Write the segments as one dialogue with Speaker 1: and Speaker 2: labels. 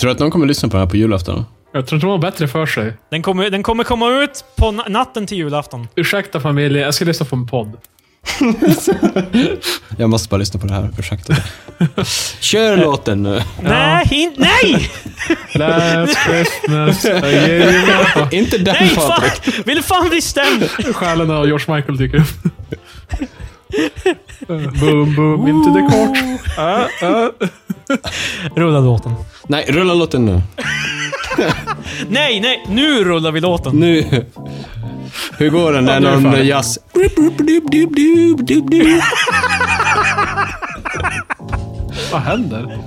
Speaker 1: Tror du att någon kommer lyssna på det här på julafton?
Speaker 2: Jag tror inte de har bättre för sig.
Speaker 3: Den kommer, den kommer komma ut på na- natten till julafton.
Speaker 2: Ursäkta familjen, jag ska lyssna på en podd.
Speaker 1: Jag måste bara lyssna på det här, ursäkta. Kör låten nu.
Speaker 3: Nej, in, nej!
Speaker 2: Last Christmas, I gave you my heart.
Speaker 1: Inte den
Speaker 3: Nej, fan!
Speaker 1: Patrik.
Speaker 3: Vill fan bli stämd!
Speaker 2: Själen av George Michael dyker upp. boom, boom, into the court. Ah,
Speaker 3: Rulla låten.
Speaker 1: Nej, rulla låten nu.
Speaker 3: Nej, nej, nu rullar vi låten.
Speaker 1: Nu. Hur går den när
Speaker 2: nu är det
Speaker 1: någon
Speaker 2: färdigt.
Speaker 1: jazz...
Speaker 2: Vad händer?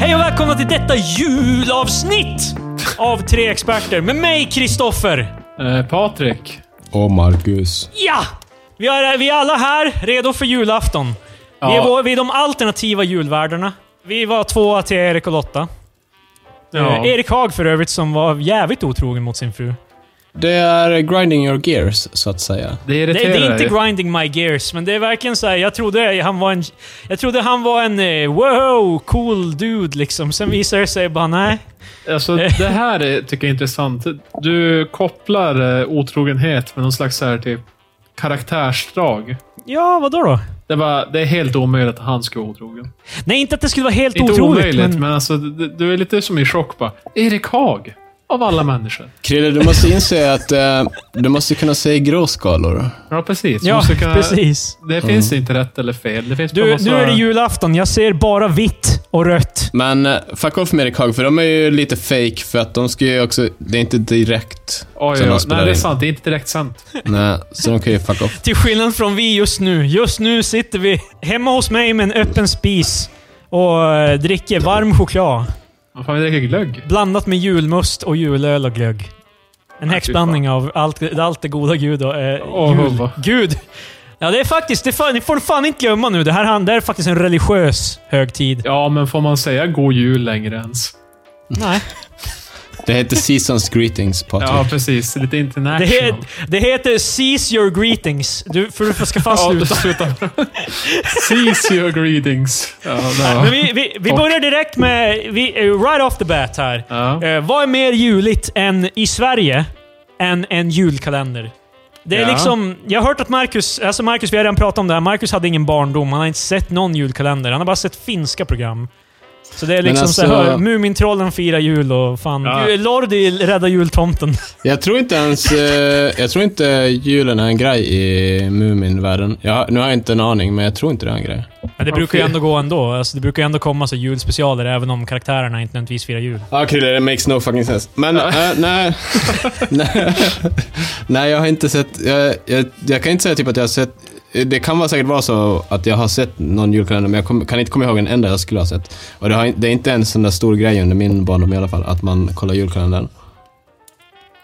Speaker 3: Hej och välkomna till detta julavsnitt av Tre Experter med mig, Kristoffer.
Speaker 2: Eh, Patrik.
Speaker 1: Och Marcus.
Speaker 3: Ja! Vi är, vi är alla här, redo för julafton. Vi, är
Speaker 2: Ja.
Speaker 3: vår, vi är de alternativa julvärdarna. Vi var tvåa till Erik och Lotta. Eh, Erik Haag för övrigt, som var jävligt otrogen mot sin fru.
Speaker 1: Det är grinding your gears, så att säga.
Speaker 2: Det
Speaker 3: Det,
Speaker 2: irriterar
Speaker 3: det är inte
Speaker 2: dig.
Speaker 3: grinding my gears, men det är verkligen så här, jag trodde han var en... Jag trodde han var en eh, wow, cool dude liksom. Sen visar det sig bara nej.
Speaker 2: Alltså,
Speaker 3: Eh.
Speaker 2: det här är, tycker jag är intressant. Du kopplar eh, otrogenhet med någon slags så här, typ, karaktärsdrag.
Speaker 3: Ja, vadå då?
Speaker 2: Det, var, det är helt omöjligt att han skulle vara otrogen.
Speaker 3: Nej, inte att det skulle vara helt
Speaker 2: Inte
Speaker 3: otroligt,
Speaker 2: omöjligt, men,
Speaker 3: men...
Speaker 2: alltså, du, du är lite som i chock bara. Erik Haag. Av alla människor.
Speaker 1: Krille, du måste inse att eh, du måste kunna säga gråskalor.
Speaker 2: Ja, precis. Du
Speaker 3: Ja,
Speaker 2: måste kunna-
Speaker 3: precis.
Speaker 2: Det finns inte rätt eller fel. Det finns bara
Speaker 3: Du,
Speaker 2: massa...
Speaker 3: nu är det julafton. Jag ser bara vitt och rött.
Speaker 1: Men eh, fuck off med Erik Haag, för de är ju lite fake för att de ska ju också... Det är inte direkt
Speaker 2: Oj,
Speaker 1: som
Speaker 2: oj,
Speaker 1: de
Speaker 2: oj.
Speaker 1: spelar
Speaker 2: Nej, det är
Speaker 1: in.
Speaker 2: sant. Det är inte direkt sant.
Speaker 1: Nej, så de kan ju fuck off.
Speaker 3: Till skillnad från vi just nu. Just nu sitter vi hemma hos mig med en öppen spis och eh, dricker varm choklad.
Speaker 2: Vad fan, vi dricker glögg.
Speaker 3: Blandat med julmust och julöl och glögg. En
Speaker 2: fy
Speaker 3: häxblandning av allt, allt det goda gud och... Eh,
Speaker 2: Åh,
Speaker 3: jul,
Speaker 2: hubba.
Speaker 3: gud! Ja, det är faktiskt... Det får, ni får fan inte glömma nu. Det här, han- det här är faktiskt en religiös högtid.
Speaker 2: Ja, men får man säga god jul längre ens?
Speaker 3: Nej.
Speaker 1: Det heter Seasons Greetings, Patrik.
Speaker 2: Ja, precis. Lite international.
Speaker 3: Det, he, det heter “Seize your greetings”. Du, för du ska fan
Speaker 2: Ja, du
Speaker 3: sluta.
Speaker 2: slutar. Cease your greetings. Ja,
Speaker 3: Nej,
Speaker 2: ja.
Speaker 3: Men vi, vi, vi börjar direkt med... Vi, eh, right off the bat här.
Speaker 2: Ja.
Speaker 3: Eh, vad är mer juligt än i Sverige än en julkalender? Det är
Speaker 2: Ja.
Speaker 3: liksom... Jag har hört att Marcus... Alltså Marcus, vi har redan pratat om det här. Marcus hade ingen barndom. Han har inte sett någon julkalender. Han har bara sett finska program. Så det är
Speaker 1: Men
Speaker 3: liksom
Speaker 1: alltså-
Speaker 3: så här, Mumintrollen firar jul och fan...
Speaker 2: Ja.
Speaker 3: Ja. Lordi räddar jultomten.
Speaker 1: Jag tror inte ens... Eh, jag tror inte julen är en grej i Muminvärlden. Jag, har- nu har jag inte en aning, men jag tror inte det är en grej.
Speaker 3: Men det brukar ju ändå gå ändå. Alltså, det brukar ju ändå komma så julspecialer även om karaktärerna inte nödvändigtvis firar jul.
Speaker 1: Ja, Krille, det makes no fucking sense. Men eh, nej. nej. Nej, jag har inte sett... Jag, jag, jag kan inte säga typ att jag har sett... Det kan vara säkert vara så att jag har sett någon julkalender, men jag kom, kan inte komma ihåg en enda jag skulle ha sett. Och det, har, in- det är inte en sån där stor grej under min barndom i alla fall, att man kollar julkalendern.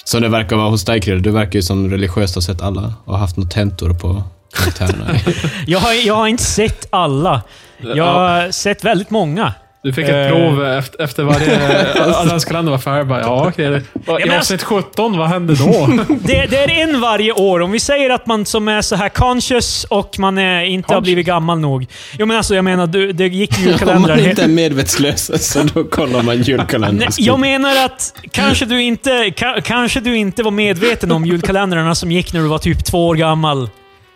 Speaker 1: Som det verkar vara hos dig, Krille. Du verkar ju som religiöst ha sett alla och haft något tentor på karaktärerna.
Speaker 3: Jag har, jag har inte sett alla. Jag har sett väldigt många.
Speaker 2: Du fick
Speaker 3: Eh.
Speaker 2: ett prov efter, efter varje... Alla kalender var färdig. Bara, Ja, okej.
Speaker 3: men alltså-
Speaker 2: I avsnitt 17, vad hände då?
Speaker 3: Det, det är en varje år. Om vi säger att man som är så här conscious och man är, inte har
Speaker 2: Conscious?
Speaker 3: blivit gammal nog. Jo men alltså jag menar, du, det gick ju
Speaker 1: Om man
Speaker 3: julkalendrar.
Speaker 1: inte är alltså, medvetslös, så då kollar man
Speaker 3: Nej,
Speaker 1: julkalendern.
Speaker 3: jag menar att kanske du, inte, ka, kanske du inte var medveten om julkalendrarna som gick när du var typ två år gammal.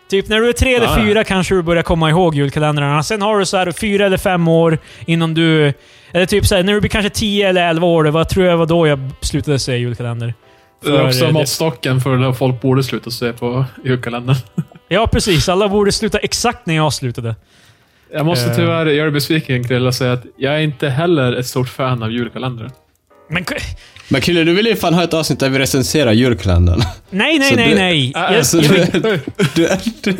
Speaker 3: Typ när du är tre eller
Speaker 2: Ja, ja.
Speaker 3: fyra kanske du börjar komma ihåg julkalendrarna. Sen har du så här fyra eller fem år innan du... Eller typ så här, när du blir kanske tio eller elva år, det var, tror jag var då jag slutade se julkalender.
Speaker 2: Det är
Speaker 3: För,
Speaker 2: också
Speaker 3: eh,
Speaker 2: måttstocken för när folk borde sluta se på julkalendern.
Speaker 3: Ja, precis. Alla borde sluta exakt när jag slutade.
Speaker 2: Jag måste
Speaker 3: Eh.
Speaker 2: tyvärr göra dig besviken, Krille, och säga att jag är inte heller ett stort fan av julkalendern.
Speaker 3: Men k-
Speaker 1: Men Krille, du ville ju fan ha ett avsnitt där vi recenserar julkalendern.
Speaker 3: Nej, nej,
Speaker 1: Så
Speaker 3: nej,
Speaker 1: du-
Speaker 3: nej.
Speaker 2: Äh,
Speaker 3: Jag-
Speaker 1: Så
Speaker 2: jag
Speaker 1: du,
Speaker 2: vet-
Speaker 1: du, du,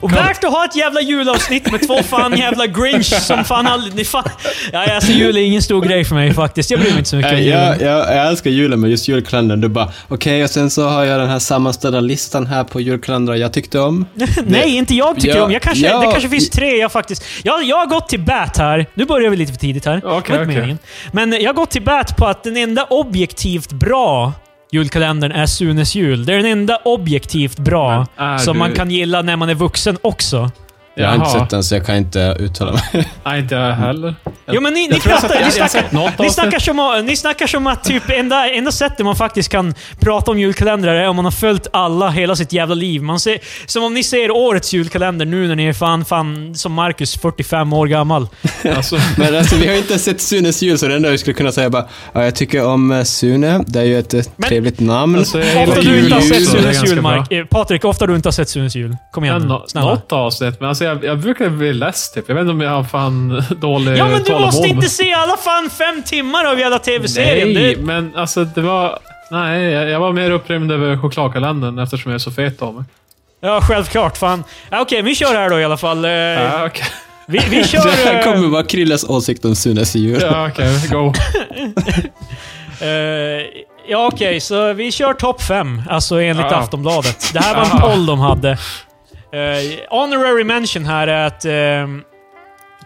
Speaker 3: Och värt att ha ett jävla julavsnitt med två fan jävla grinch som fan aldrig... Ni fan, ja, alltså jul är ingen stor grej för mig faktiskt. Jag bryr mig inte så mycket om
Speaker 2: Äh,
Speaker 1: Nej, jag,
Speaker 3: julen.
Speaker 1: jag, jag älskar julen med just julkalendern. Du bara, okej, och sen så har jag den här sammanställda listan här på julkalendrar jag tyckte om.
Speaker 3: Nej, inte jag tycker
Speaker 1: Ja,
Speaker 3: om. Jag kanske,
Speaker 1: ja,
Speaker 3: det kanske finns tre jag faktiskt... Jag, jag har gått till bat här. Nu börjar vi lite för tidigt här. Det var
Speaker 2: Okej,
Speaker 3: inte
Speaker 2: okej.
Speaker 3: meningen. Men eh, jag har gått till bat på att den enda objektivt bra julkalendern är Sunes jul. Det är den enda objektivt bra
Speaker 2: Men är
Speaker 3: som
Speaker 2: du-
Speaker 3: man kan gilla när man är vuxen också.
Speaker 1: Jag har inte
Speaker 2: Jaha.
Speaker 1: sett den så jag kan inte uttala mig.
Speaker 2: Nej, inte jag heller.
Speaker 3: Jo, men ni, ni
Speaker 2: Jag tror jag
Speaker 3: pratar... Ni
Speaker 2: har- jag har
Speaker 3: snackar,
Speaker 2: sett något
Speaker 3: Ni
Speaker 2: avsnitt.
Speaker 3: snackar, som, ni snackar som att typ enda, enda sättet man faktiskt kan prata om julkalendrar är om man har följt alla hela sitt jävla liv. Man ser, som om ni ser årets julkalender nu när ni är fan, fan som Marcus, 45 år gammal.
Speaker 2: Alltså,
Speaker 1: Men alltså, vi har inte sett Sunes jul, så det enda vi skulle kunna säga bara, ja, jag tycker om eh, Sune. Det är ju ett eh,
Speaker 3: Men-
Speaker 1: trevligt namn.
Speaker 2: alltså, jag
Speaker 3: Ofta
Speaker 2: gillar
Speaker 3: du inte har
Speaker 2: jul,
Speaker 3: sett
Speaker 2: så det är
Speaker 3: Sunes
Speaker 2: ganska
Speaker 3: jul,
Speaker 2: bra.
Speaker 3: Mark. Eh, Patrik, ofta du inte har sett Sunes jul. Kom
Speaker 2: Ja,
Speaker 3: igen,
Speaker 2: nå-
Speaker 3: snälla.
Speaker 2: något avsnitt, men alltså jag, jag brukar bli less typ. Jag vet inte om jag har fan dålig
Speaker 3: Ja, men du
Speaker 2: Eh, tålamod.
Speaker 3: måste inte se alla fan fem timmar av jävla TV-serien.
Speaker 2: Nej,
Speaker 3: Det-
Speaker 2: men alltså det var... Nej, jag, jag var mer upprymd över chokladkalendern eftersom jag är så fet av mig.
Speaker 3: Ja, självklart. Fan. Ja, Okej, vi kör här då i alla fall. Eh,
Speaker 2: Ja, okej.
Speaker 3: Vi, vi kör...
Speaker 1: det här
Speaker 3: eh,
Speaker 1: kommer vara Krilles åsikt om Sunes jul.
Speaker 2: Ja, okej. Go.
Speaker 3: Eh, ja, okej, så vi kör topp fem, alltså enligt
Speaker 2: Ja.
Speaker 3: Aftonbladet. Det här var en
Speaker 2: Ja.
Speaker 3: poll de hade. Eh, honorary mention här är att ehm,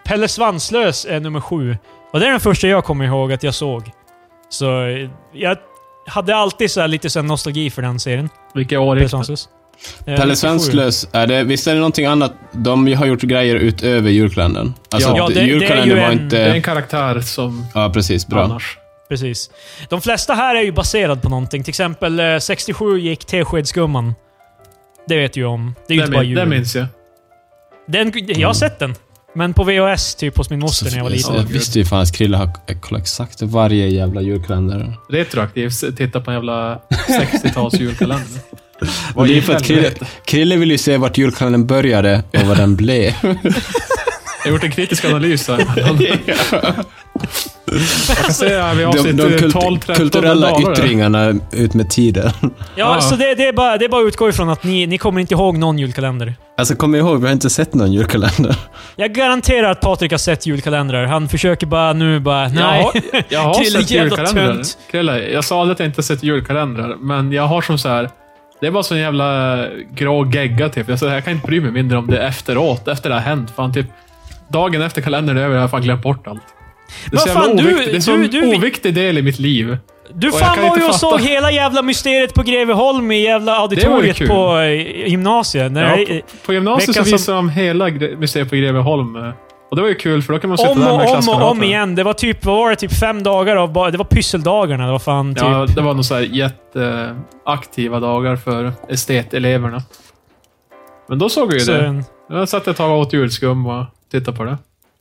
Speaker 3: Pelle Svanslös är nummer sju. Och det är den första jag kommer ihåg att jag såg. Så eh, jag hade alltid så här lite så här nostalgi för den serien.
Speaker 2: Vilka år
Speaker 3: Pelle
Speaker 2: gick det?
Speaker 3: Svanslös. Eh,
Speaker 1: Pelle
Speaker 3: 97.
Speaker 1: Svensklös, är det, visst är det någonting annat? De har gjort grejer utöver julkalendern. Alltså,
Speaker 2: Ja.
Speaker 1: d-
Speaker 3: Ja, det- det är
Speaker 1: julkalendern
Speaker 3: ju
Speaker 1: var
Speaker 3: en-
Speaker 1: inte...
Speaker 2: Det är en karaktär som
Speaker 1: Ja, precis. Bra.
Speaker 2: annars.
Speaker 3: Precis. De flesta här är ju baserad på någonting. Till exempel eh, 67 gick Teskedsgumman. Det vet du ju om. Det är ju
Speaker 2: Det,
Speaker 3: inte bara
Speaker 2: min,
Speaker 3: jul.
Speaker 2: det minns jag.
Speaker 3: Den, jag har sett den. Men på VHS, typ hos min moster när jag var
Speaker 1: Så,
Speaker 3: liten.
Speaker 1: jag visste ju fan att Krille har jag kollar exakt varje jävla julkalender.
Speaker 2: Retroaktivt titta på en jävla 60-tals julkalender.
Speaker 1: Och det är
Speaker 2: i
Speaker 1: för att Krille,
Speaker 2: helvete.
Speaker 1: Krille vill ju se vart julkalendern började och vad den blev.
Speaker 2: Jag har gjort en kritisk analys här. Jag kan säga här vid
Speaker 1: De,
Speaker 2: avsnitt
Speaker 3: eh,
Speaker 1: de kult,
Speaker 2: 12, 13
Speaker 1: kulturella
Speaker 2: dagar.
Speaker 1: yttringarna ut med tiden.
Speaker 3: Ja,
Speaker 2: Ah.
Speaker 3: så det, det, är bara, det är bara att utgå ifrån att ni, ni kommer inte ihåg någon julkalender.
Speaker 1: Alltså kom ihåg, vi har inte sett någon julkalender.
Speaker 3: Jag garanterar att Patrik har sett julkalendrar. Han försöker bara nu bara... Nej.
Speaker 2: Jag har, jag har
Speaker 3: Krille,
Speaker 2: sett
Speaker 3: jävla
Speaker 2: julkalendrar.
Speaker 3: tönt.
Speaker 2: Krille, jag sa aldrig att jag inte sett julkalendrar, men jag har som så här. Det är bara sån jävla grå gegga typ. Jag, så här, jag kan inte bry mig mindre om det efteråt, efter det har hänt. Fan, typ, dagen efter kalendern är över har jag fan glömt bort allt. Det är, så jävla
Speaker 3: Vad fan, du-
Speaker 2: oviktigt. det är en sån
Speaker 3: du- du-
Speaker 2: oviktig del i mitt liv.
Speaker 3: Du
Speaker 2: Och jag
Speaker 3: fan
Speaker 2: kan
Speaker 3: var
Speaker 2: inte
Speaker 3: ju och såg
Speaker 2: fatta.
Speaker 3: hela jävla mysteriet på Greveholm i jävla auditoriet
Speaker 2: kul.
Speaker 3: på eh, gymnasiet.
Speaker 2: Ja,
Speaker 3: Nej, eh,
Speaker 2: på, på gymnasiet så
Speaker 3: veckan som-
Speaker 2: visade de hela gre- museet på Greveholm. eh, Och det var ju kul, för då kan man sitta
Speaker 3: om
Speaker 2: där med
Speaker 3: och om och om
Speaker 2: klasskamraterna.
Speaker 3: igen. Det var typ, vad var det, typ fem dagar av bara... Det var pysseldagarna. Det var fan typ...
Speaker 2: Ja, det var nog så här jätteaktiva dagar för esteteleverna. Men då såg vi ju
Speaker 3: så,
Speaker 2: det. Jag satt ett tag och åt julskum och tittade på det.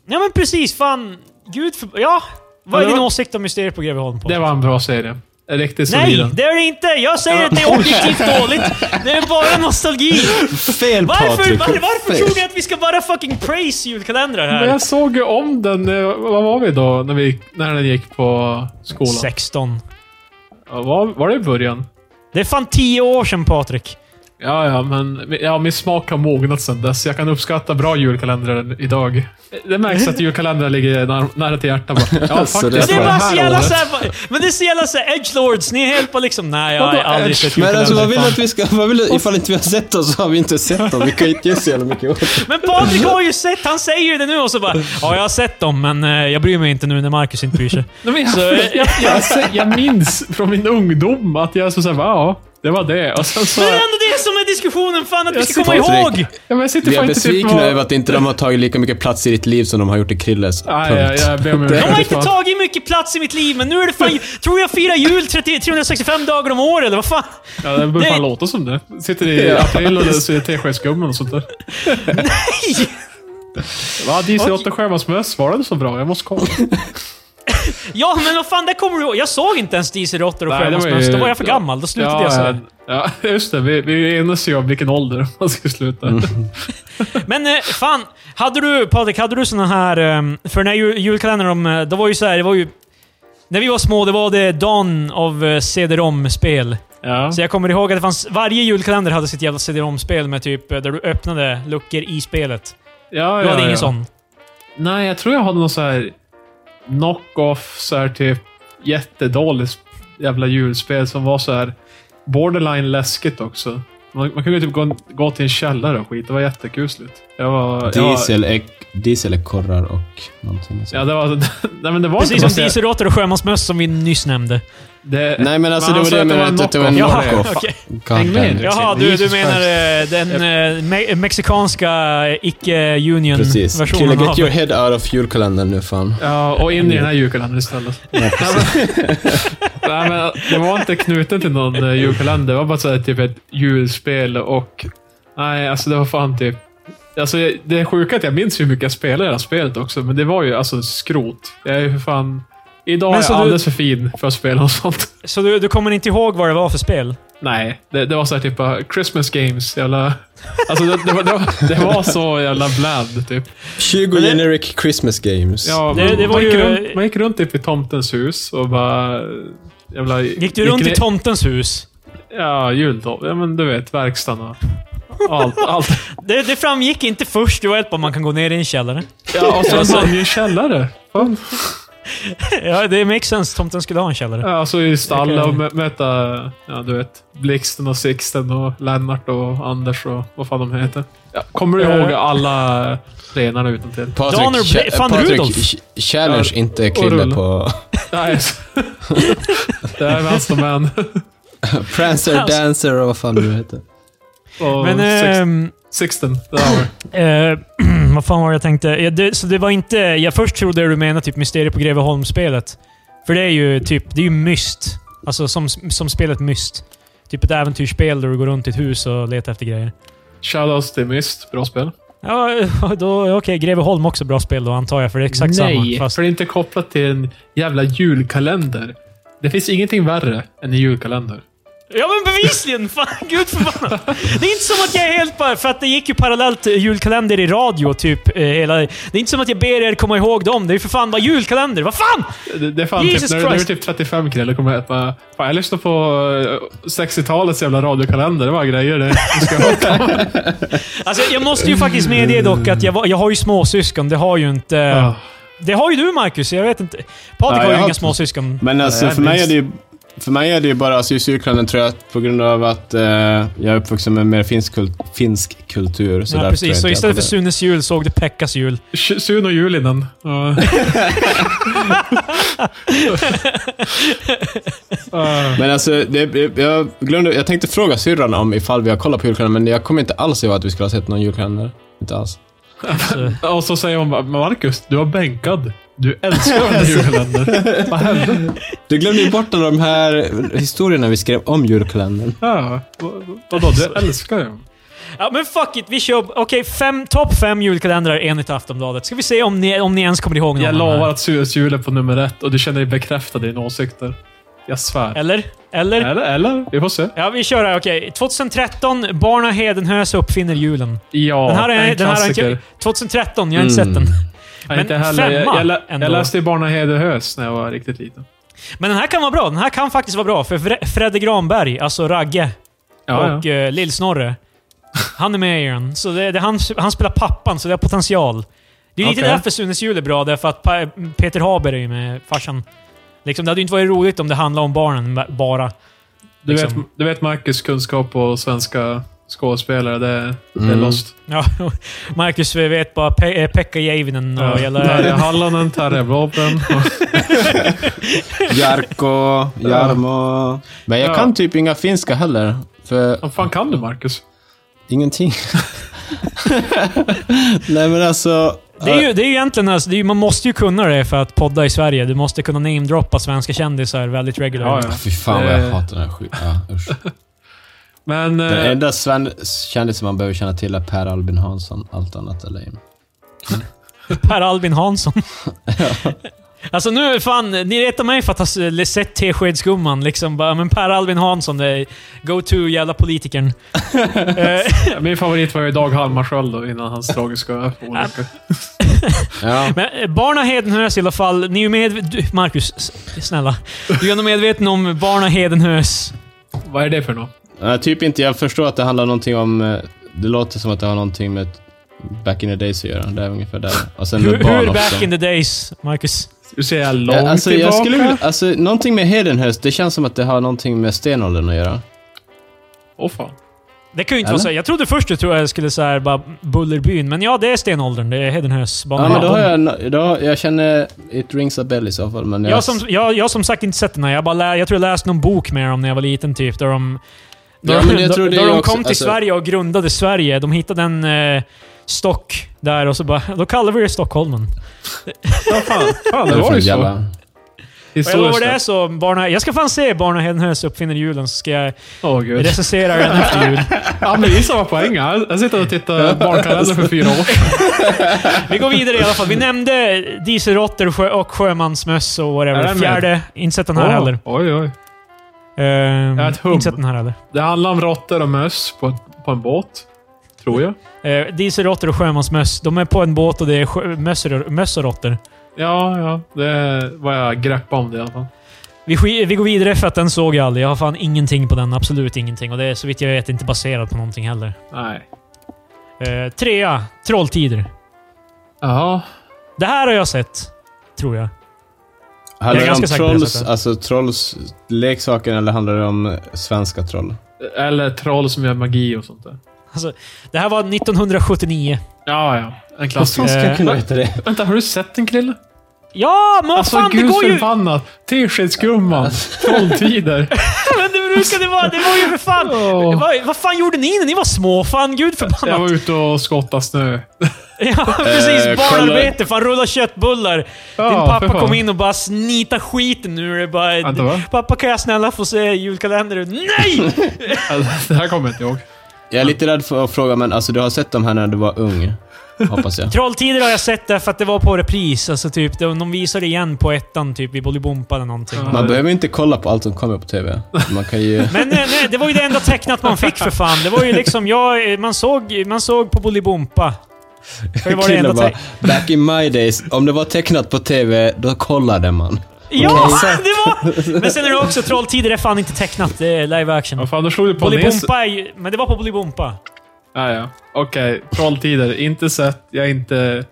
Speaker 3: ja, men precis. Fan. Gud för, Ja. Vad
Speaker 2: Men
Speaker 3: är
Speaker 2: det
Speaker 3: din
Speaker 2: var-
Speaker 3: åsikt om mysteriet på Greveholm? På?
Speaker 2: Det var en bra serie. En riktigt solid.
Speaker 3: Nej,
Speaker 2: en.
Speaker 3: det är det inte! Jag säger att det är objektivt dåligt. Det är bara nostalgi.
Speaker 1: Fel
Speaker 3: Varför,
Speaker 1: Patrik!
Speaker 3: var, varför
Speaker 1: Fel.
Speaker 3: tror ni att vi ska bara fucking praise julkalendrar
Speaker 2: Men
Speaker 3: här?
Speaker 2: jag såg ju om den, eh, vad var vi då, när, vi, när den gick på skolan?
Speaker 3: 16.
Speaker 2: Ja, Var, var det i början?
Speaker 3: Det är fan 10 år sedan Patrik.
Speaker 2: Ja, ja, men ja, min smak har mognat sedan dess. Jag kan uppskatta bra julkalendrar idag. Det märks att julkalendrar ligger nära, nära till hjärtat. bara. Ja,
Speaker 1: Så det
Speaker 2: faktiskt.
Speaker 1: är
Speaker 3: Men det är
Speaker 1: var
Speaker 3: bara
Speaker 2: här
Speaker 3: så jävla
Speaker 2: året.
Speaker 3: såhär... Men det är så jävla såhär edgelords. Ni är helt bara liksom... Nej, jag har
Speaker 2: Vadå
Speaker 3: aldrig
Speaker 2: edge?
Speaker 3: sett
Speaker 1: Men alltså vad vill du
Speaker 3: julkalendrar. fan.
Speaker 1: att vi ska... Vad vill, du- ifall inte vi har sett dem så har vi inte sett dem. Vi kan ju inte göra så jävla mycket åt det.
Speaker 3: Men Patrik har ju sett... Han säger ju det nu och så
Speaker 1: Mm.
Speaker 3: bara... Ja, jag har sett dem, men eh, jag bryr mig inte nu när Marcus inte bryr sig.
Speaker 2: Nej, men jag,
Speaker 3: Så-
Speaker 2: jag, jag, jag, jag minns från min ungdom att jag så såhär, bara, ja, det var det. Och sen så...
Speaker 3: Men det är ändå det som är diskussionen, fan att vi
Speaker 2: Jag
Speaker 3: ska komma
Speaker 1: ser-
Speaker 3: ihåg!
Speaker 1: Patrik.
Speaker 2: Ja, men jag sitter
Speaker 1: Vi är
Speaker 2: fan inte typ
Speaker 1: besvikna
Speaker 2: vad-
Speaker 1: över att inte de har tagit lika mycket plats i ditt liv som de har gjort i Krilles.
Speaker 2: Nej, jag,
Speaker 1: Punkt.
Speaker 2: jag ber om
Speaker 3: De har
Speaker 2: ursäkt.
Speaker 3: inte
Speaker 2: fan.
Speaker 3: tagit mycket plats i mitt liv, men nu är det fan... Tror jag firar jul 30, 365 dagar om året, eller vad fan?
Speaker 2: Ja, det borde fan
Speaker 3: Nej.
Speaker 2: låta som det. Sitter i april och det är teskedsgummen och sånt där.
Speaker 3: Nej!
Speaker 2: Va, DC 8 Stjärnans möss, var den så bra? Jag måste kolla.
Speaker 3: Ja, men vad fan, det kommer du ihåg. Jag såg inte ens DC Råttor och
Speaker 2: Nej, det var
Speaker 3: Sjömansmöss.
Speaker 2: ju-
Speaker 3: Då var jag för
Speaker 2: ja.
Speaker 3: gammal. Då slutade jag så här.
Speaker 2: ja, ja, just det. Vi, vi enas ju om vilken ålder man ska sluta.
Speaker 3: Men eh, fan, hade du, Patrik, hade du såna här... ehm, För när jul, julkalendern, de, eh, det var ju så här, det var ju... När vi var små, det var det dagen av eh, CD-ROM-spel.
Speaker 2: Ja.
Speaker 3: Så jag kommer ihåg att det fanns... Varje julkalender hade sitt jävla CD-ROM-spel med typ, eh, där du öppnade luckor i spelet.
Speaker 2: ja,
Speaker 3: Du
Speaker 2: ja,
Speaker 3: hade
Speaker 2: ja.
Speaker 3: ingen sån?
Speaker 2: Nej, jag tror jag hade någon så här knock-off, så här typ jättedåligt jävla julspel som var så här borderline läskigt också. Man, man kunde typ gå, gå till en källare och skit. Det var jättekusligt. Jag var... Jag var
Speaker 1: Diesel, ek, dieselkorrar och någonting.
Speaker 2: ja, det var... nej, men det var
Speaker 3: Precis
Speaker 2: inte
Speaker 3: som dieselråttor och sjömansmöss som vi nyss nämnde.
Speaker 2: Det,
Speaker 1: Nej, men alltså det var det jag menade. att Det var en
Speaker 3: knock-off.
Speaker 1: knock-off.
Speaker 3: Jaha, okej.
Speaker 1: God
Speaker 2: Häng med.
Speaker 1: damn it.
Speaker 3: Jaha, du, du
Speaker 2: Jesus
Speaker 3: menar eh, den eh, me mexikanska eh,
Speaker 1: Precis.
Speaker 3: icke-union-versionen
Speaker 1: Krille, get
Speaker 3: av...
Speaker 1: your head out of julkalendern nu fan.
Speaker 2: Ja, och in i den här julkalendern istället.
Speaker 1: Ja,
Speaker 2: Nej, men det var inte knuten till någon eh, julkalender. Det var bara så här, typ ett julspel och... Nej, alltså det var fan typ... Alltså, det är sjuka att jag minns hur mycket jag spelade i det här spelet också, men det var ju alltså skrot. Jag är ju för fan... Idag
Speaker 3: Men
Speaker 2: är
Speaker 3: så
Speaker 2: jag
Speaker 3: du-
Speaker 2: alldeles för fin för att spela något sånt.
Speaker 3: Så du, du kommer inte ihåg vad det var för spel?
Speaker 2: Nej, det, det var så här typ bara Christmas games. Jävla... Alltså det, det, var, det, var, det var så jävla bland typ.
Speaker 1: 20
Speaker 3: Men det-
Speaker 1: generic Christmas games.
Speaker 2: Ja,
Speaker 3: Det- det var
Speaker 2: man, gick
Speaker 3: ju-
Speaker 2: runt, man gick runt typ i tomtens hus och bara... Jävla,
Speaker 3: Gick du runt
Speaker 2: ner-
Speaker 3: i tomtens hus?
Speaker 2: Ja, jultomten. Ja, men du vet, verkstaden och och allt. allt.
Speaker 3: Det, det framgick inte först. Det var ett bara man kan gå ner i en källare.
Speaker 2: Ja, och så hade man ju en källare. Fan.
Speaker 3: Ja, det makes sense. Tomten skulle ha en källare.
Speaker 2: Ja, alltså i stall och mö- möta, ja du vet, Blixten och Sixten och Lennart och Anders och vad fan de heter. Ja, kommer
Speaker 3: Eh.
Speaker 2: du ihåg alla renarna utantill?
Speaker 1: Patrik,
Speaker 3: Donner-
Speaker 1: cha-
Speaker 3: fan,
Speaker 1: Patrik,
Speaker 3: Rudolf.
Speaker 1: ch- challenge
Speaker 2: Ja,
Speaker 1: inte
Speaker 2: och
Speaker 1: Krille
Speaker 2: rulla.
Speaker 1: på
Speaker 2: Nej. alltså. Det är Vänstermän
Speaker 1: Prancer,
Speaker 3: Alltså.
Speaker 1: Dancer och vad fan du heter.
Speaker 2: och
Speaker 3: Men...
Speaker 2: Six-
Speaker 3: ehm,
Speaker 2: Sixten. Det var
Speaker 3: Eh, vad fan var det jag tänkte? Ja, det, så det var inte... Jag först trodde du menade typ Mysteriet på Greveholm-spelet. För det är ju typ... Det är ju myst. Alltså som, som spelet Myst. Typ ett äventyrsspel där du går runt i ett hus och letar efter grejer.
Speaker 2: Shoutouts till Myst. Bra spel.
Speaker 3: Ja, då... Okej, Greveholm också bra spel då antar jag, för det är exakt
Speaker 2: Nej,
Speaker 3: samma. Fast,
Speaker 2: för det är inte kopplat till en jävla julkalender. Det finns ingenting värre än en julkalender.
Speaker 3: ja men bevisligen! Fan, gud förbannat. Det är inte som att jag är helt bara... För att det gick ju parallellt eh, julkalender i radio typ eh, hela... Det är inte som att jag ber er komma ihåg dem. Det är ju för fan bara julkalender. Vad fan!
Speaker 2: Det, det är fan typ,
Speaker 3: Jesus
Speaker 2: när, du- när du är
Speaker 3: Christ.
Speaker 2: typ 35 Krille kommer jag att bara, fan, jag lyssnar på eh, 60-talets jävla radiokalender. Det var grejer det. Du ska ha.
Speaker 3: Alltså, jag måste ju faktiskt medge dock att jag, var, jag har ju småsyskon. Det har ju inte...
Speaker 2: Ja.
Speaker 3: Det har ju du Marcus, jag vet inte.
Speaker 1: Nej,
Speaker 3: Patrik
Speaker 1: jag
Speaker 3: har ju
Speaker 1: har
Speaker 3: inga
Speaker 1: inte-
Speaker 3: småsyskon.
Speaker 1: Men alltså,
Speaker 2: Nej,
Speaker 1: för, mig
Speaker 2: visst.
Speaker 1: är det ju, för mig är det ju bara alltså, just julkalendern tror jag på grund av att eh, jag är uppvuxen med mer finsk, kul- finsk kultur. Så där
Speaker 3: Ja,
Speaker 1: tror jag
Speaker 3: precis. Så
Speaker 1: inte
Speaker 3: istället för
Speaker 1: jag på
Speaker 3: Sunes jul såg du Pekkas jul.
Speaker 2: Sh- Suno och Julinen. Ja.
Speaker 1: det. Men alltså, det, jag, glömde, jag tänkte fråga syrran om ifall vi har kollat på julkalendern, men jag kommer inte alls ihåg att vi skulle ha sett någon julkalender. Inte alls.
Speaker 2: Ja, Eh, och så säger hon bara, Marcus, du var bänkad. Du älskar den här julkalendern. Vad hände?
Speaker 1: Du glömde ju bort alla de här historierna vi skrev om julkalendern.
Speaker 2: Ja, vad- vadå, du älskar ju.
Speaker 3: Ja, men fuck it. Vi kör... Okej, fem, topp fem julkalendrar enligt Aftonbladet. Ska vi se om ni, om ni ens kommer ihåg någon
Speaker 2: Jag
Speaker 3: av de här.
Speaker 2: lovar att Sunes jul är på nummer ett och du känner dig bekräftad i dina åsikter. Jag svär.
Speaker 3: Eller? Eller?
Speaker 2: Eller? Eller? Vi får se.
Speaker 3: Ja, vi kör här. Okej. 2013, Barna Hedenhös uppfinner julen.
Speaker 2: Ja,
Speaker 3: Den här är,
Speaker 2: en
Speaker 3: den här är
Speaker 2: klassiker.
Speaker 3: inte... 2013, jag har inte
Speaker 1: Mm.
Speaker 3: sett den.
Speaker 2: Nej,
Speaker 3: Men
Speaker 2: inte heller. Jag,
Speaker 3: femma
Speaker 2: jag, lä-
Speaker 3: ändå.
Speaker 2: jag läste i Barna Hederhös när jag var riktigt liten.
Speaker 3: Men den här kan vara bra. Den här kan faktiskt vara bra. För Fre- Fredde Granberg, alltså Ragge,
Speaker 2: Ja,
Speaker 3: och
Speaker 2: ja.
Speaker 3: eh, Lill-Snorre. Han är med i den. Så det, det, han, han spelar pappan, så det har potential. Det är lite
Speaker 2: Okej.
Speaker 3: därför Sunes jul är bra, därför att pa- Peter Haber är ju med, farsan. Liksom, det hade ju inte varit roligt om det handlade om barnen ba- bara.
Speaker 2: Du,
Speaker 3: liksom.
Speaker 2: vet, du vet Marcus kunskap och svenska skådespelare, det, det är
Speaker 1: Mm.
Speaker 2: lost.
Speaker 3: Ja, Marcus vi vet bara Pe- eh, Pekka Jäivinen och hela...
Speaker 2: Terje Hallonen, Terje Blobben. och-
Speaker 1: Jarko, Jarmo. Men jag
Speaker 2: Ja.
Speaker 1: kan typ inga finska heller. För
Speaker 2: Vad fan kan du Marcus?
Speaker 1: Ingenting. Nej men alltså...
Speaker 3: Det är ju, det är ju egentligen... Alltså, det är ju, man måste ju kunna det för att podda i Sverige. Du måste kunna namedroppa svenska kändisar väldigt regular.
Speaker 2: Ja, ja.
Speaker 1: Ah, Fy fan vad jag
Speaker 2: Eh.
Speaker 1: hatar den här skiten. Ja, usch.
Speaker 2: Men...
Speaker 1: Den
Speaker 2: Eh,
Speaker 1: enda sven- kändisen man behöver känna till är Per Albin Hansson. Allt annat är lame.
Speaker 3: Per Albin Hansson. alltså nu, fan, ni retar mig för att ha s- sett Teskedsgumman. Liksom bara, men Per Albin Hansson, det är go-to jävla politikern. Eh, Äh.
Speaker 2: min favorit var ju Dag Hammarskjöld då, innan hans tragiska olycka.
Speaker 1: Ja.
Speaker 3: Men eh, Barna Hedenhös i alla fall. Ni är ju medvetna... Marcus, s- snälla. Du är ändå medveten om Barna Hedenhös.
Speaker 2: Vad är det för något?
Speaker 1: Nej, typ inte. Jag förstår att det handlar någonting om... eh, Det låter som att det har någonting med back in the days att göra. Det är ungefär där. Och sen
Speaker 3: Hur,
Speaker 1: med barn
Speaker 3: hur
Speaker 1: också.
Speaker 3: back in the days, Marcus?
Speaker 2: Du ser jag långt
Speaker 1: Ja, alltså,
Speaker 2: tillbaka?
Speaker 1: jag skulle vilja, alltså, någonting med Hedenhöst, det känns som att det har någonting med stenåldern att göra.
Speaker 2: Åh fan.
Speaker 3: Det kan ju inte
Speaker 1: Eller?
Speaker 3: vara så. här. Jag trodde först du tror jag skulle så här, bara Bullerbyn, men ja, det är stenåldern. Det är Hedenhös. Barna
Speaker 1: Ja, men då har
Speaker 3: Hedden.
Speaker 1: jag, no- då, jag känner it rings a bell i så fall, men jag...
Speaker 3: Jag som, jag, jag har som sagt inte sett den här. Jag, bara lä, jag tror jag läste någon bok med dem när jag var liten, typ. Där de,
Speaker 1: Ja,
Speaker 3: där
Speaker 1: men jag tror det
Speaker 3: de, där
Speaker 1: är
Speaker 3: de
Speaker 1: också-
Speaker 3: kom till
Speaker 1: alltså-
Speaker 3: Sverige och grundade Sverige. De hittade en eh, stock där och så bara... Då kallade vi det Stockholmen.
Speaker 2: Ja, fan.
Speaker 1: Vad är
Speaker 2: fan, det
Speaker 1: det för
Speaker 2: var ju så.
Speaker 1: jävla-
Speaker 3: Och jag lovar, det är
Speaker 2: Historiskt.
Speaker 3: så. Barna, jag ska fan se Barn och Hedenhös uppfinner julen, så ska jag
Speaker 2: Åh gud.
Speaker 3: recensera den efter jul.
Speaker 2: Ja, men gissa vad poängen är. Jag sitter och tittar barnkalender för fyra år sedan.
Speaker 3: Vi går vidare i alla fall. Vi nämnde dieselråttor och sjö- och sjömansmöss och
Speaker 2: Är
Speaker 3: whatever.
Speaker 2: den med?
Speaker 3: Fjärde. Inte sett den här heller.
Speaker 2: Oj, oj.
Speaker 3: Ehm,
Speaker 2: Jag är ett hum.
Speaker 3: inte sett den här heller.
Speaker 2: Det handlar om råttor och möss på, på en båt. Tror jag.
Speaker 3: Eh, dieselråttor och sjömansmöss. De är på en båt och det är sjö- möss och- möss och råttor.
Speaker 2: Ja, ja. Det är vad jag greppar om det i alla fall.
Speaker 3: Vi, sk- vi går vidare för att den såg jag aldrig. Jag har fan ingenting på den. Absolut ingenting. Och det är så vitt jag vet inte baserat på någonting heller.
Speaker 2: Nej.
Speaker 3: Eh, trea. Trolltider.
Speaker 2: Jaha.
Speaker 3: Det här har jag sett. Tror jag.
Speaker 1: Handlar
Speaker 3: Jag är
Speaker 1: det om
Speaker 3: ganska säker på det
Speaker 1: trolls,
Speaker 3: sättet.
Speaker 1: alltså trolls leksaker eller handlar det om eh, svenska troll?
Speaker 2: Eller troll som gör magi och sånt där.
Speaker 3: Alltså, det här var 1979.
Speaker 2: Ja, ja. En
Speaker 1: Vad fan
Speaker 2: klassiker.
Speaker 1: ska jag
Speaker 3: Eh,
Speaker 1: kunna veta det?
Speaker 2: Vänta, har du sett den Krille?
Speaker 3: Ja, men vad
Speaker 2: Alltså,
Speaker 3: fan, det
Speaker 2: gud
Speaker 3: går ju...
Speaker 2: förbannat. Teskedsgumman. Trolltider.
Speaker 3: Men det, hur ska det vara? Det var ju för fan...
Speaker 2: Åh.
Speaker 3: Vad, vad fan gjorde ni när ni var små? Fan, gud
Speaker 2: Jag
Speaker 3: förbannat.
Speaker 2: var ute och skottade snö.
Speaker 3: Ja, precis.
Speaker 1: Eh,
Speaker 3: Barnarbete. Fan, rulla köttbullar.
Speaker 2: Ja,
Speaker 3: Din
Speaker 2: för
Speaker 3: pappa
Speaker 2: fan.
Speaker 3: kom in och bara snita skiten nu. Det är
Speaker 2: Vänta,
Speaker 3: bara,
Speaker 2: va?
Speaker 3: pappa, kan jag snälla få se julkalendern? Nej!
Speaker 2: Alltså, det här kommer jag inte ihåg.
Speaker 1: Jag är lite rädd för att fråga, men alltså du har sett de här när du var ung? Hoppas jag.
Speaker 3: Trolltider har jag sett därför att det var på repris. Alltså typ, de, de visade igen på ettan typ vid Bolibompa eller någonting.
Speaker 2: Ja.
Speaker 1: Man behöver inte kolla på allt som kommer på TV. Man kan ju...
Speaker 3: Men nej, nej, det var ju det enda tecknat man fick för fan. Det var ju liksom, jag, man, såg, man såg på Bolibompa. För det var det
Speaker 1: Killen
Speaker 3: enda
Speaker 1: bara,
Speaker 3: teck-
Speaker 1: back in my days, om det var tecknat på TV, då kollade man.
Speaker 3: Ja! Det var... Men sen är det också Trolltider är fan inte tecknat. Det är live action.
Speaker 2: Vad fan, då slog du på näsan.
Speaker 3: Bolibompa är ju... Men det var på Bolibompa.
Speaker 2: Ja, ja. Okej, trolltider. Inte sett. Jag är inte...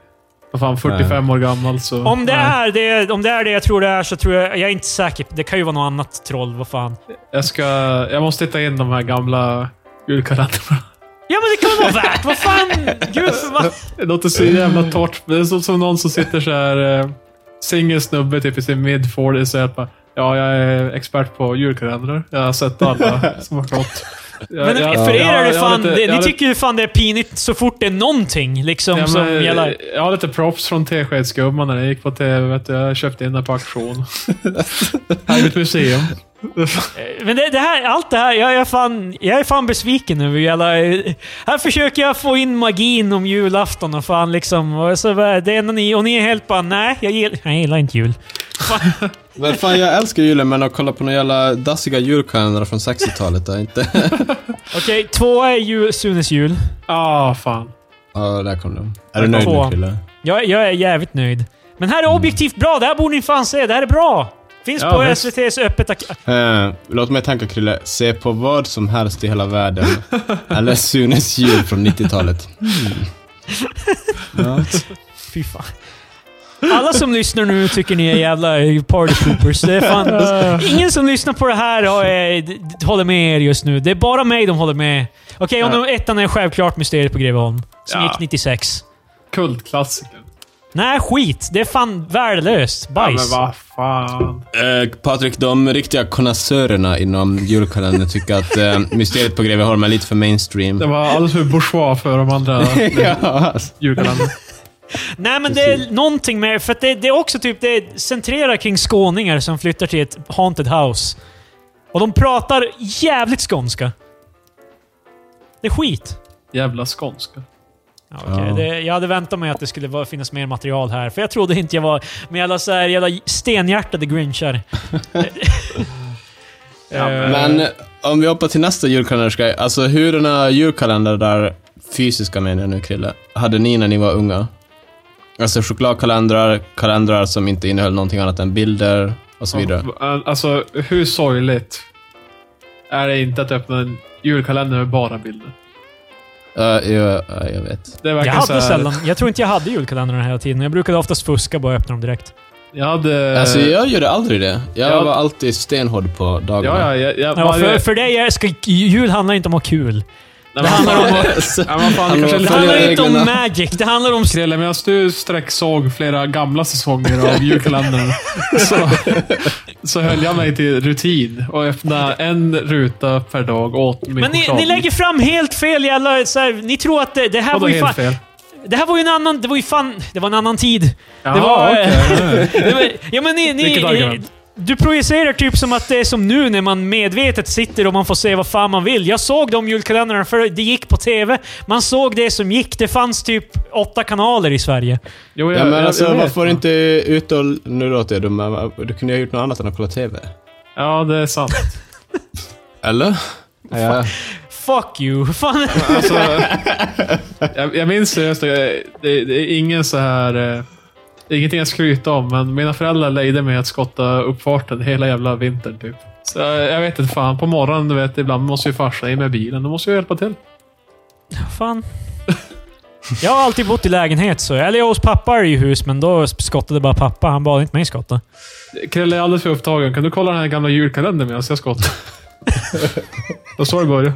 Speaker 2: Vad fan, 45 år gammal så...
Speaker 3: Om det,
Speaker 2: nej.
Speaker 3: är det, om det är det jag tror det är så tror jag... Jag är inte säker. Det kan ju vara något annat troll. Vad fan.
Speaker 2: Jag ska... Jag måste titta in de här gamla julkalendrarna.
Speaker 3: Ja, men det kan vara värt. Vad fan! Gud, för vad...
Speaker 2: Det låter så jävla torrt. Det är som, som någon som sitter så här eh, singel snubbe typ i sin mid-40 och säger bara Ja, jag är expert på julkalendrar. Jag har sett alla som har gått. Jag-
Speaker 3: Men
Speaker 2: jag-
Speaker 3: för er
Speaker 2: jag-
Speaker 3: är det
Speaker 2: jag har
Speaker 3: fan...
Speaker 2: lite-
Speaker 3: det,
Speaker 2: jag
Speaker 3: ni
Speaker 2: har
Speaker 3: tycker ju fan det är pinigt så fort det är någonting liksom
Speaker 2: Ja,
Speaker 3: som
Speaker 2: men, eh,
Speaker 3: gäller.
Speaker 2: Jag har lite props från Teskedsgumman när jag gick på TV. Vet du, jag köpte in den på auktion. Här är mitt museum.
Speaker 3: Men det, det här, allt det här, jag är fan, jag är fan besviken över jävla... Här försöker jag få in magin om julafton och fan liksom... Och, så, bara- det enda ni, och ni är helt bara nej, jag gillar, jag gillar inte jul.
Speaker 1: Men fan, jag älskar julen, men att kolla på några jävla dassiga julkalendrar från 60-talet är inte...
Speaker 3: Okej, två är ju Sunes jul.
Speaker 2: Ah, fan.
Speaker 1: Ja, där kom de. Är du nöjd
Speaker 3: Två.
Speaker 1: nu, Krille?
Speaker 3: Jag, jag är jävligt nöjd. Men här är objektivt bra, det här borde ni fan se, det här är bra! Finns
Speaker 2: Ja,
Speaker 3: på
Speaker 2: visst.
Speaker 3: SVT's öppet ak-
Speaker 1: Eh, låt mig tänka Krille, se på vad som helst i hela världen. Eller Sunes jul från 90-talet. Mm.
Speaker 3: Fy fan. Alla som lyssnar nu tycker ni är jävla eh, party poopers. Det är fan, ingen som lyssnar på det här har, eh, d- d- håller med er just nu. Det är bara mig de håller med. Okej, om
Speaker 2: Ja.
Speaker 3: de ettan är självklart Mysteriet på Greveholm. Som
Speaker 2: Ja.
Speaker 3: gick 96.
Speaker 2: Kultklassiker.
Speaker 3: Nej, skit. Det är fan värdelöst.
Speaker 2: Ja, men
Speaker 3: Bajs.
Speaker 2: vad fan.
Speaker 1: Ja. Eh, Patrik, de riktiga konnässörerna inom julkalendern tycker att eh, Mysteriet på Greveholm är lite för mainstream.
Speaker 2: Det var alldeles för bourgeois för de andra
Speaker 1: ja, alltså.
Speaker 2: julkalendrarna.
Speaker 3: Nej, men det är någonting med... För att det, det är också typ... Det centrerar kring skåningar som flyttar till ett haunted house. Och de pratar jävligt skånska. Det är skit.
Speaker 2: Jävla skånska.
Speaker 3: Ja, okej.
Speaker 1: Ja.
Speaker 3: Det, jag hade väntat mig att det skulle vara, finnas mer material här, för jag trodde inte jag var med alla så här jävla stenhjärtade grinchar.
Speaker 2: Ja, men-
Speaker 1: Men eh, om vi hoppar till nästa julkalendersgrej. Alltså hur den här julkalendern där fysiska menar jag nu Krille, hade ni när ni var unga? Alltså chokladkalendrar, kalendrar som inte innehöll någonting annat än bilder och så vidare.
Speaker 2: Alltså, hur sorgligt är det inte att öppna en julkalender med bara bilder?
Speaker 1: Eh, ja, ja, jag vet.
Speaker 2: Det verkar
Speaker 3: Jag
Speaker 2: så
Speaker 3: hade
Speaker 2: här,
Speaker 3: sällan... Jag tror inte jag hade julkalendrarna hela tiden. Jag brukade oftast fuska och bara öppna dem direkt.
Speaker 2: Jag hade...
Speaker 1: Alltså jag gjorde aldrig det. Jag
Speaker 2: Eh. ja.
Speaker 1: var alltid stenhård på dagarna.
Speaker 2: Ja, ja, jag, jag,
Speaker 3: Ja,
Speaker 2: varje-
Speaker 3: för, för dig är- ska, jul handlar inte om att ha kul.
Speaker 2: Nej, men handlar om att...
Speaker 1: Så-
Speaker 2: Ja, men fan, det kanske är
Speaker 3: Det
Speaker 1: Följa
Speaker 2: lite...
Speaker 3: handlar inte om
Speaker 1: reglerna.
Speaker 3: magic. Det handlar om...
Speaker 2: Krille, medan du sträcksåg flera gamla säsonger av julkalendern så, så höll jag mig till rutin och öppnade en ruta per dag och åt min
Speaker 3: Men ni,
Speaker 2: choklad.
Speaker 3: ni lägger fram helt fel jävla... Så här, ni tror att det, det här
Speaker 2: Vadå
Speaker 3: var ju
Speaker 2: helt
Speaker 3: fan...
Speaker 2: fel?
Speaker 3: Det här var ju en annan... Det var ju fan... Det var en annan tid.
Speaker 2: Jaha,
Speaker 3: det var...
Speaker 2: okej.
Speaker 3: det var ja, men ni, ni,
Speaker 2: Vilket argument?
Speaker 3: du projicerar typ som att det är som nu när man medvetet sitter och man får se vad fan man vill. Jag såg de julkalendrarna för det gick på TV. Man såg det som gick. Det fanns typ åtta kanaler i Sverige.
Speaker 2: Jo, jag,
Speaker 1: Ja, men alltså
Speaker 2: jag, jag vet.
Speaker 1: varför var du inte ute och... Nu låter jag dum, men va- du kunde ju ha gjort något annat än att kolla TV.
Speaker 2: Ja, det är sant.
Speaker 1: Eller? Ja.
Speaker 3: Fuck you. Fan.
Speaker 2: Alltså, jag, jag minns seriöst, jag- det, det är ingen så här... eh, det är Ingenting att skryta om, men mina föräldrar lejde mig att skotta uppfarten hela jävla vintern typ. Så jag, jag vet inte fan, på morgonen du vet, ibland måste ju farsan in med bilen. Då måste jag hjälpa till.
Speaker 3: Fan. Jag har alltid bott i lägenhet, så. Eller jag hos pappa i hus, men då skottade bara pappa. Han bad inte mig skotta.
Speaker 2: Krille är alldeles för upptagen. Kan du kolla den här gamla julkalendern medan jag skottar? Då står det börja.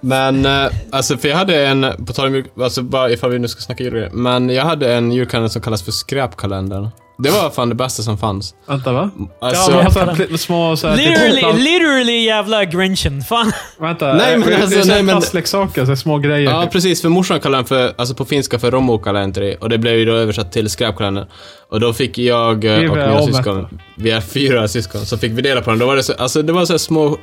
Speaker 1: Men, eh, alltså för jag hade en, på tal om jul, alltså bara ifall vi nu ska snacka julgrejer, men jag hade en julkalender som kallas för skräpkalendern. Det var fan det bästa som fanns.
Speaker 2: Vänta va?
Speaker 1: Alltså,
Speaker 2: ja, men
Speaker 3: jag-
Speaker 2: alltså, pl- små så här, typ
Speaker 3: Literally,
Speaker 2: plast-
Speaker 3: literally jävla grinchen. Fan.
Speaker 2: Vänta.
Speaker 1: Nej, men
Speaker 2: det- det är
Speaker 1: alltså,
Speaker 2: så här
Speaker 1: nej, men-
Speaker 2: Plastleksaker, så här små grejer. typ.
Speaker 1: ja precis, för morsan kallade den för, alltså på finska för romokalenteri, och det blev ju då översatt till skräpkalendern. Och då fick jag eh,
Speaker 2: Vi är
Speaker 1: och mina
Speaker 2: omvänt.
Speaker 1: syskon, vi är fyra syskon, så fick vi dela på den. Då var det så, alltså det var så här små,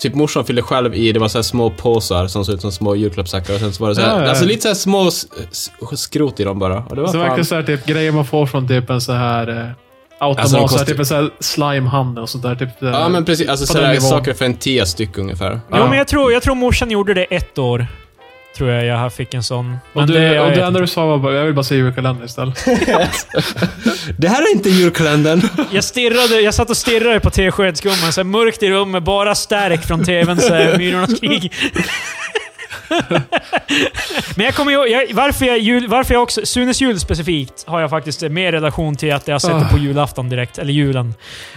Speaker 1: typ morsan fyllde själv i, det var så här små påsar som såg ut som små julklappssäckar, och sen så var det så här,
Speaker 2: Ja, ja.
Speaker 1: alltså lite så här små s- s- skrot i dem bara. Och det var
Speaker 2: Så det verkar
Speaker 1: fan...
Speaker 2: så här, typ, grejer man får från typ en så här eh, automat,
Speaker 1: Alltså, de
Speaker 2: så här,
Speaker 1: kostar-
Speaker 2: typ en så här slimehamn och sånt där. Typ, det-
Speaker 1: Ja men precis, alltså
Speaker 2: på den
Speaker 1: sådär
Speaker 2: nivån.
Speaker 1: saker för en tia styck ungefär.
Speaker 2: Ja.
Speaker 3: Jo, men jag tror, jag tror morsan gjorde det ett år. Tror jag jag fick en sån.
Speaker 2: och
Speaker 3: Men
Speaker 2: du,
Speaker 3: det, jag
Speaker 2: och
Speaker 3: vet
Speaker 2: det enda du sa var bara, jag vill bara se julkalendern istället.
Speaker 1: Det här är inte julkalendern!
Speaker 3: inte. jag, stirrade, jag satt och stirrade på teskedsgumman. Så här mörkt i rummet, bara stärk från tvn. Så här, Myrornas krig. Men jag kommer ihåg, jag, varför, jag jul, varför jag också... Sunes jul specifikt har jag faktiskt eh, mer relation till att jag har sett det på julafton direkt, eller julen.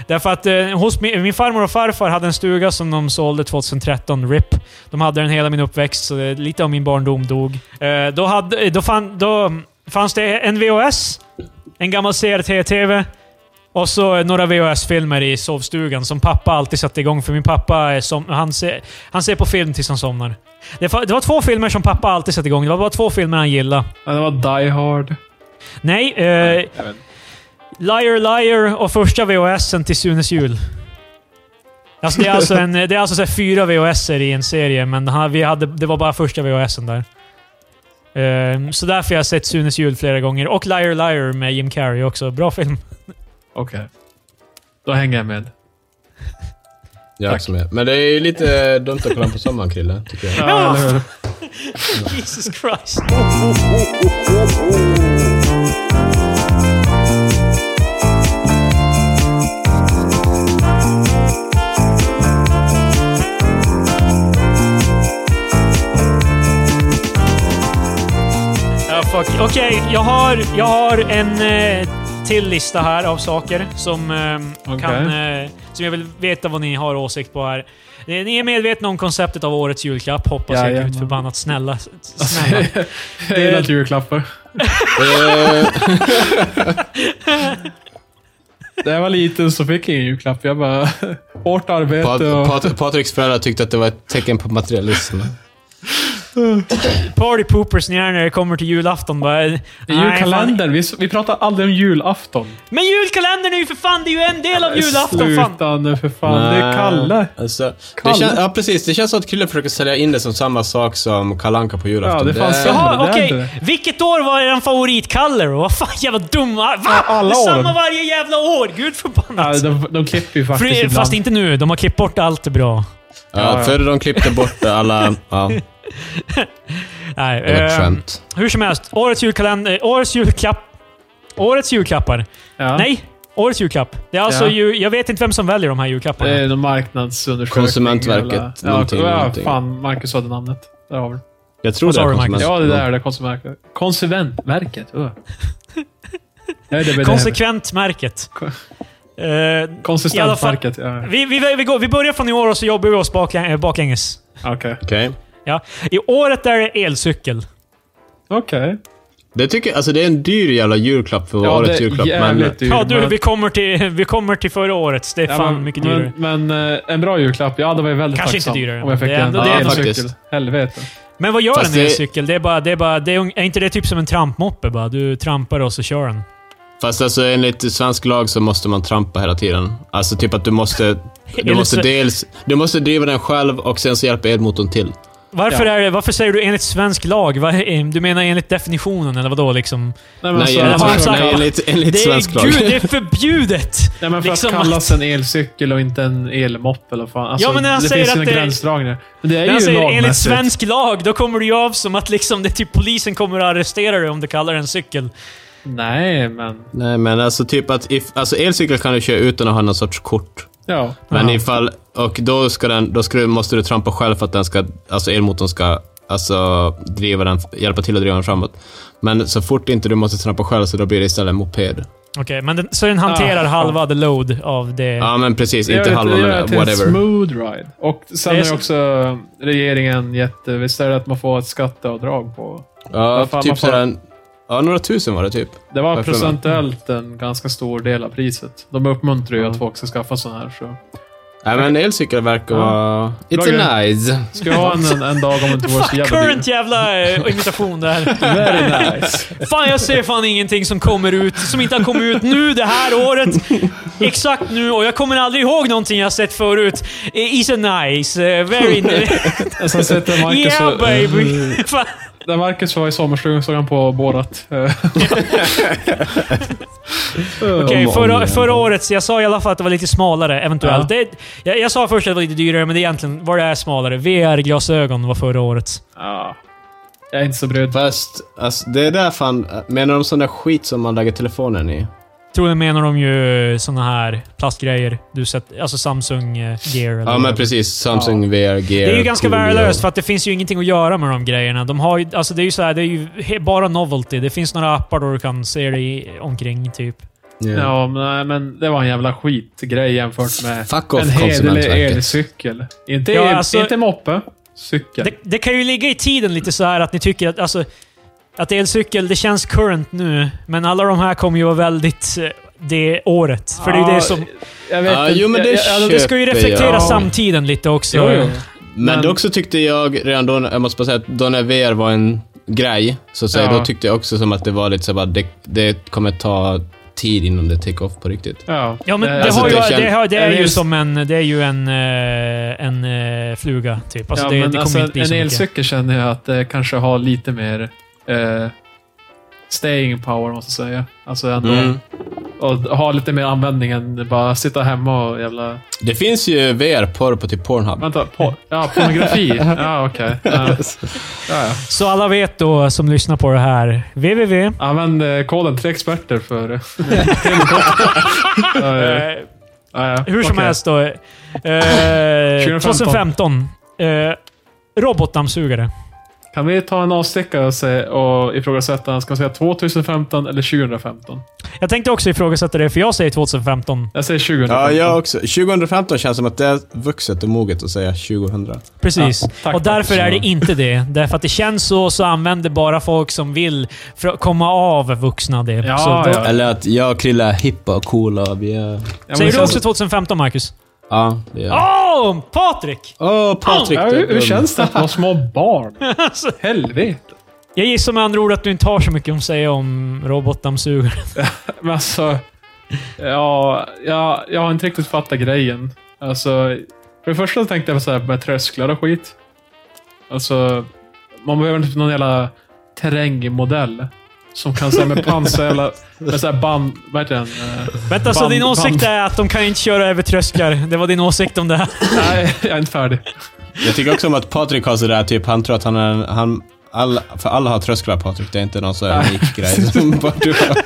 Speaker 3: Därför att eh, hos min, min farmor och farfar hade en stuga som de sålde 2013, RIP. De hade den hela min uppväxt, så eh, lite av min barndom dog. Eh, då, hade, eh, då, fann, då fanns det en VHS, en gammal CRT-TV, och så eh, några VHS-filmer i sovstugan som pappa alltid satte igång. För min pappa är som, han, ser, han ser på film tills han somnar. Det var, det var två filmer som pappa alltid satte igång. Det var bara två filmer han gillade.
Speaker 2: Ja, det var Die Hard.
Speaker 3: Nej, eh,
Speaker 2: Jag vet inte.
Speaker 3: Liar Liar och första VHSen till Sunes jul. Alltså det är alltså, en, det är alltså så här fyra VHSer i en serie, men han- vi hade, det var bara första VHSen där. Eh, så därför har jag sett Sunes jul flera gånger. Och Liar Liar med Jim Carrey också. Bra film.
Speaker 2: Okej. Då hänger jag med.
Speaker 1: Jag är
Speaker 2: Tack.
Speaker 1: också med. Men det är ju lite eh, dumt att kolla på sommaren Krille, tycker jag.
Speaker 2: Ja, eller hur?
Speaker 3: Jesus Christ. Ja, fuck. Okej, jag, har, jag har en eh, till lista här av saker som, eh,
Speaker 2: Okej.
Speaker 3: kan, eh, som jag vill veta vad ni har åsikt på här. Eh, Ni är medvetna om konceptet av årets julklapp, hoppas jag.
Speaker 2: Jajamän.
Speaker 3: Gud förbannat. Snälla. s- snälla.
Speaker 2: Jag gillar inte julklappar.
Speaker 1: Eh,
Speaker 2: När jag var liten så fick jag ingen julklapp. Jag bara... Hårt arbete
Speaker 1: Pat-
Speaker 2: och...
Speaker 1: Pat- Patriks föräldrar tyckte att det var ett tecken på materialism.
Speaker 3: Party poopers ni är när det kommer till julafton. Bara, eh,
Speaker 2: Det
Speaker 3: nej,
Speaker 2: är
Speaker 3: fan.
Speaker 2: julkalendern. Vi, vi pratar aldrig om julafton.
Speaker 3: Men julkalendern är ju för fan, det är ju en del av julafton. Fan.
Speaker 2: Sluta nu för fan. Det är Kalle.
Speaker 1: Alltså,
Speaker 2: Kalle?
Speaker 1: Det kän- ja, precis. Det känns som att Krille försöker sälja in det som samma sak som Kalanka på
Speaker 2: Ja,
Speaker 1: julafton.
Speaker 2: det fanns
Speaker 1: är-
Speaker 2: så.
Speaker 3: Jaha,
Speaker 2: Men det är
Speaker 3: okej.
Speaker 2: inte det.
Speaker 3: Vilket år var er favoritkalle då? Vad fan jävla dumma... Va?
Speaker 2: alla
Speaker 3: det är
Speaker 2: åren.
Speaker 3: samma varje jävla år. Gud förbannat.
Speaker 2: Ja, de, de klipper ju faktiskt
Speaker 3: Fri,
Speaker 2: ibland.
Speaker 3: fast inte nu. De har klippt bort allt det bra.
Speaker 1: ja, Förr de klippte bort alla... Ja,
Speaker 3: Nej,
Speaker 1: det var ett
Speaker 3: eh,
Speaker 1: skämt.
Speaker 2: Eh,
Speaker 3: hur som helst. Årets julkalender... Årets julklapp... Årets julklappar.
Speaker 2: Ja.
Speaker 3: Nej, årets julklapp. Det är alltså
Speaker 2: Ja. Eh,
Speaker 3: ju, Jag vet inte vem som väljer de här julklapparna.
Speaker 2: Det är någon marknadsundersökning.
Speaker 1: Konsumentverket,
Speaker 2: eller- Ja,
Speaker 1: någonting,
Speaker 2: ja,
Speaker 1: någonting.
Speaker 2: fan. Marcus hade namnet. Där har vi det.
Speaker 1: Jag tror
Speaker 3: Vad
Speaker 1: det är
Speaker 3: sa du, Marcus?
Speaker 1: konsument-
Speaker 2: Ja, det där är det. Konsumentverket. Konsumentverket. öh. Jag är det med det här.
Speaker 3: Konsekventmärket.
Speaker 2: Ko-
Speaker 3: Eh, i alla fall-
Speaker 2: Konsistensverket. Ja.
Speaker 3: vi, vi, vi, går, vi börjar från i år och så jobbar vi oss baklä- eh, baklänges.
Speaker 2: Okej.
Speaker 1: Okej.
Speaker 3: Ja. I året där är det elcykel.
Speaker 2: Okej.
Speaker 1: Det tycker jag, alltså det är en dyr jävla julklapp för
Speaker 2: Ja, det
Speaker 1: årets
Speaker 2: är
Speaker 1: julklapp. Men,
Speaker 2: jävligt dyrt.
Speaker 3: Ja, du,
Speaker 2: men-
Speaker 3: vi kommer, till, vi kommer till förra årets. Det är
Speaker 2: Ja,
Speaker 3: fan
Speaker 2: men-
Speaker 3: mycket dyrare.
Speaker 2: Men, men eh, en bra julklapp. Jag hade varit väldigt
Speaker 3: Kanske
Speaker 2: tacksam
Speaker 3: inte dyrare,
Speaker 2: om jag fick
Speaker 3: men det är
Speaker 2: en
Speaker 3: ändå- det
Speaker 1: är ändå-
Speaker 2: elcykel.
Speaker 1: faktiskt.
Speaker 2: Helvete.
Speaker 3: Men vad gör
Speaker 1: Fast
Speaker 3: en med
Speaker 1: det-
Speaker 3: cykel? Det är, bara, det är, bara, det är, un- är inte det typ som en trampmoppe? Bara? Du trampar och så kör den.
Speaker 1: fast alltså enligt svensk lag så måste man trampa hela tiden. Alltså typ att du måste... Du måste
Speaker 3: så-
Speaker 1: dels... Du måste driva den själv och sen så hjälper elmotorn till.
Speaker 3: Varför,
Speaker 2: Ja.
Speaker 3: är det, varför säger du enligt svensk lag? Vad- eh, Du menar enligt definitionen, eller vadå? Liksom?
Speaker 2: Nej, men,
Speaker 1: Nej,
Speaker 2: alltså,
Speaker 3: jag-
Speaker 1: enligt,
Speaker 3: har
Speaker 1: svensk-
Speaker 3: sagt-
Speaker 1: nej, enligt, enligt
Speaker 3: Det
Speaker 1: svensk
Speaker 3: är,
Speaker 1: lag.
Speaker 3: gud, det är förbjudet!
Speaker 2: nej, men för
Speaker 3: liksom
Speaker 2: att kallas en elcykel och inte en elmopp eller vad fan. Alltså,
Speaker 3: Ja, men när han
Speaker 2: det
Speaker 3: säger
Speaker 2: finns
Speaker 3: att
Speaker 2: ju
Speaker 3: det-
Speaker 2: några gränsdragningar. Men det är
Speaker 3: När
Speaker 2: ju
Speaker 3: jag säger enligt
Speaker 2: lagmässigt.
Speaker 3: svensk lag, då kommer du ju av som att liksom, det är typ polisen kommer att arrestera dig om du kallar det en cykel.
Speaker 2: Nej, men...
Speaker 1: Nej, men alltså typ att... If, alltså elcykel kan du köra utan att ha någon sorts kort.
Speaker 2: Ja.
Speaker 1: Men
Speaker 3: Ja.
Speaker 1: ifall... Och då, ska den, då ska du, måste du trampa själv för att den ska... Alltså elmotorn ska... Alltså driva den, hjälpa till att driva den framåt. Men så fort inte du måste trampa själv så då blir det istället en moped.
Speaker 3: Okej, men den, så den hanterar
Speaker 2: Ah,
Speaker 3: halva the load av det.
Speaker 1: Ja, men precis.
Speaker 2: Det gör
Speaker 1: Inte
Speaker 2: det-
Speaker 1: halva,
Speaker 2: det gör det
Speaker 1: men
Speaker 2: till en
Speaker 1: whatever.
Speaker 2: smooth ride. Och sen
Speaker 3: Det
Speaker 2: har
Speaker 3: är
Speaker 2: ju
Speaker 3: så-
Speaker 2: också regeringen gett... eh, Visst är det att man får ett skatteavdrag på...
Speaker 1: Ja,
Speaker 2: Vad fan, man
Speaker 1: typ
Speaker 2: får-
Speaker 1: sådär en... Ja, några tusen var det typ.
Speaker 2: Det var
Speaker 1: Varför?
Speaker 2: procentuellt en ganska stor del av priset. De uppmuntrar ju att folk ska skaffa sådana här. Så.
Speaker 1: Nej, men elcykel verkar
Speaker 2: Ja.
Speaker 1: vara... It's
Speaker 2: grej.
Speaker 1: a nice.
Speaker 2: Ska jag ha en, en, en dag om inte vore så
Speaker 3: Fuck,
Speaker 2: jävla
Speaker 3: current
Speaker 2: dyr.
Speaker 3: jävla eh, imitation där.
Speaker 2: Very nice.
Speaker 3: Fan, jag ser fan ingenting som kommer ut, som inte har kommit ut nu det här året. Exakt nu, och jag kommer aldrig ihåg någonting jag sett förut. Eh, Is a nice, eh, very nice.
Speaker 2: Och Sen sitter Marcus
Speaker 3: Yeah
Speaker 2: och...
Speaker 3: baby! Fan.
Speaker 2: När Marcus var i sommarstugan såg han på Borat. Eh,
Speaker 3: Okej,
Speaker 1: Om och om
Speaker 3: förra,
Speaker 1: igen.
Speaker 3: förra året, jag sa i alla fall att det var lite smalare, eventuellt.
Speaker 2: Ja.
Speaker 3: Det, jag, jag sa först att det var lite dyrare, men det är egentligen var det är smalare. VR-glasögon var förra året.
Speaker 2: ja. Jag är inte så brydd.
Speaker 1: Fast, alltså, det är där fan... Menar de sån där skit som man lägger telefonen i?
Speaker 3: Troligen menar de ju såna här plastgrejer. Du sett, alltså Samsung eh, Gear. Eller
Speaker 1: Ja,
Speaker 3: vad det
Speaker 1: men
Speaker 3: är.
Speaker 1: precis. Samsung VR Gear.
Speaker 3: Det är ju ganska
Speaker 1: Coolio.
Speaker 3: värdelöst för att det finns ju ingenting att göra med de grejerna. De har ju, alltså det är ju så här, det är ju he- bara novelty. Det finns några appar då du kan se dig omkring typ.
Speaker 1: Ja.
Speaker 2: Ja, men, nej, men det var en jävla skitgrej jämfört med
Speaker 1: Fuck off,
Speaker 2: en hederlig
Speaker 1: Konsumentverket.
Speaker 2: elcykel. Inte,
Speaker 3: Ja, alltså-
Speaker 2: inte moppe. Cykel.
Speaker 3: Det, det kan ju ligga i tiden lite så här att ni tycker att, alltså, att elcykel, det känns current nu, men alla de här kommer ju vara väldigt eh, det året. För det är ju det som...
Speaker 2: Jag vet
Speaker 1: Ja,
Speaker 2: inte.
Speaker 1: jo, men det
Speaker 2: jag, jag,
Speaker 1: köper
Speaker 3: Det ska ju reflektera
Speaker 1: jag.
Speaker 3: samtiden lite också.
Speaker 2: Jo, jo.
Speaker 1: Men
Speaker 2: Men-
Speaker 1: dock så tyckte jag redan då, jag måste bara säga att då när VR var en grej, så att säga,
Speaker 2: Ja.
Speaker 1: då tyckte jag också som att det var lite så bara, det, det kommer ta tid innan det take off på riktigt.
Speaker 2: Ja,
Speaker 3: Ja, men det,
Speaker 1: alltså,
Speaker 3: har ju,
Speaker 1: det
Speaker 3: det,
Speaker 1: känns-
Speaker 3: har, det är
Speaker 2: en
Speaker 3: ju
Speaker 2: el-
Speaker 3: som en... Det är ju en, eh, en eh, fluga, typ. Alltså,
Speaker 2: ja,
Speaker 3: det,
Speaker 2: men
Speaker 3: det kommer
Speaker 2: alltså,
Speaker 3: inte bli
Speaker 2: en
Speaker 3: så mycket.
Speaker 2: elcykel känner jag att det kanske har lite mer eh, staying power, måste jag säga. Alltså ändå.
Speaker 1: Mm.
Speaker 2: Och ha lite mer användning än bara sitta hemma och jävla...
Speaker 1: Det finns ju VR-porr på typ Pornhub.
Speaker 2: Vänta, por ja, pornografi. Ja, okej. Ja. Ja, ja.
Speaker 3: Så alla vet då, som lyssnar på det här, www.
Speaker 2: Använd eh, koden tre experter för... ja, ja,
Speaker 3: Eh,
Speaker 2: ja, ja.
Speaker 3: Hur som
Speaker 2: Okej.
Speaker 3: helst då. Eh,
Speaker 2: 2015.
Speaker 3: 2015. Eh, robotdammsugare.
Speaker 2: Kan vi ta en avstickare och, se, och ifrågasätta, ska man säga 2015 eller 2015?
Speaker 3: Jag tänkte också ifrågasätta det, för jag säger 2015.
Speaker 2: Jag säger 2015.
Speaker 1: Ja, jag också. 2015 känns som att det är vuxet och moget att säga 2000.
Speaker 3: Precis.
Speaker 2: Ja, tack,
Speaker 3: och därför
Speaker 1: tack.
Speaker 3: är det inte det. Därför att det känns så, så använder bara folk som vill för att komma av vuxna det.
Speaker 2: Ja,
Speaker 3: så då,
Speaker 2: ja.
Speaker 1: Eller att jag och Krilla är hippa och coola och vi är...
Speaker 2: Ja, men
Speaker 3: Säger du
Speaker 2: sen-
Speaker 3: också 2015, Marcus?
Speaker 1: Ja, det är...
Speaker 3: Åh! Patrik!
Speaker 1: Åh, Patrik!
Speaker 2: Ja,
Speaker 1: du är
Speaker 2: hur, hur
Speaker 1: dum.
Speaker 2: känns det att vara små barn?
Speaker 3: Alltså,
Speaker 2: Helvete.
Speaker 3: jag gissar med andra ord att du inte har så mycket att säga om robotdammsugare.
Speaker 2: Men alltså, ja, jag, jag har inte riktigt fattat grejen. Alltså, för det första så tänkte jag på så här med trösklar och skit. Alltså, man behöver inte någon jävla terrängmodell. Som kan säga med pansar eller med så här band... Vad heter den? Eh,
Speaker 3: Vänta, så
Speaker 2: Band-
Speaker 3: din åsikt
Speaker 2: band.
Speaker 3: är att de kan inte köra över trösklar? Det var din åsikt om det här?
Speaker 2: Nej, jag är inte färdig.
Speaker 1: Jag tycker också om att Patrik har sådär, typ, han tror att han är en, han, Alla, för alla har trösklar Patrik, det är inte någon sån här unik grej som bara du har.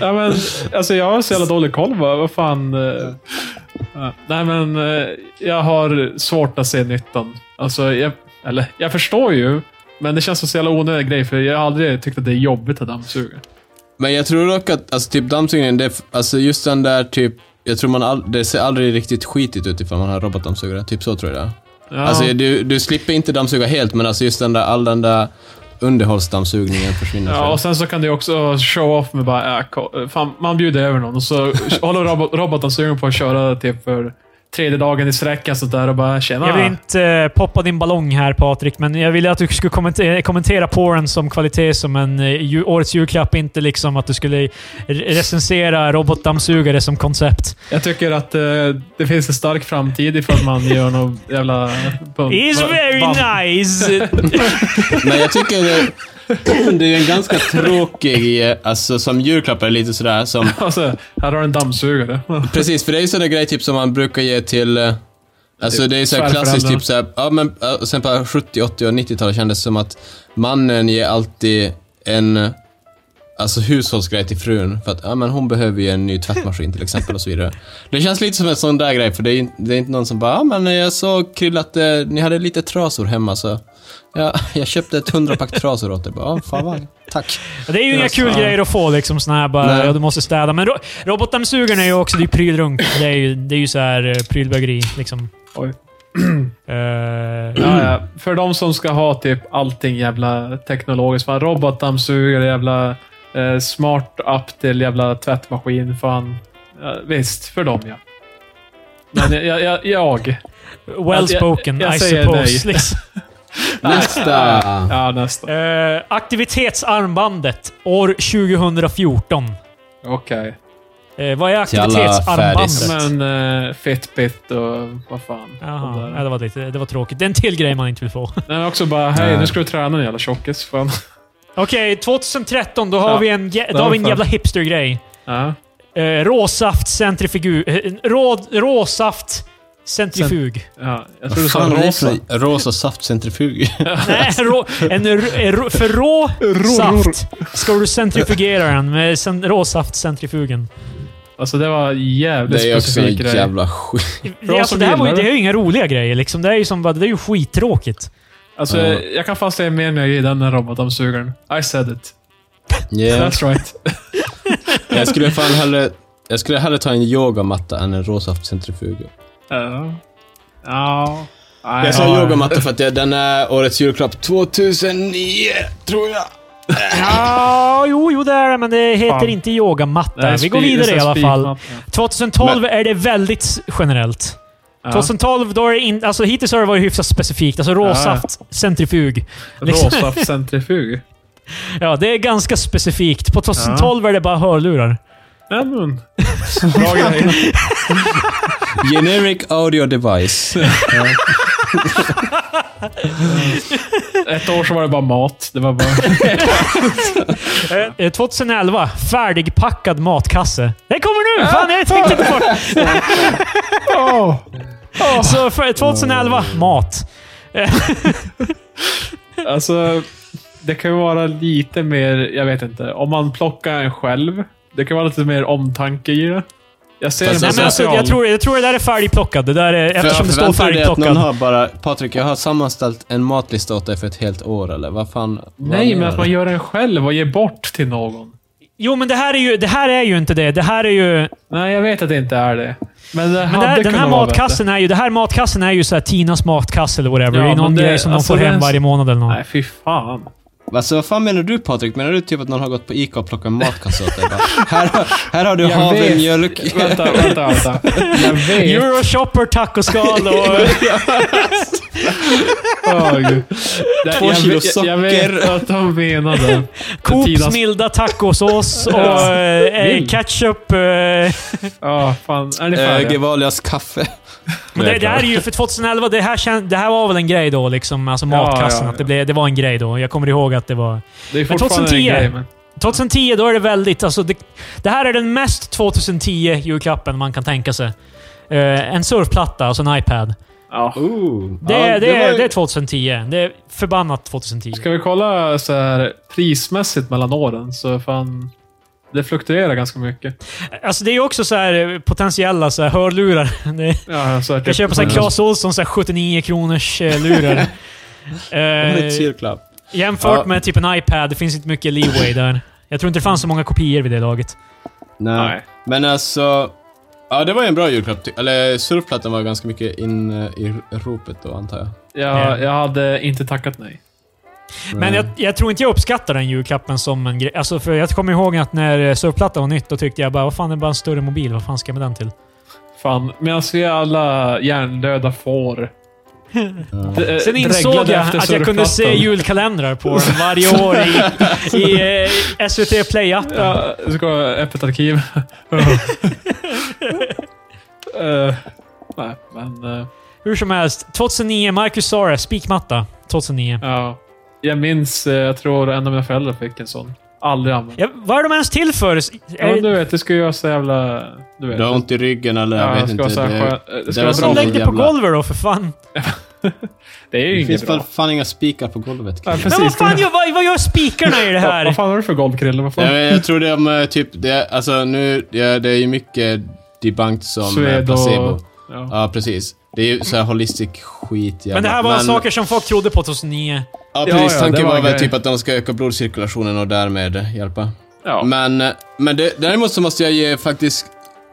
Speaker 2: Ja, men, alltså, jag har så jävla dålig koll. Vad, vad fan... eh, ja. Nej, men eh, jag har svårt att se nyttan. Alltså, jag, eller, jag förstår ju, men det känns som så jävla onödig grej, för jag har aldrig tyckt att det är jobbigt att dammsuga.
Speaker 1: Men jag tror dock att, alltså typ dammsugningen, det, är f- alltså just den där typ, jag tror man all, det ser aldrig riktigt skitigt ut ifall man har robotdammsugare. Typ så tror jag det är.
Speaker 2: Ja,
Speaker 1: Alltså du, du slipper inte dammsuga helt, men alltså just den där, all den där underhållsdammsugningen försvinner.
Speaker 2: ja, och sen så kan det ju också show off med bara, äh, ko- fan, man bjuder över någon och så håller robot, roboten sugen på att köra typ för tredje dagen i sträck alltså där och bara
Speaker 3: Jag vill
Speaker 2: tjena.
Speaker 3: inte eh, poppa din ballong här Patrik, men jag ville att du skulle kommentera, kommentera porren som kvalitet som en eh, ju, årets julklapp. Inte liksom att du skulle re- recensera robotdammsugare som koncept.
Speaker 2: Jag tycker att eh, det finns en stark framtid ifall man gör någon jävla...
Speaker 3: It's very nice!
Speaker 1: Men jag tycker det, det är en ganska tråkig, eh, alltså som julklapp är det lite sådär som,
Speaker 2: Alltså, här har du en dammsugare.
Speaker 1: precis för det är ju sådana grejer typ som man brukar ge till eh, Alltså det är ju såhär
Speaker 2: Svärföräldrar.
Speaker 1: klassiskt typ såhär, ja men eh, sen på 70-, 80 och 90-talet kändes det som att mannen ger alltid en eh, Alltså hushållsgrej till frun, för att ja, men hon behöver ju en ny tvättmaskin till exempel och så vidare. Det känns lite som en sån där grej, för det är, in- det är inte någon som bara ja, men jag såg Krill att eh, ni hade lite trasor hemma så ja, jag köpte ett hundrapack trasor åt er. Bara, ja, fan vad, tack.
Speaker 3: Det är ju inga
Speaker 2: Yes,
Speaker 3: kul
Speaker 2: ja.
Speaker 3: grejer att få liksom såna här bara,
Speaker 1: Nej.
Speaker 3: ja, du måste städa. Men ro- robotdammsugaren är ju också, det är ju prylrunk. Det är ju, det är ju så här eh, prylbögeri liksom.
Speaker 2: Oj.
Speaker 3: Eh,
Speaker 2: Ja, ja. För de som ska ha typ allting jävla teknologiskt. Fan, robotdammsugare, jävla eh, smart app till jävla tvättmaskin. Fan. Ja, visst, för dem ja. Men jag... jag, jag, jag.
Speaker 3: well
Speaker 2: jag-
Speaker 3: spoken,
Speaker 2: jag
Speaker 3: I
Speaker 2: säger
Speaker 3: suppose.
Speaker 2: nej.
Speaker 3: Liksom.
Speaker 1: Nästa!
Speaker 2: Ja, nästan.
Speaker 3: Eh, aktivitetsarmbandet år 2014.
Speaker 2: Okej.
Speaker 3: Eh, vad är
Speaker 1: Till alla färdis.
Speaker 3: aktivitetsarmbandet?
Speaker 2: Men eh, Fitbit och vad fan. De
Speaker 3: Jaha,
Speaker 2: där.
Speaker 3: ja, det, var lite, det var tråkigt. Det är en till grej man inte vill få.
Speaker 2: Nej, men också bara, hej,
Speaker 1: Nej.
Speaker 2: nu ska du träna din jävla tjockis. Fan.
Speaker 3: Okej, 2013. Då har
Speaker 2: Ja,
Speaker 3: vi en, jä- då
Speaker 2: var
Speaker 3: har vi en
Speaker 2: fan.
Speaker 3: jävla hipstergrej.
Speaker 2: Ja.
Speaker 3: Eh, råsaftcentrifugu... eh, Rå, råsaftcentrifug.
Speaker 2: Ja, jag tror du sa
Speaker 1: Fan, vad är det för
Speaker 2: rosa.
Speaker 1: rosa saftcentrifug.
Speaker 3: Nej, rå, en, r- en rå, för rå saft ska du centrifugera den med cen- råsaftcentrifugen.
Speaker 2: Alltså det var jävligt
Speaker 1: Det är också en
Speaker 2: specifik grej.
Speaker 1: jävla skit.
Speaker 3: Det, är alltså,
Speaker 2: som
Speaker 3: det här var ju,
Speaker 2: gillar
Speaker 3: det
Speaker 2: det.
Speaker 3: är ju inga roliga grejer. Liksom. Det är ju som bara, det är ju skittråkigt.
Speaker 2: Alltså,
Speaker 1: Ja.
Speaker 2: jag kan fan säga mer när jag ger den här robotdammsugaren. I said it.
Speaker 1: Yeah.
Speaker 2: That's right.
Speaker 1: Jag skulle fan hellre... Jag skulle hellre ta en yogamatta än en råsaftcentrifug.
Speaker 2: Ja. Ja. Nej,
Speaker 1: Jag sa
Speaker 2: ja.
Speaker 1: yogamatta för att jag, den är årets julklapp 2009, tror jag.
Speaker 3: Ja, jo, jo det är det, men det heter
Speaker 2: Fan.
Speaker 3: inte yogamatta.
Speaker 2: Det är en
Speaker 3: Vi går
Speaker 2: spi-
Speaker 3: vidare
Speaker 2: det är
Speaker 3: i
Speaker 2: en
Speaker 3: alla fall.
Speaker 2: spikmatta.
Speaker 3: 2012 är det väldigt s- generellt.
Speaker 2: Ja.
Speaker 3: 2012, då är det in, alltså, hittills har det varit hyfsat specifikt. Alltså råsaft, centrifug. liksom.
Speaker 2: Råsaftcentrifug.
Speaker 3: Ja, det är ganska specifikt. På 2012 är det bara hörlurar.
Speaker 2: Nej, men. Bra grej.
Speaker 1: Generic audio device.
Speaker 2: Ett år så var det bara mat. Det var bara...
Speaker 3: Eh, 2011, färdigpackad matkasse. Det kommer nu! Fan, jag tänkte inte på det.
Speaker 2: Åh.
Speaker 3: Så för 2011, mat.
Speaker 2: Alltså, det kan ju vara lite mer, jag vet inte, om man plockar en själv. Det kan vara lite mer omtanke i det. Jag ser
Speaker 1: Fast
Speaker 2: det
Speaker 3: Nej, men alltså, jag, tror, jag tror det där är färdigplockad. Det där är, eftersom det står
Speaker 1: Förväntar du dig att någon
Speaker 3: färdigplockad.
Speaker 1: har bara... Patrik, jag har sammanställt en matlista åt dig för ett helt år, eller? Vad fan... vad
Speaker 2: Nej, men
Speaker 1: menar
Speaker 2: att man
Speaker 1: du?
Speaker 2: gör den själv och ger bort till någon.
Speaker 3: Jo, men det här, är ju, det här är ju inte det. Det här är ju...
Speaker 2: Nej, jag vet att det inte är det. Men, det
Speaker 3: Men det
Speaker 2: hade
Speaker 3: här, den här
Speaker 2: kunnat vara
Speaker 3: matkassen är ju, det här matkassen är ju så här Tinas matkasse eller whatever.
Speaker 2: Ja,
Speaker 3: det är
Speaker 2: men
Speaker 3: någon
Speaker 2: det-
Speaker 3: grej som
Speaker 2: alltså,
Speaker 3: de
Speaker 2: det
Speaker 3: får
Speaker 2: är
Speaker 3: hem
Speaker 2: en-
Speaker 3: varje månad eller
Speaker 2: bättre.
Speaker 3: något.
Speaker 2: Nej, fy fan.
Speaker 1: Alltså, vad fan menar du Patrik? Menar du typ att någon har gått på Ica och plockat en matkasse åt dig? Bara, här, har- här har du
Speaker 2: Jag vet.
Speaker 1: havremjölk.
Speaker 2: vänta, vänta, vänta. Jag vet.
Speaker 3: Euroshopper, tacoskal och...
Speaker 2: Jag, det,
Speaker 1: Två
Speaker 2: jag,
Speaker 1: kilo
Speaker 2: vet- Jag, jag vet
Speaker 1: socker.
Speaker 2: att de menade.
Speaker 3: Coops
Speaker 2: Tinas-
Speaker 3: milda tacosås och
Speaker 2: Ja.
Speaker 3: eh, eh,
Speaker 2: Vild.
Speaker 3: ketchup. Eh, men
Speaker 2: Ja, fan. Är ni
Speaker 3: Eh,
Speaker 1: Äh,
Speaker 2: färdiga?
Speaker 1: Gevalias kaffe.
Speaker 3: det, det här är ju för 2011. Det här, kän, det här var väl en grej då, liksom. Alltså
Speaker 2: Ja,
Speaker 3: matkassen.
Speaker 2: ja, ja.
Speaker 3: Att det, blev, det var en grej då. Jag kommer ihåg att det var...
Speaker 2: Det är
Speaker 3: Men
Speaker 2: fortfarande en
Speaker 3: 2010.
Speaker 2: grej, men...
Speaker 3: 2010, då är det väldigt... Alltså det, det här är den mest 2010-julklappen man kan tänka sig. Eh, en surfplatta, alltså en iPad.
Speaker 2: Ja.
Speaker 1: Ooh.
Speaker 3: Det,
Speaker 1: Ja,
Speaker 3: är- det,
Speaker 1: var
Speaker 3: är
Speaker 1: ju-
Speaker 3: det är 2010. Det är förbannat 2010.
Speaker 2: Ska vi kolla så här, prismässigt mellan åren så fan... Det fluktuerar ganska mycket.
Speaker 3: Alltså det är ju också så här eh, potentiella så här hörlurar. Det,
Speaker 2: Ja, så här,
Speaker 3: jag köper så här
Speaker 1: Mm.
Speaker 3: Clas Ohlson så här 79 kronors eh, lurar.
Speaker 1: Med
Speaker 3: eh,
Speaker 1: cheerclap.
Speaker 3: jämfört
Speaker 1: Ja.
Speaker 3: med typ en iPad, det finns inte mycket leeway där. Jag tror inte det fanns så många kopior vid det laget.
Speaker 1: Nej.
Speaker 2: Nej.
Speaker 1: Men alltså... Ja, det var ju en bra julklapp. ty- Eller surfplattan var ganska mycket in eh, i ropet då, antar jag.
Speaker 2: Jag, jag hade inte tackat nej.
Speaker 3: Men jag, jag tror inte jag uppskattar den julklappen som en grej. Alltså för jag kommer ihåg att när eh, surfplattan var nytt, då tyckte jag bara vad fan det är bara en större mobil, vad fan ska jag med den till?
Speaker 2: Fan, medan vi alla hjärndöda får... d-
Speaker 3: Sen
Speaker 2: eh,
Speaker 3: insåg
Speaker 2: dreglade
Speaker 3: jag
Speaker 2: efter
Speaker 3: att jag kunde se
Speaker 2: surfplattan. julkalendrar
Speaker 3: julkalendrar på den varje år i, i eh, SVT Play-appen.
Speaker 2: Ja, så går jag öppet arkiv. Eh, nej, men... eh,
Speaker 3: Hur som helst, 2009, Marcus Sara, spikmatta. 2009.
Speaker 2: ja. Jag minns, eh, jag tror en av mina föräldrar fick en sån. Aldrig använt.
Speaker 3: Ja, vad är de ens till för? S-
Speaker 2: Ja,
Speaker 3: är-
Speaker 2: men du vet, det skulle göra så jävla... Du vet.
Speaker 1: Du har ont i ryggen eller jag
Speaker 2: Ja,
Speaker 1: vet
Speaker 2: det ska
Speaker 1: inte.
Speaker 2: vara så
Speaker 1: det,
Speaker 2: här skön- det ska
Speaker 1: var
Speaker 2: vara
Speaker 1: så
Speaker 2: bra.
Speaker 3: de lägg det på
Speaker 1: jävla-
Speaker 3: golvet då för fan.
Speaker 2: Det är ju
Speaker 1: Det finns
Speaker 2: inget bra.
Speaker 1: väl fan inga spikar på golvet.
Speaker 2: Nej,
Speaker 3: Men vad fan gör, vad, vad gör spikarna i det
Speaker 2: Vad- Vad
Speaker 3: här?
Speaker 2: fan har du för golvkrille? Vad fan?
Speaker 1: Ja, men jag tror det är om, eh, typ, det är, alltså nu, det är, det är ju mycket debunked som
Speaker 2: Swed
Speaker 1: Swed
Speaker 2: och-
Speaker 1: placebo.
Speaker 2: Ja.
Speaker 1: Ja, precis. Det är ju så här holistic skit jävlar.
Speaker 3: Men det här var saker som folk trodde på 2009.
Speaker 1: Ja,
Speaker 2: Ja,
Speaker 1: precis.
Speaker 2: ja, det
Speaker 1: tanken
Speaker 2: var
Speaker 1: var,
Speaker 2: en
Speaker 1: väl
Speaker 2: grej.
Speaker 1: typ att de ska öka blodcirkulationen och därmed eh, hjälpa.
Speaker 2: Ja.
Speaker 1: Men, eh, men det, däremot så måste jag ge faktiskt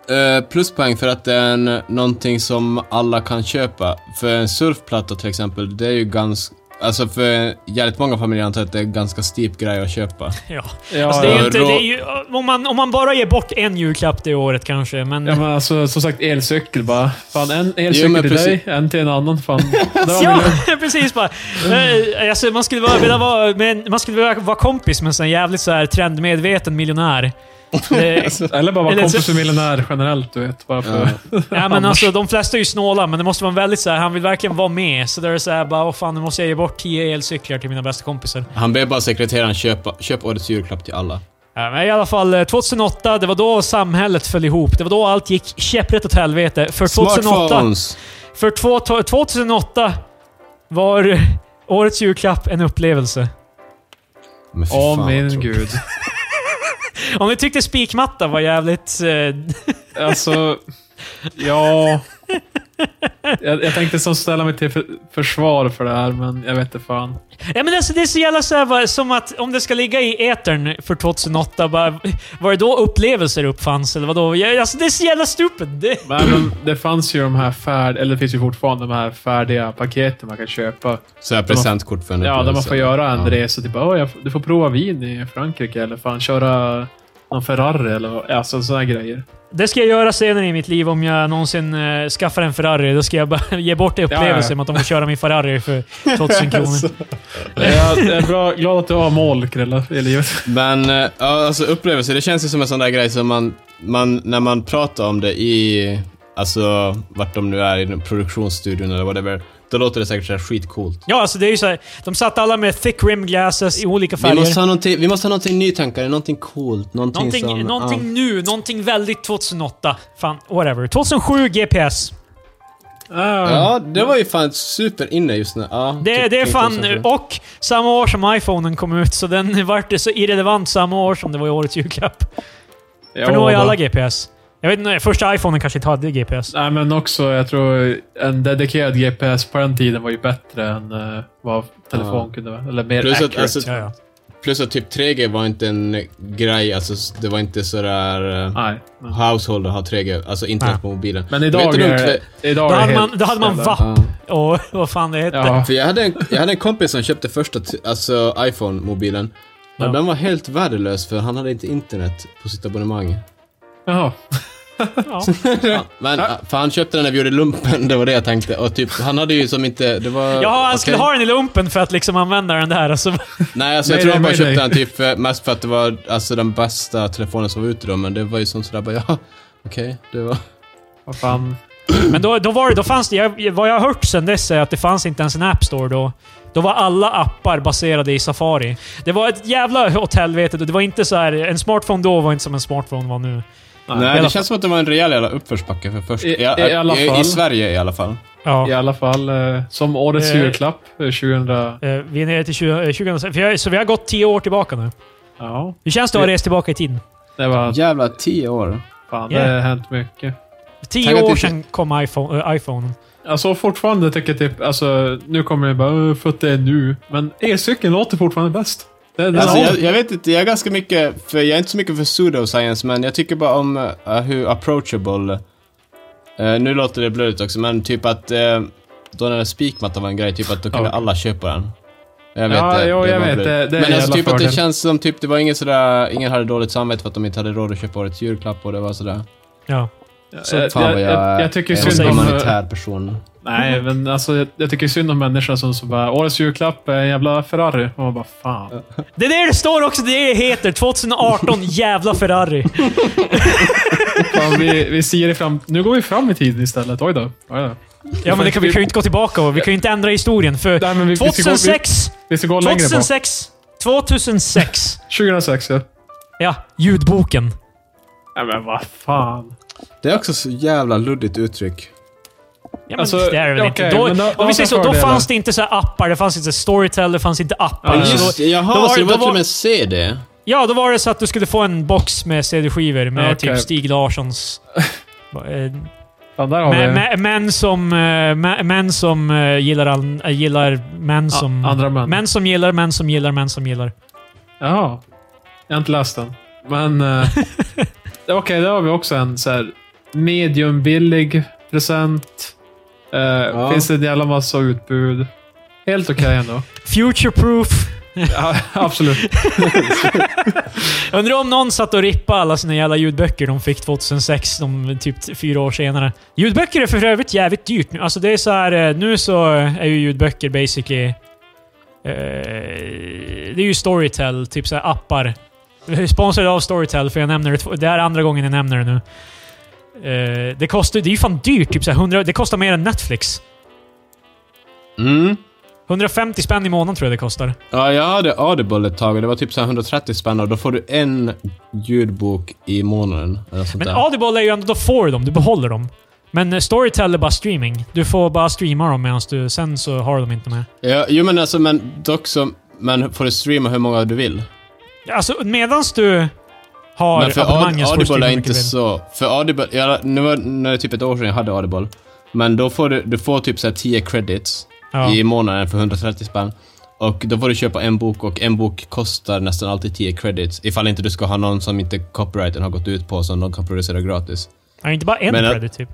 Speaker 1: eh, pluspoäng för att det är en, någonting som alla kan köpa. För en surfplatta till exempel, det är ju ganska... Alltså för jävligt många familjer antar jag att det är en ganska steep grej att köpa.
Speaker 3: Ja.
Speaker 2: Ja,
Speaker 3: Alltså, det är
Speaker 1: ja.
Speaker 3: ju inte, det är ju, om, man, om man bara ger bort en julklapp det året kanske, men...
Speaker 2: Ja men alltså som sagt elcykel bara. Fan en elcykel
Speaker 1: men
Speaker 2: till dig,
Speaker 1: precis.
Speaker 2: en till en annan. Fan. Det var
Speaker 3: Ja,
Speaker 2: väl-
Speaker 3: precis bara. Eh, Alltså, man skulle bara vilja vara, men, man skulle vilja vara kompis med en sån jävligt så här trendmedveten miljonär. Eh, Det,
Speaker 2: Eller bara vara
Speaker 3: Eller
Speaker 2: kompis
Speaker 3: så-
Speaker 2: med miljonär generellt, du vet. Bara
Speaker 1: Eh,
Speaker 2: för...
Speaker 3: ja, men alltså, de flesta är ju snåla, men det måste vara en väldigt så här, han vill verkligen vara med. Så där är det så här, bara, åh fan, nu måste jag ge bort 10 elcyklar till mina bästa kompisar.
Speaker 1: Han ber bara sekreteraren köpa, köp årets julklapp till alla.
Speaker 3: Ja, men i alla fall, eh, 2008, det var då samhället föll ihop. Det var då allt gick käpprätt åt helvete. För 2008,
Speaker 1: Smartphones!
Speaker 3: för två, 2008 var årets julklapp en upplevelse.
Speaker 1: Men fy
Speaker 2: Åh
Speaker 1: fan, vad
Speaker 2: min
Speaker 1: tråkigt.
Speaker 2: gud.
Speaker 3: Om ni tyckte spikmatta var jävligt... Eh,
Speaker 2: Alltså, ja... Jag, jag tänkte som ställa mig till för, försvar för det här, men jag vet inte fan.
Speaker 3: Ja, men alltså, det är så jävla så här, bara, som att om det ska ligga i etern för 2008, bara, var det då upplevelser uppfanns? Eller vadå? Ja, Alltså, det är så jävla stupid. Det,
Speaker 2: Men, men det fanns ju de här färd... Eller det finns ju fortfarande de här färdiga paketen man kan köpa.
Speaker 1: Så här presentkort för en
Speaker 2: Ja, där man
Speaker 1: upplevelse.
Speaker 2: får göra en
Speaker 1: Ja.
Speaker 2: resa. Typ, oh, jag, du får prova vin i Frankrike eller fan köra någon Ferrari eller vad- alltså, sådana grejer.
Speaker 3: det ska jag göra senare i mitt liv om jag någonsin eh, skaffar en Ferrari. Då ska jag bara ge bort det upplevelsen
Speaker 2: Ja, Alltså. ja.
Speaker 3: med att de får köra min Ferrari för 2000 kronor.
Speaker 2: Jag jag är bra, glad att du har mål, Krille, i livet.
Speaker 1: Men eh, ja, alltså upplevelser, det känns ju som en sån där grej som man, man, när man pratar om det i, alltså vart de nu är, i den produktionsstudion eller whatever, då låter det säkert så här skitcoolt.
Speaker 3: Ja, alltså det är ju så här, De satt alla med thick rim glasses i olika
Speaker 1: Vi
Speaker 3: färger.
Speaker 1: måste, ha någonting, vi måste ha någonting nytänkande, någonting coolt, någonting,
Speaker 3: Någonting,
Speaker 1: som...
Speaker 3: någonting nu, någonting väldigt 2008. Fan, whatever. 2007 GPS.
Speaker 1: Ja. ja, det var ju fan superinne just nu. Ja,
Speaker 3: Det,
Speaker 1: typ
Speaker 3: det är
Speaker 1: 2007.
Speaker 3: fan... Och samma år som iPhonen kom ut, så den vart det så irrelevant samma år som det var i årets julklapp. För nu har ju alla GPS. Jag vet inte, första iPhonen kanske inte hade GPS.
Speaker 2: Nej, men också, jag tror en dedikerad GPS på den tiden var ju bättre än eh, vad telefon kunde vara. Eller mer
Speaker 1: Plus att,
Speaker 2: accurate.
Speaker 1: alltså,
Speaker 3: Ja, ja.
Speaker 1: plus att typ 3G var inte en grej, alltså det var inte sådär... Uh,
Speaker 2: Nej. men-
Speaker 3: Ah.
Speaker 1: household att ha 3G, alltså internet
Speaker 3: Nej.
Speaker 1: på mobilen.
Speaker 2: Ah. Men idag
Speaker 1: Vet du
Speaker 2: är
Speaker 1: nog
Speaker 2: det...
Speaker 1: inte-
Speaker 2: Idag
Speaker 3: Då
Speaker 2: är det
Speaker 3: hade
Speaker 2: helt
Speaker 3: man, då hade man
Speaker 2: jävla-
Speaker 3: VAP
Speaker 1: Ja.
Speaker 3: och vad fan det hette.
Speaker 2: Ja.
Speaker 1: För jag hade, en, jag hade en kompis som köpte första t- alltså iPhone-mobilen. Men
Speaker 3: Ja.
Speaker 1: den var helt värdelös för han hade inte internet på sitt abonnemang.
Speaker 2: Jaha.
Speaker 3: Ja.
Speaker 1: Men, För han köpte den när vi gjorde lumpen, det var det jag tänkte. Och typ, han hade ju som inte... Det var,
Speaker 3: Ja, han
Speaker 1: okej.
Speaker 3: skulle ha den i lumpen för att liksom använda den där. Alltså,
Speaker 1: Nej, alltså jag
Speaker 2: Nej,
Speaker 1: tror han
Speaker 2: nej,
Speaker 1: bara
Speaker 2: nej,
Speaker 1: köpte den typ för, mest för att det var alltså, den bästa telefonen som var ute då. Men det var ju sånt sådär bara, ja, okej, det var...
Speaker 2: Vad fan.
Speaker 3: men då, då var det, då fanns det, jag, vad jag har hört sen dess är att det fanns inte ens en App Store då. Då var alla appar baserade i Safari. Det var ett jävla åt helvete. Det var inte så här, en smartphone då var inte som en smartphone var nu.
Speaker 2: I
Speaker 1: Nej,
Speaker 3: alla
Speaker 1: det känns som att det var en rejäl jävla uppförsbacke för först.
Speaker 2: I- i alla fall.
Speaker 1: I Sverige i alla fall.
Speaker 3: Ja.
Speaker 2: I alla fall, eh, som årets
Speaker 3: Eh.
Speaker 2: julklapp eh, 2000...
Speaker 3: Eh, Vi är nere till 20, eh, 2006. För jag, så vi har gått 10 år tillbaka nu.
Speaker 2: Ja,
Speaker 3: Hur känns det att ha rest tillbaka i tiden?
Speaker 2: det var...
Speaker 1: Jävla tio år.
Speaker 2: Fan,
Speaker 3: Yeah.
Speaker 2: det har hänt mycket.
Speaker 3: 10
Speaker 1: Tänk att
Speaker 3: år
Speaker 1: vi-
Speaker 3: sedan kom iPhone. Äh, iPhone.
Speaker 2: Alltså fortfarande tycker jag typ, alltså nu kommer jag bara, "Åh, för att det är nu. Men elcykeln låter fortfarande bäst. Det, det,
Speaker 1: Alltså,
Speaker 2: ja.
Speaker 1: jag, jag vet inte, jag är ganska mycket, för jag är inte så mycket för pseudoscience, men jag tycker bara om eh, hur approachable... eh, nu låter det blurrigt också, men typ att... eh, då när spikmattan var en grej, typ att då kunde
Speaker 2: Ja.
Speaker 1: alla köpa den. Jag vet
Speaker 2: Ja,
Speaker 1: det.
Speaker 2: jo,
Speaker 1: det
Speaker 2: jag
Speaker 1: var
Speaker 2: vet,
Speaker 1: blurrigt.
Speaker 2: det- det är en
Speaker 1: Men alltså
Speaker 2: jävla
Speaker 1: typ att
Speaker 2: fördel.
Speaker 1: det känns som typ, det var ingen sådär, ingen hade dåligt samvete för att de inte hade råd att köpa årets julklapp och det var sådär.
Speaker 3: Ja.
Speaker 1: Så
Speaker 2: jag,
Speaker 1: fan vad
Speaker 2: Eh, jag,
Speaker 1: jag,
Speaker 2: jag, jag tycker
Speaker 1: är
Speaker 2: synd
Speaker 1: en
Speaker 2: om...
Speaker 1: humanitär person.
Speaker 2: Nej, men alltså jag, jag tycker synd om människan som, som bara, årets julklapp är en jävla Ferrari. Och man bara, fan.
Speaker 3: Det är det det står också. Det är det det heter. 2018 jävla Ferrari.
Speaker 2: fan vi, vi ser det fram... Nu går vi fram i tiden istället. Oj då. Oj då.
Speaker 3: Ja, men det kan, vi kan ju inte gå tillbaka och vi kan ju inte ändra historien. För
Speaker 2: Nej, men vi, vi ska gå, vi,
Speaker 3: 2006,
Speaker 2: vi ska gå längre bak.
Speaker 3: 2006, 2006.
Speaker 2: 2006, ja.
Speaker 3: Ja, ljudboken.
Speaker 2: Nej, men vad fan.
Speaker 1: Det är också så jävla luddigt uttryck.
Speaker 3: Ja, men
Speaker 2: Alltså,
Speaker 3: det är det väl
Speaker 2: okej,
Speaker 3: inte. Då,
Speaker 2: men då-
Speaker 3: om vi säger så, då
Speaker 2: fördelar.
Speaker 3: fanns det inte så här appar, det fanns inte Storytel, det fanns inte appar.
Speaker 2: Ja,
Speaker 3: Så
Speaker 2: just
Speaker 3: då,
Speaker 1: Jaha,
Speaker 3: då var
Speaker 1: så
Speaker 3: det-
Speaker 1: det var
Speaker 3: då
Speaker 1: till
Speaker 3: var-
Speaker 1: och med CD?
Speaker 3: ja, då var det så att du skulle få en box med CD-skivor med
Speaker 2: Okej.
Speaker 3: typ Stig Larssons... Eh,
Speaker 2: fan där har vi
Speaker 3: Män män- män som, eh, mä- män som eh, gillar, all, eh, gillar män
Speaker 2: a-
Speaker 3: som...
Speaker 2: andra män.
Speaker 3: Män som gillar, män som gillar, män som gillar.
Speaker 2: Jaha. Jag har inte läst den. Men... eh, Okej, där har vi också en så här mediumbillig present. Eh, Finns det en jävla massa utbud. Helt okej ändå.
Speaker 3: Future proof.
Speaker 2: ja, absolut.
Speaker 3: Jag undrar om någon satt och rippade alla sina jävla ljudböcker de fick 2006, de, typ t- fyra år senare. Ljudböcker är för övrigt jävligt dyrt nu. Alltså det är så här, eh, nu så eh, är ju ljudböcker basically... eh, det är ju Storytel, typ så här appar. Sponsrade av Storytel, för jag nämner det. två- Det här är andra gången jag nämner det nu. Eh, det kostar det är ju fan dyrt. Typ så här 100, det kostar mer än Netflix.
Speaker 1: Mm.
Speaker 3: 150 spänn i månaden tror jag det kostar.
Speaker 1: Ja, jag hade Audible ett tag och det var typ så här 130 spänn och då får du en ljudbok i månaden. Eller sånt
Speaker 3: Men
Speaker 1: där.
Speaker 3: Audible är ju ändå, då får du dem, du behåller dem. Men eh, Storytel är bara streaming. Du får bara streama dem medan du... Sen så har du dem inte med.
Speaker 1: Ja, jo men alltså, men dock så... Men får du streama hur många du vill?
Speaker 3: Alltså medan du har
Speaker 1: men för
Speaker 3: abonnemanget
Speaker 1: Aud-
Speaker 3: så får
Speaker 1: Audible
Speaker 3: du streama
Speaker 1: är
Speaker 3: mycket
Speaker 1: inte
Speaker 3: du vill.
Speaker 1: så... För Audible, ja, nu var nu är det typ ett år sedan jag hade Audible. Men då får du, du får typ så här 10 credits
Speaker 3: Ja.
Speaker 1: i månaden för 130 spänn. Och då får du köpa en bok och en bok kostar nästan alltid 10 credits. Ifall inte du ska ha någon som inte copyrighten har gått ut på som de kan producera gratis.
Speaker 3: Ja, inte bara en
Speaker 1: Men, eh,
Speaker 3: credit typ.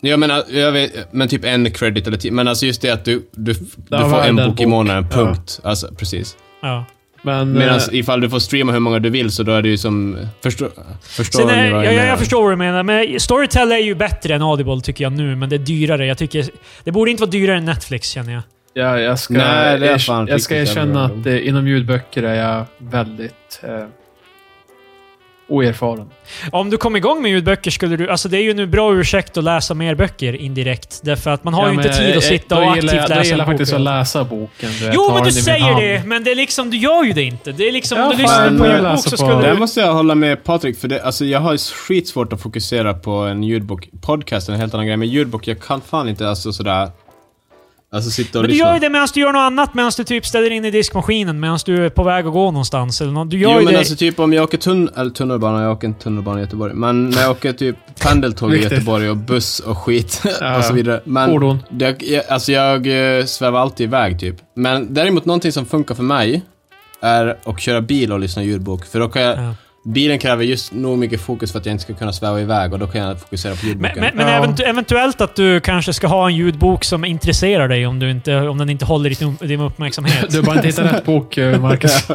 Speaker 1: Ja, men, äh, jag vet, men typ en credit eller tio. Men alltså just det att du, du, du
Speaker 2: var
Speaker 1: får en
Speaker 2: den
Speaker 1: bok i
Speaker 2: bok.
Speaker 1: månaden, punkt. Alltså, precis.
Speaker 3: Ja.
Speaker 2: Men...
Speaker 1: Medan
Speaker 2: eh,
Speaker 1: ifall du får streama hur många du vill så då är det ju som... Förstå, förstår
Speaker 3: Sen är,
Speaker 1: ni vad
Speaker 3: jag,
Speaker 1: jag,
Speaker 3: jag,
Speaker 1: menar?
Speaker 3: jag förstår vad du menar, men Storytel är ju bättre än Audible tycker jag nu, men det är dyrare. Jag tycker, det borde inte vara dyrare än Netflix känner jag.
Speaker 2: Ja, jag ska,
Speaker 1: Nej, det är
Speaker 2: jag,
Speaker 1: fan
Speaker 2: jag ska
Speaker 1: riktigt
Speaker 2: erkänna
Speaker 1: jävla
Speaker 2: att eh, inom ljudböcker är jag väldigt eh, oerfaren.
Speaker 3: Om du kom igång med ljudböcker skulle du... Alltså det är ju nu bra ursäkt att läsa mer böcker indirekt. Därför att man har
Speaker 2: ja,
Speaker 3: ju
Speaker 2: men
Speaker 3: inte tid
Speaker 2: jag-
Speaker 3: att sitta och
Speaker 2: då
Speaker 3: aktivt
Speaker 2: gillar jag,
Speaker 3: läsa
Speaker 2: Då gillar jag
Speaker 3: en bok
Speaker 2: faktiskt
Speaker 3: och
Speaker 2: att
Speaker 3: allt.
Speaker 2: läsa boken. vet,
Speaker 3: Jo,
Speaker 2: ta
Speaker 3: men du
Speaker 2: den i Eh, min
Speaker 3: säger
Speaker 2: hand.
Speaker 3: det, men det är liksom, du gör ju det inte. Det är liksom,
Speaker 2: Ja,
Speaker 3: om du
Speaker 2: fan,
Speaker 3: lyssnar på
Speaker 1: men-
Speaker 3: ljudbok så
Speaker 2: läser på-
Speaker 3: skulle
Speaker 1: Där
Speaker 3: du...
Speaker 1: måste jag hålla med Patrik, för det, alltså, jag har ju skitsvårt att fokusera på en ljudbok. Podcast är en helt annan grej, men ljudbok, jag kan fan inte alltså sådär... Alltså sitta och
Speaker 3: Men du
Speaker 1: lyssna.
Speaker 3: gör ju det medan du gör något annat, medan du typ ställer in i diskmaskinen, medan du är på väg att gå någonstans. Eller något. Du gör
Speaker 1: Jo
Speaker 3: ju
Speaker 1: men
Speaker 3: det.
Speaker 1: alltså typ om jag åker tunn, eller tunnelbana, jag åker inte tunnelbana i Göteborg. Men när jag åker typ pendeltåg i
Speaker 2: Viktigt.
Speaker 1: Göteborg och buss och skit
Speaker 2: Ja.
Speaker 1: och så vidare. Men
Speaker 2: Fordon.
Speaker 1: Det, jag, alltså jag eh, svävar alltid iväg typ. Men däremot någonting som funkar för mig är att köra bil och lyssna ljudbok. För då kan jag,
Speaker 3: Ja.
Speaker 1: bilen kräver just nog mycket fokus för att jag inte ska kunna sväva iväg och då kan jag fokusera på ljudboken.
Speaker 3: men men, men
Speaker 2: Ja.
Speaker 3: eventu- eventuellt att du kanske ska ha en ljudbok som intresserar dig om, du inte, om den inte håller din, din uppmärksamhet.
Speaker 2: Du har bara inte hittat rätt bok, eh, Marcus.
Speaker 1: jo,
Speaker 3: Ja,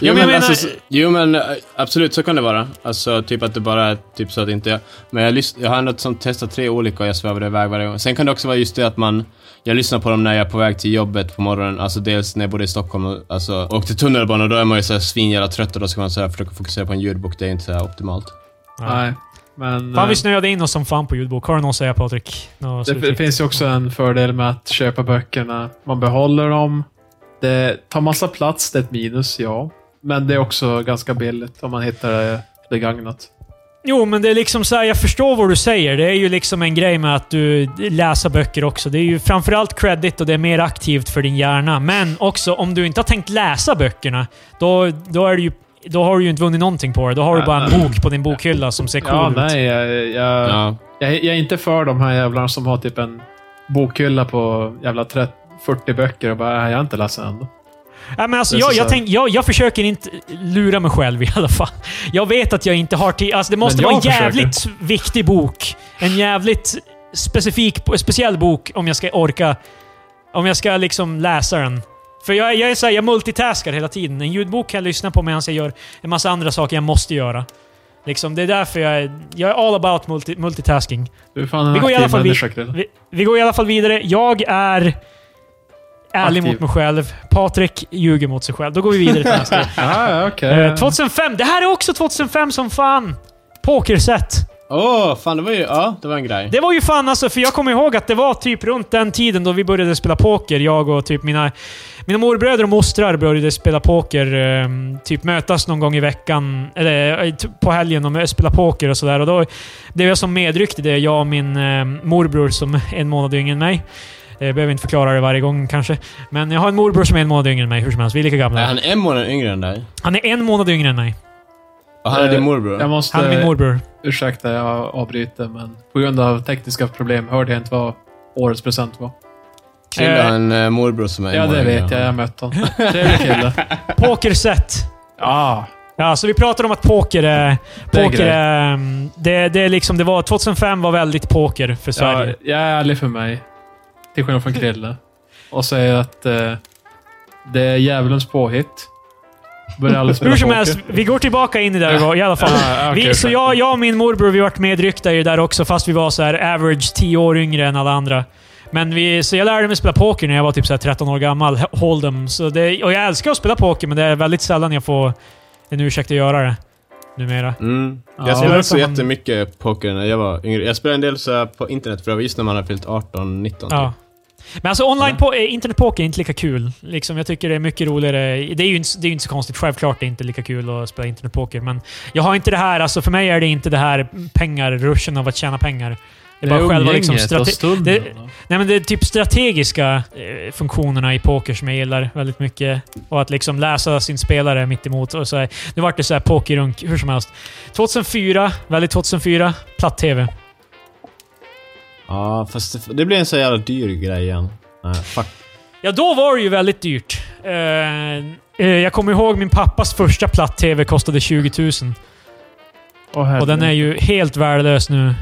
Speaker 3: men
Speaker 1: men
Speaker 3: jag menar-
Speaker 1: alltså, s- jo men eh, absolut så kan det vara. Alltså typ att det bara är typ så att inte jag... Men jag, lys- jag har ändå som testat tre olika och jag svävade iväg varje gång. Sen kan det också vara just det att man... Jag lyssnar på dem när jag är på väg till jobbet på morgonen. Alltså dels när jag bodde i Stockholm och alltså, åkte tunnelbana. Då är man ju såhär svinjävla trött och då ska man såhär försöka fokusera på en ljudbok. Det är inte såhär optimalt.
Speaker 2: Nej, men...
Speaker 3: Fan,
Speaker 2: eh,
Speaker 3: vi snöade in oss som fan på ljudbok. Har du något att säga Patrik? Något
Speaker 2: Det, det
Speaker 3: slutligt?
Speaker 2: finns ju också en fördel med att köpa böckerna. Man behåller dem. Det tar massa plats, det är ett minus, ja. Men det är också ganska billigt om man hittar det begagnat.
Speaker 3: Jo, men det är liksom så här, jag förstår vad du säger. Det är ju liksom en grej med att du läser böcker också. Det är ju framförallt credit och det är mer aktivt för din hjärna. Men också, om du inte har tänkt läsa böckerna, då, då, är det ju, då har du ju inte vunnit någonting på det. Då har du bara en bok på din bokhylla som ser cool
Speaker 2: Ja,
Speaker 3: ut.
Speaker 2: nej. Jag, jag,
Speaker 1: Ja.
Speaker 2: jag, jag är inte för de här jävlarna som har typ en bokhylla på jävla 30, 40 böcker och bara, "Äh, jag har inte läst den än.
Speaker 3: Nej, men alltså,
Speaker 2: Det är
Speaker 3: jag,
Speaker 2: så
Speaker 3: jag,
Speaker 2: så här.
Speaker 3: tänk, jag, jag försöker inte lura mig själv i alla fall. Jag vet att jag inte har tid. Alltså, det måste
Speaker 2: Men
Speaker 3: vara en
Speaker 2: jag försöker.
Speaker 3: jävligt viktig bok. En jävligt specifik, speciell bok om jag ska orka. Om jag ska liksom läsa den. För jag, jag är så här, jag multitaskar hela tiden. En ljudbok kan jag lyssna på medan jag gör en massa andra saker jag måste göra. Liksom, det är därför jag är, jag är all about multi, multitasking.
Speaker 2: Du är fan en
Speaker 3: Vi går i alla
Speaker 2: aktiv
Speaker 3: fall vid-
Speaker 2: människa, Krille.
Speaker 3: Vi, vi går i alla fall vidare. Jag är ärlig
Speaker 2: Aktiv.
Speaker 3: mot mig själv. Patrik ljuger mot sig själv. Då går vi vidare till nästa.
Speaker 2: Ja, ja, okej.
Speaker 3: Eh, 2005. Det här är också 2005 som fan. Pokerset.
Speaker 1: Åh, fan det var ju... Ja, det var en grej.
Speaker 3: Det var ju fan alltså, för jag kommer ihåg att det var typ runt den tiden då vi började spela poker. Jag och typ mina, mina morbröder och mostrar började spela poker. eh, Typ mötas någon gång i veckan, eller eh, typ på helgen och mö- spela poker och sådär. Och då blev jag som medryckt i det, jag och min eh, morbror som är en månad yngre än mig. Eh, Jag behöver inte förklara det varje gång kanske. Men jag har en morbror som är en månad yngre än mig, hur som helst. Vi är lika gamla.
Speaker 1: Nej, han är en månad yngre än dig.
Speaker 3: Han är en månad yngre än mig.
Speaker 1: Och han är
Speaker 2: Eh,
Speaker 1: din morbror.
Speaker 2: Jag måste...
Speaker 3: Han är min morbror.
Speaker 2: Ursäkta, jag avbryter, men på grund av tekniska problem hörde jag inte vad årets present var.
Speaker 1: Krille
Speaker 3: eh,
Speaker 1: har en eh, morbror som är en
Speaker 2: Ja, det
Speaker 1: månad
Speaker 2: vet
Speaker 1: yngre.
Speaker 2: jag. Jag har mött honom. Trevlig kille.
Speaker 3: Pokerset.
Speaker 2: Ja.
Speaker 3: Ja, så vi pratar om att poker är...
Speaker 2: Det är
Speaker 3: Poker
Speaker 2: grej.
Speaker 3: är... mm, Det, det är liksom, det var, 2005 var väldigt poker för
Speaker 2: ja,
Speaker 3: Sverige.
Speaker 2: jag är ärlig för mig. Till skillnad från Krille. Och säger att eh, det är djävulens påhitt. Börjar alla spela
Speaker 3: Hur som
Speaker 2: poker.
Speaker 3: helst, vi går tillbaka in i det vi var i alla fall.
Speaker 2: Ja, Ah, okej,
Speaker 3: Ah, Vi, så
Speaker 2: ursäkta.
Speaker 3: jag, jag och min morbror, vi vart medryckta i det där också, fast vi var så här average 10 år yngre än alla andra. Men vi, så jag lärde mig spela poker när jag var typ så här 13 år gammal. Hold'em. Så det, och jag älskar att spela poker, men det är väldigt sällan jag får en ursäkt att göra det. Numera.
Speaker 1: Mm.
Speaker 2: Ja,
Speaker 1: Jag spelade
Speaker 3: det
Speaker 1: också
Speaker 3: kan man-
Speaker 1: jättemycket poker när jag var yngre. Jag spelade en del så här på internet för just när man har fyllt typ. 18, 19.
Speaker 3: Ja. Men alltså online po- eh, internetpoker är inte lika kul. Liksom, jag tycker det är mycket roligare. Det är ju inte, det är ju inte så konstigt. Självklart är det inte lika kul att spela internetpoker. Men jag har inte det här, alltså för mig är det inte det här pengar, ruschen av att tjäna pengar. Det är bara själva liksom
Speaker 2: umgänget och
Speaker 3: strate-
Speaker 2: stunden.
Speaker 3: det- Nej men det är typ strategiska eh, funktionerna i poker som jag gillar väldigt mycket. Och att liksom läsa sin spelare mitt emot och så här. Nu vart det så här pokerunk hur som helst. 2004, väldigt 2004, platt-tv.
Speaker 1: Ja, fast det, det blir en så jävla dyr grej igen. Nej, fuck.
Speaker 3: Ja, då var det ju väldigt dyrt. Eh, eh, jag kommer ihåg min pappas första platt-tv kostade 20 000.
Speaker 2: Åh, herregud.
Speaker 3: Och den är ju helt värdelös nu.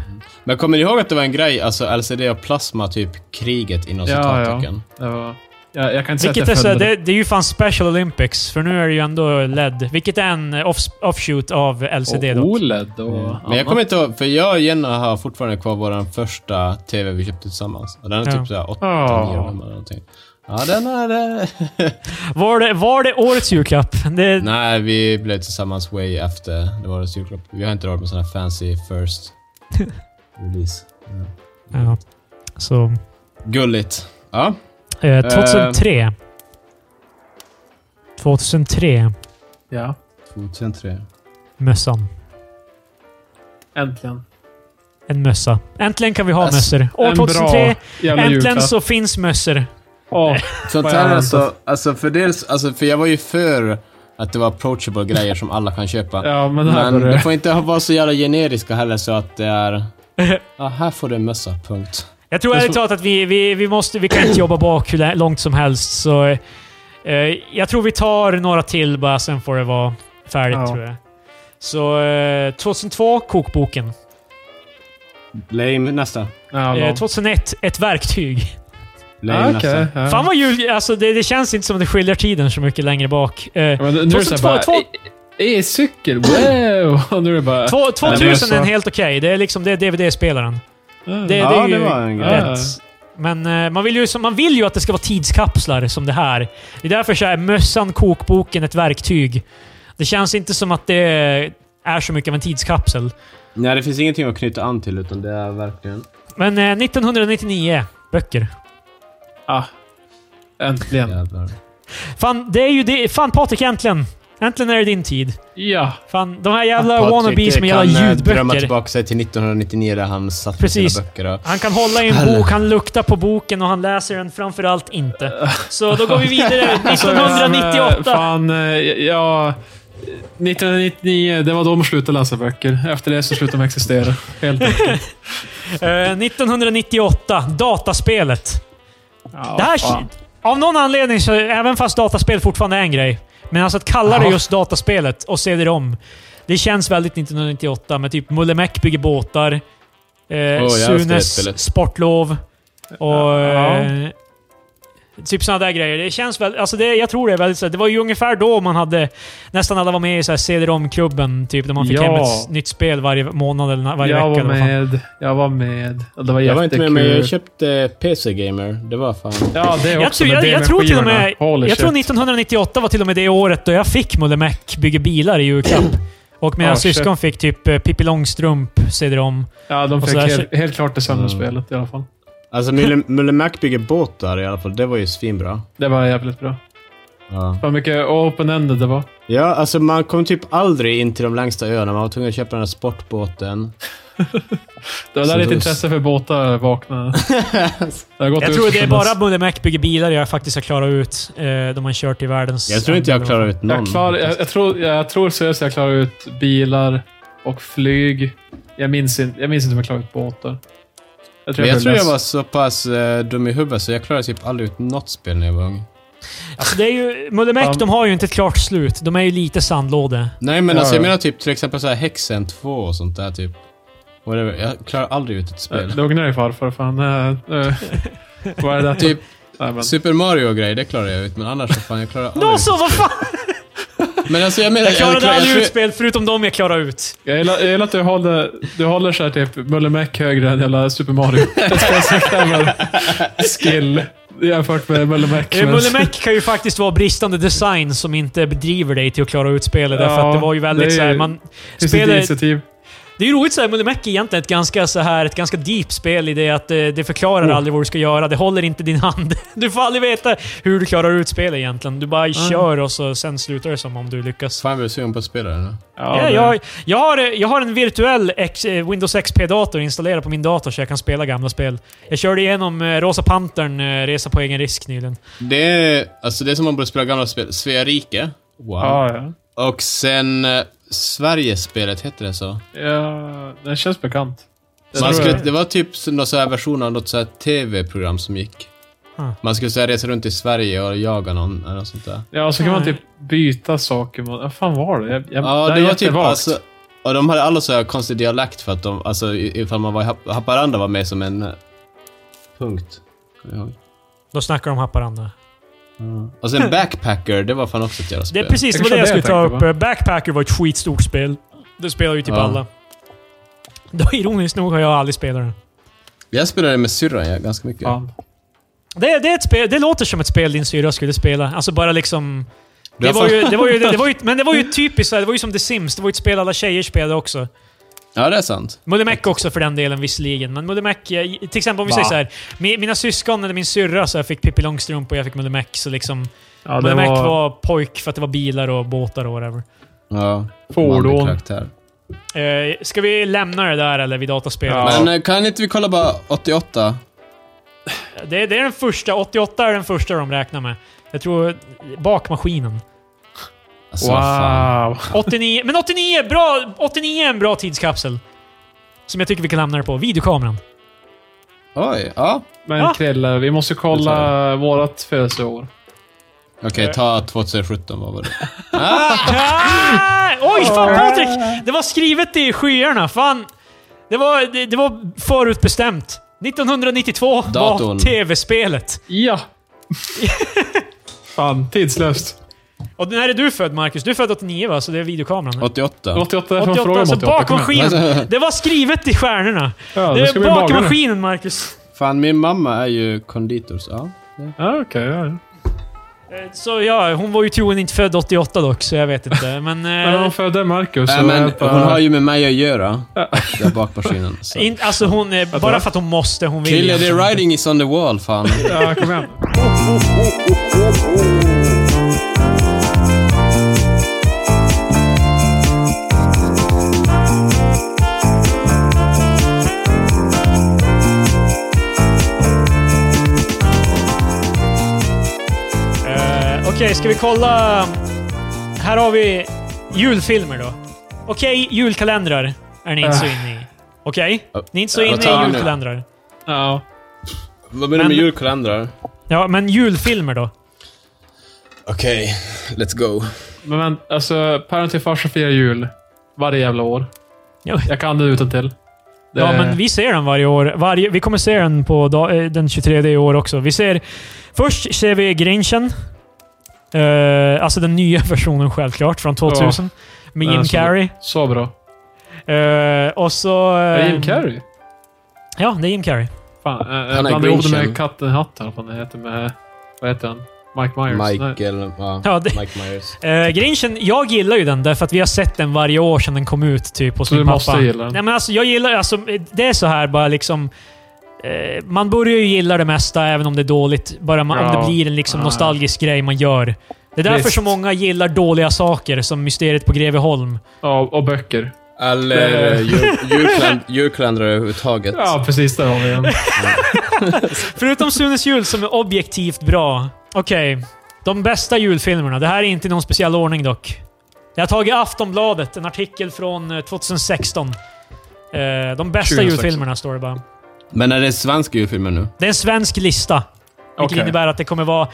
Speaker 1: Men kommer ni ihåg att det var en grej, alltså LCD och plasma, typ kriget inom
Speaker 2: Ja,
Speaker 1: citattecken?
Speaker 2: Det var... jag, jag kan inte
Speaker 3: Vilket
Speaker 2: säga
Speaker 3: är,
Speaker 2: att
Speaker 3: så,
Speaker 2: jag följde
Speaker 3: det, det är ju fan Special Olympics, för nu är det ju ändå LED. Vilket är en off, offshoot av LCD
Speaker 2: och
Speaker 3: dock.
Speaker 2: OLED och
Speaker 1: Eh, Men jag
Speaker 2: annat.
Speaker 1: kommer inte ihåg, för jag och Jenna har fortfarande kvar vår första TV vi köpte tillsammans. Och den är
Speaker 3: Ja.
Speaker 1: typ såhär 8, 9
Speaker 2: Ja.
Speaker 1: år
Speaker 3: Ah.
Speaker 1: gammal eller någonting. Ja, den är det.
Speaker 3: Var det, var det årets julklapp? Det,
Speaker 1: Nej, vi blev tillsammans way efter det var det julklapp. Vi har inte råd med såna här fancy first release.
Speaker 3: ja. Så,
Speaker 1: Gulligt. Ja.
Speaker 3: eh, 2003. 2003.
Speaker 2: Ja,
Speaker 1: 2003.
Speaker 3: Mössan.
Speaker 2: äntligen.
Speaker 3: En mössa. Äntligen kan vi ha
Speaker 1: Alltså,
Speaker 3: mössor. År
Speaker 2: En
Speaker 3: 2003.
Speaker 2: bra jävla
Speaker 3: Äntligen
Speaker 2: julklapp.
Speaker 3: så finns mössor.
Speaker 2: Åh,
Speaker 1: Sånt
Speaker 2: Vad jag
Speaker 1: här
Speaker 2: har
Speaker 1: alltså, alltså, för dels, alltså, för jag var ju för att det var approachable grejer som alla kan köpa.
Speaker 2: ja, men det här
Speaker 1: Men det
Speaker 2: börjar...
Speaker 1: får inte vara så jävla generiska heller så att det är... Ja, här får du en mössa, punkt.
Speaker 3: Jag tror
Speaker 2: Men
Speaker 3: ärligt
Speaker 2: så-
Speaker 3: talat att vi, vi, vi, måste, vi kan inte jobba bak hur lä- långt som helst. Så, eh, jag tror vi tar några till bara, sen får det vara färdigt
Speaker 2: Ja.
Speaker 3: tror jag. Så eh, 2002, kokboken.
Speaker 1: Lame, nästa.
Speaker 2: Ja,
Speaker 3: Eh,
Speaker 2: lång.
Speaker 3: 2001, ett verktyg.
Speaker 1: Lame,
Speaker 2: Ja,
Speaker 1: nästa.
Speaker 2: okej, ja.
Speaker 3: Fan vad jul... Alltså det, det känns inte som att det skiljer tiden så mycket längre bak. Eh,
Speaker 2: Ja, men nu är det
Speaker 3: 2002,
Speaker 2: så här
Speaker 3: två-
Speaker 2: bara... "E- E-cykel, wow! Och nu är det bara...
Speaker 3: två- 2000 är en
Speaker 2: så-
Speaker 3: helt okej. Det är liksom det är DVD-spelaren.
Speaker 2: Mm.
Speaker 3: Det,
Speaker 1: Ja,
Speaker 3: det är ju
Speaker 1: det var en grej.
Speaker 3: rätt. Men eh, man vill, ju, som- man vill ju att det ska vara tidskapslar som det här. Det är därför så är mössan, kokboken ett verktyg. Det känns inte som att det är så mycket av en tidskapsel.
Speaker 1: Nej, det finns ingenting att knyta an till utan det är verkligen...
Speaker 3: Men eh, 1999, böcker.
Speaker 2: Ah, äntligen.
Speaker 1: Jävlar.
Speaker 3: Fan, det är ju det. Fan Patrik, äntligen! Äntligen är det din tid.
Speaker 2: Ja.
Speaker 3: Fan, de här jävla wannabes med jävla
Speaker 1: kan eh, drömma
Speaker 3: ljudböcker.
Speaker 1: tillbaka sig till 1999 där han satt med
Speaker 3: Precis.
Speaker 1: sina böcker. Och,
Speaker 3: Han kan hålla i en bok, han luktar på boken och han läser den framförallt inte. Så då går vi vidare.
Speaker 2: Så,
Speaker 3: Alltså,
Speaker 2: eh,
Speaker 3: 1998.
Speaker 2: Fan, eh, ja... 1999, det var då de slutade läsa böcker. Efter det så slutade de existera. Helt enkelt.
Speaker 3: Eh, 1998. Dataspelet.
Speaker 2: Ja,
Speaker 3: Det här,
Speaker 2: fan.
Speaker 3: av någon anledning, så, även fast dataspel fortfarande är en grej, men alltså att kalla det
Speaker 2: Ja.
Speaker 3: just dataspelet och se det om. Det känns väldigt 1998 med typ Mulle Meck bygger båtar, eh,
Speaker 1: älskar det spelet.
Speaker 3: Sunes sportlov och...
Speaker 2: Ja.
Speaker 3: Eh, typ sådana där grejer. Det känns väl, alltså det, jag tror det är väldigt så här- Det var ju ungefär då man hade... Nästan alla var med i så här CD-ROM-klubben, typ, där man fick
Speaker 2: Ja.
Speaker 3: hem ett nytt spel varje månad eller na- varje
Speaker 2: jag
Speaker 3: vecka.
Speaker 2: var
Speaker 3: eller vad fan.
Speaker 2: med. Jag var med. Och Det var
Speaker 1: jag var inte med, men
Speaker 2: jättekul.
Speaker 1: jag köpte PC Gamer. Det var fan...
Speaker 2: Ja, det
Speaker 3: Jag
Speaker 2: också.
Speaker 3: tror,
Speaker 2: men
Speaker 3: jag,
Speaker 2: det
Speaker 3: jag
Speaker 2: med
Speaker 3: tror till och
Speaker 2: skivorna.
Speaker 3: med...
Speaker 2: Holy
Speaker 3: Jag
Speaker 2: shit.
Speaker 3: tror 1998 var till och med det året då jag fick Mulle Mac bygga bilar i julklapp. Och mina
Speaker 2: Ah, shit.
Speaker 3: syskon fick typ eh, Pippi Långstrump, CD-ROM.
Speaker 2: Ja, de
Speaker 3: Och
Speaker 2: fick
Speaker 3: så här-
Speaker 2: helt, helt klart det sämre
Speaker 1: Mm.
Speaker 2: spelet i alla fall.
Speaker 1: Alltså, Mulle- Mulle Mac bygger båtar i alla fall. Det var ju svinbra.
Speaker 2: Det var jävligt bra.
Speaker 1: Ja.
Speaker 2: Vad mycket open-ended det var.
Speaker 1: ja, alltså man kom typ aldrig in till de längsta öarna. Man var tvungen att köpa den här sportbåten.
Speaker 2: Det var
Speaker 1: Så
Speaker 2: där ditt
Speaker 1: då-
Speaker 2: intresse för båtar vaknade. Det har gått
Speaker 3: Jag
Speaker 2: ut
Speaker 3: tror
Speaker 2: för
Speaker 3: det är
Speaker 2: sen
Speaker 3: bara
Speaker 2: dess.
Speaker 3: Mulle Mac bygger bilar jag faktiskt har klarat ut. Eh, de har kört i världens...
Speaker 1: Jag tror inte jag klarar ut någon.
Speaker 2: Jag, klar, jag, jag tror, jag tror seriöst jag klarar ut bilar och flyg. Jag minns, in, jag minns inte om jag klarade ut båtar. Jag
Speaker 1: men jag
Speaker 2: blev
Speaker 1: tror jag
Speaker 2: less.
Speaker 1: var så pass eh, dum i huvudet så jag klarade typ aldrig ut något spel när jag var ung.
Speaker 3: Alltså det är ju... Mulle Mac,
Speaker 2: Fan.
Speaker 3: de har ju inte ett klart slut. De är ju lite sandlåde.
Speaker 1: Nej men
Speaker 2: Ja,
Speaker 1: alltså jag
Speaker 2: ja.
Speaker 1: menar typ till exempel så här Hexen 2 och sånt där typ. Whatever. Jag klarar aldrig ut ett spel.
Speaker 2: Eh, Lugna dig farfar. Fan. eh, nu- Vad är det?
Speaker 1: Typ
Speaker 2: Nej, men.
Speaker 1: Super Mario och grejer, det klarar jag ut men annars så fan jag klarar aldrig
Speaker 3: Då
Speaker 1: ut.
Speaker 3: så, vad fan!
Speaker 1: Men alltså jag menar...
Speaker 3: Jag klarade
Speaker 1: jag,
Speaker 3: aldrig
Speaker 1: tror-
Speaker 3: ut spel förutom de jag klarade ut.
Speaker 2: Jag gillar, jag gillar att du håller, du håller så här typ Mulle Mac högre än hela Super Mario. Det ska jag så kallad skill jämfört med Mulle Mac.
Speaker 3: Eh,
Speaker 2: men-
Speaker 3: Mulle Mac kan ju faktiskt vara bristande design som inte driver dig till att klara ut spelet.
Speaker 2: Ja,
Speaker 3: därför att det var ju väldigt
Speaker 2: det är-
Speaker 3: så här, man...
Speaker 2: Finns
Speaker 3: spelet-
Speaker 2: inte initiativ.
Speaker 3: Det är ju roligt såhär, Mulle Mac är egentligen ett ganska så här, ett ganska deep spel i det att eh, det förklarar
Speaker 2: Oh.
Speaker 3: aldrig vad du ska göra, det håller inte din hand. Du får aldrig veta hur du klarar ut spelet egentligen. Du bara kör och så, sen slutar det som om du lyckas.
Speaker 1: Fan vad jag är sugen på att spela den. här.
Speaker 3: Ja,
Speaker 2: det-
Speaker 3: jag, jag, har, jag har en virtuell X, eh, Windows XP-dator installerad på min dator så jag kan spela gamla spel. Jag körde igenom eh, Rosa Pantern eh, Resa på egen risk nyligen.
Speaker 1: Det är, alltså det är som om man borde spela gamla spel. Svea rike. Wow.
Speaker 2: Ja, ja.
Speaker 1: Och sen eh, Sverigespelet, heter det så?
Speaker 2: ja. Det känns bekant. Jag
Speaker 1: Man
Speaker 2: tror
Speaker 1: skulle,
Speaker 2: jag-
Speaker 1: det var typ så- någon sån här version av något så här TV-program som gick.
Speaker 3: Huh.
Speaker 1: Man skulle säga resa runt i Sverige och jaga någon eller något sånt där.
Speaker 2: Ja, så kan man
Speaker 3: Nej.
Speaker 2: typ byta saker. Man, vad fan var det? Jag, jag,
Speaker 1: Ja,
Speaker 2: här
Speaker 1: det
Speaker 2: är
Speaker 1: var typ
Speaker 2: jättevagt.
Speaker 1: alltså... Och de hade alla så här konstig dialekt för att de, alltså i- ifall man var i Hap- Haparanda var med som en... eh, Punkt. Kommer jag ihåg.
Speaker 3: Då snackar de om Haparanda.
Speaker 1: Och sen Backpacker, det var fan också ett jävla
Speaker 3: Det
Speaker 1: spel.
Speaker 3: är precis
Speaker 2: Jag
Speaker 3: det var det
Speaker 2: kanske
Speaker 3: jag
Speaker 2: hade
Speaker 3: skulle ta
Speaker 2: det jag
Speaker 3: upp. eh, Backpacker var ett skitstort spel. Det spelar ju typ
Speaker 1: Ja.
Speaker 3: alla. Då, ironiskt nog har jag aldrig spelat det.
Speaker 1: Jag spelade med syrran ja, ganska mycket.
Speaker 2: Fan.
Speaker 3: Det, det, är ett spel, det låter som ett spel din syrra skulle spela. Alltså bara liksom...
Speaker 1: Du
Speaker 3: Det
Speaker 1: har
Speaker 3: var
Speaker 1: fått-
Speaker 3: ju, det var ju, det var ju, men det var ju typiskt, så här, det var ju som The Sims. Det var ju ett spel alla tjejer spelade också.
Speaker 1: Ja, det är sant.
Speaker 3: Mulle Mac också för den delen visserligen. Men Mulle Mac, eh, till exempel om vi
Speaker 2: Va?
Speaker 3: säger så här, mi- Mina syskon eller min syrra så här, fick Pippi Långstrump och jag fick Mulle Mac. Så liksom,
Speaker 2: Ja, det
Speaker 3: Mulle Mac
Speaker 2: var
Speaker 3: var pojk för att det var bilar och båtar och whatever.
Speaker 1: Ja. manlig
Speaker 2: fordon.
Speaker 1: karaktär.
Speaker 3: Eh, ska vi lämna det där eller vid dataspel?
Speaker 2: Ja.
Speaker 1: Men eh, kan inte vi kolla bara 88?
Speaker 3: Det, det är den första. 88 är den första de räknar med. Jag tror bakmaskinen.
Speaker 1: Alltså, fan.
Speaker 2: Wow.
Speaker 3: 89, men 89 är, bra, 89 är en bra tidskapsel. Som jag tycker vi kan lämna det på. Videokameran.
Speaker 1: Oj, ja.
Speaker 2: Men
Speaker 3: Ja.
Speaker 2: Krille, vi måste kolla vårt födelseår.
Speaker 1: Okej, ta 2017, vad var det?
Speaker 3: Ah! Oj, fan Patrik! Det var skrivet i skyarna. Fan. Det var, det, det var förutbestämt. 1992
Speaker 1: Datorn.
Speaker 3: var tv-spelet.
Speaker 2: Ja! Fan, tidslöst.
Speaker 3: Och när är du född, Marcus? Du är född 89 va? Så det är videokameran.
Speaker 1: 88.
Speaker 2: 88, det var en
Speaker 3: 88,
Speaker 2: fråga om
Speaker 3: alltså
Speaker 2: 88. kom igen.
Speaker 3: bakmaskinen. Det var skrivet i stjärnorna.
Speaker 2: Ja,
Speaker 3: Det
Speaker 2: nu ska
Speaker 3: är
Speaker 2: vi baga den.
Speaker 3: bakmaskinen, Marcus.
Speaker 1: Fan, min mamma är ju konditor, så ja.
Speaker 2: Ja, okej. ja, ja.
Speaker 3: Eh, Så ja, hon var ju troligen inte född 88 dock, så jag vet inte. Men...
Speaker 2: Men
Speaker 3: Eh,
Speaker 2: hon födde Marcus.
Speaker 1: Nej,
Speaker 2: så
Speaker 1: men
Speaker 2: att, äh,
Speaker 1: hon har ju med mig att göra. Där bak på skinen. så.
Speaker 3: in, alltså hon... Eh, bara för att hon måste. Hon vill liksom.
Speaker 1: Kille, the
Speaker 3: egentligen.
Speaker 1: writing is on the wall, fan.
Speaker 2: Ja, kom igen.
Speaker 3: Eh, Okej, ska vi kolla... Här har vi julfilmer då. Okej, julkalendrar är ni inte så inne i. Okej? Ni är inte så
Speaker 1: Vad
Speaker 3: inne
Speaker 1: tar
Speaker 3: i
Speaker 1: vi nu?
Speaker 3: julkalendrar.
Speaker 2: Ja.
Speaker 1: Vad menar du med
Speaker 3: Men-
Speaker 1: julkalendrar?
Speaker 3: Ja, men julfilmer då?
Speaker 1: Okej, let's go.
Speaker 2: Men, men alltså, päron till farsa firar jul varje jävla år.
Speaker 3: Ja.
Speaker 2: Jag kan det utan till. Det,
Speaker 3: Ja, men vi ser den varje år. Varje, vi kommer se den på da, eh, den 23 i år också. Vi ser... Först ser vi Grinchen. Eh, alltså den nya versionen självklart, från 2000. Med
Speaker 2: Den
Speaker 3: Jim
Speaker 2: är så-
Speaker 3: Carrey.
Speaker 2: Så bra.
Speaker 3: Eh, och så...
Speaker 2: Är det
Speaker 3: eh,
Speaker 2: Jim Carrey?
Speaker 3: Ja, det är Jim Carrey.
Speaker 2: Fan, eh,
Speaker 1: är
Speaker 2: jag blandade ihop det
Speaker 1: Grinchen.
Speaker 2: med katten i hatten. Vad han heter med... Vad heter han? Mike Myers? Nej.
Speaker 1: Michael, ja.
Speaker 3: Ja, det-
Speaker 1: Mike Myers.
Speaker 3: Eh, Grinchen, jag gillar ju den därför att vi har sett den varje år sedan den kom ut typ hos
Speaker 2: Så
Speaker 3: min
Speaker 2: du
Speaker 3: pappa.
Speaker 2: måste gilla den?
Speaker 3: Nej men alltså jag gillar, alltså det är så här bara liksom... Eh, man börjar ju gilla det mesta även om det är dåligt. Bara man, om det
Speaker 2: Ja.
Speaker 3: blir en liksom
Speaker 2: Ja.
Speaker 3: nostalgisk grej man gör. Det är därför
Speaker 2: Visst.
Speaker 3: så många gillar dåliga saker som Mysteriet på Greveholm.
Speaker 2: Ja, och böcker.
Speaker 1: Eller
Speaker 2: Det-
Speaker 1: eh, jul, julkaland, julkalendrar överhuvudtaget.
Speaker 2: Ja, precis. Där har vi den.
Speaker 3: Förutom Sunes jul som är objektivt bra. Okej, de bästa julfilmerna. Det här är inte i någon speciell ordning dock. Jag har tagit Aftonbladet, en artikel från eh, 2016. Eh, De bästa
Speaker 2: 2016.
Speaker 3: julfilmerna står det bara.
Speaker 1: Men är det svenska julfilmer nu?
Speaker 3: Det är en svensk lista. Vilket
Speaker 2: Okej.
Speaker 3: innebär att det kommer vara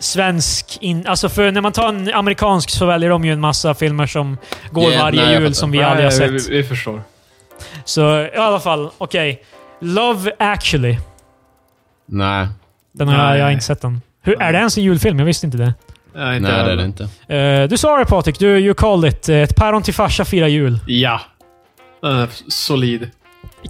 Speaker 3: svensk... In, alltså för när man tar en amerikansk så väljer de ju en massa filmer som går
Speaker 1: Yeah,
Speaker 3: varje
Speaker 1: nej, jag
Speaker 3: jul
Speaker 1: fattar.
Speaker 3: som vi
Speaker 2: Nej,
Speaker 3: aldrig har sett.
Speaker 2: Vi, vi förstår.
Speaker 3: Så i alla fall, okej. Love actually.
Speaker 1: Nej,
Speaker 3: Den har jag,
Speaker 2: Nej.
Speaker 3: jag har inte sett den. Hur, är
Speaker 2: Nej.
Speaker 3: det ens en julfilm? Jag visste inte det.
Speaker 2: Nej, inte
Speaker 1: nej det är
Speaker 2: heller.
Speaker 1: det inte.
Speaker 3: Eh, du sa det Patrik, du you called it. Eh, Ett päron till farsa firar jul.
Speaker 2: Ja. Den är solid.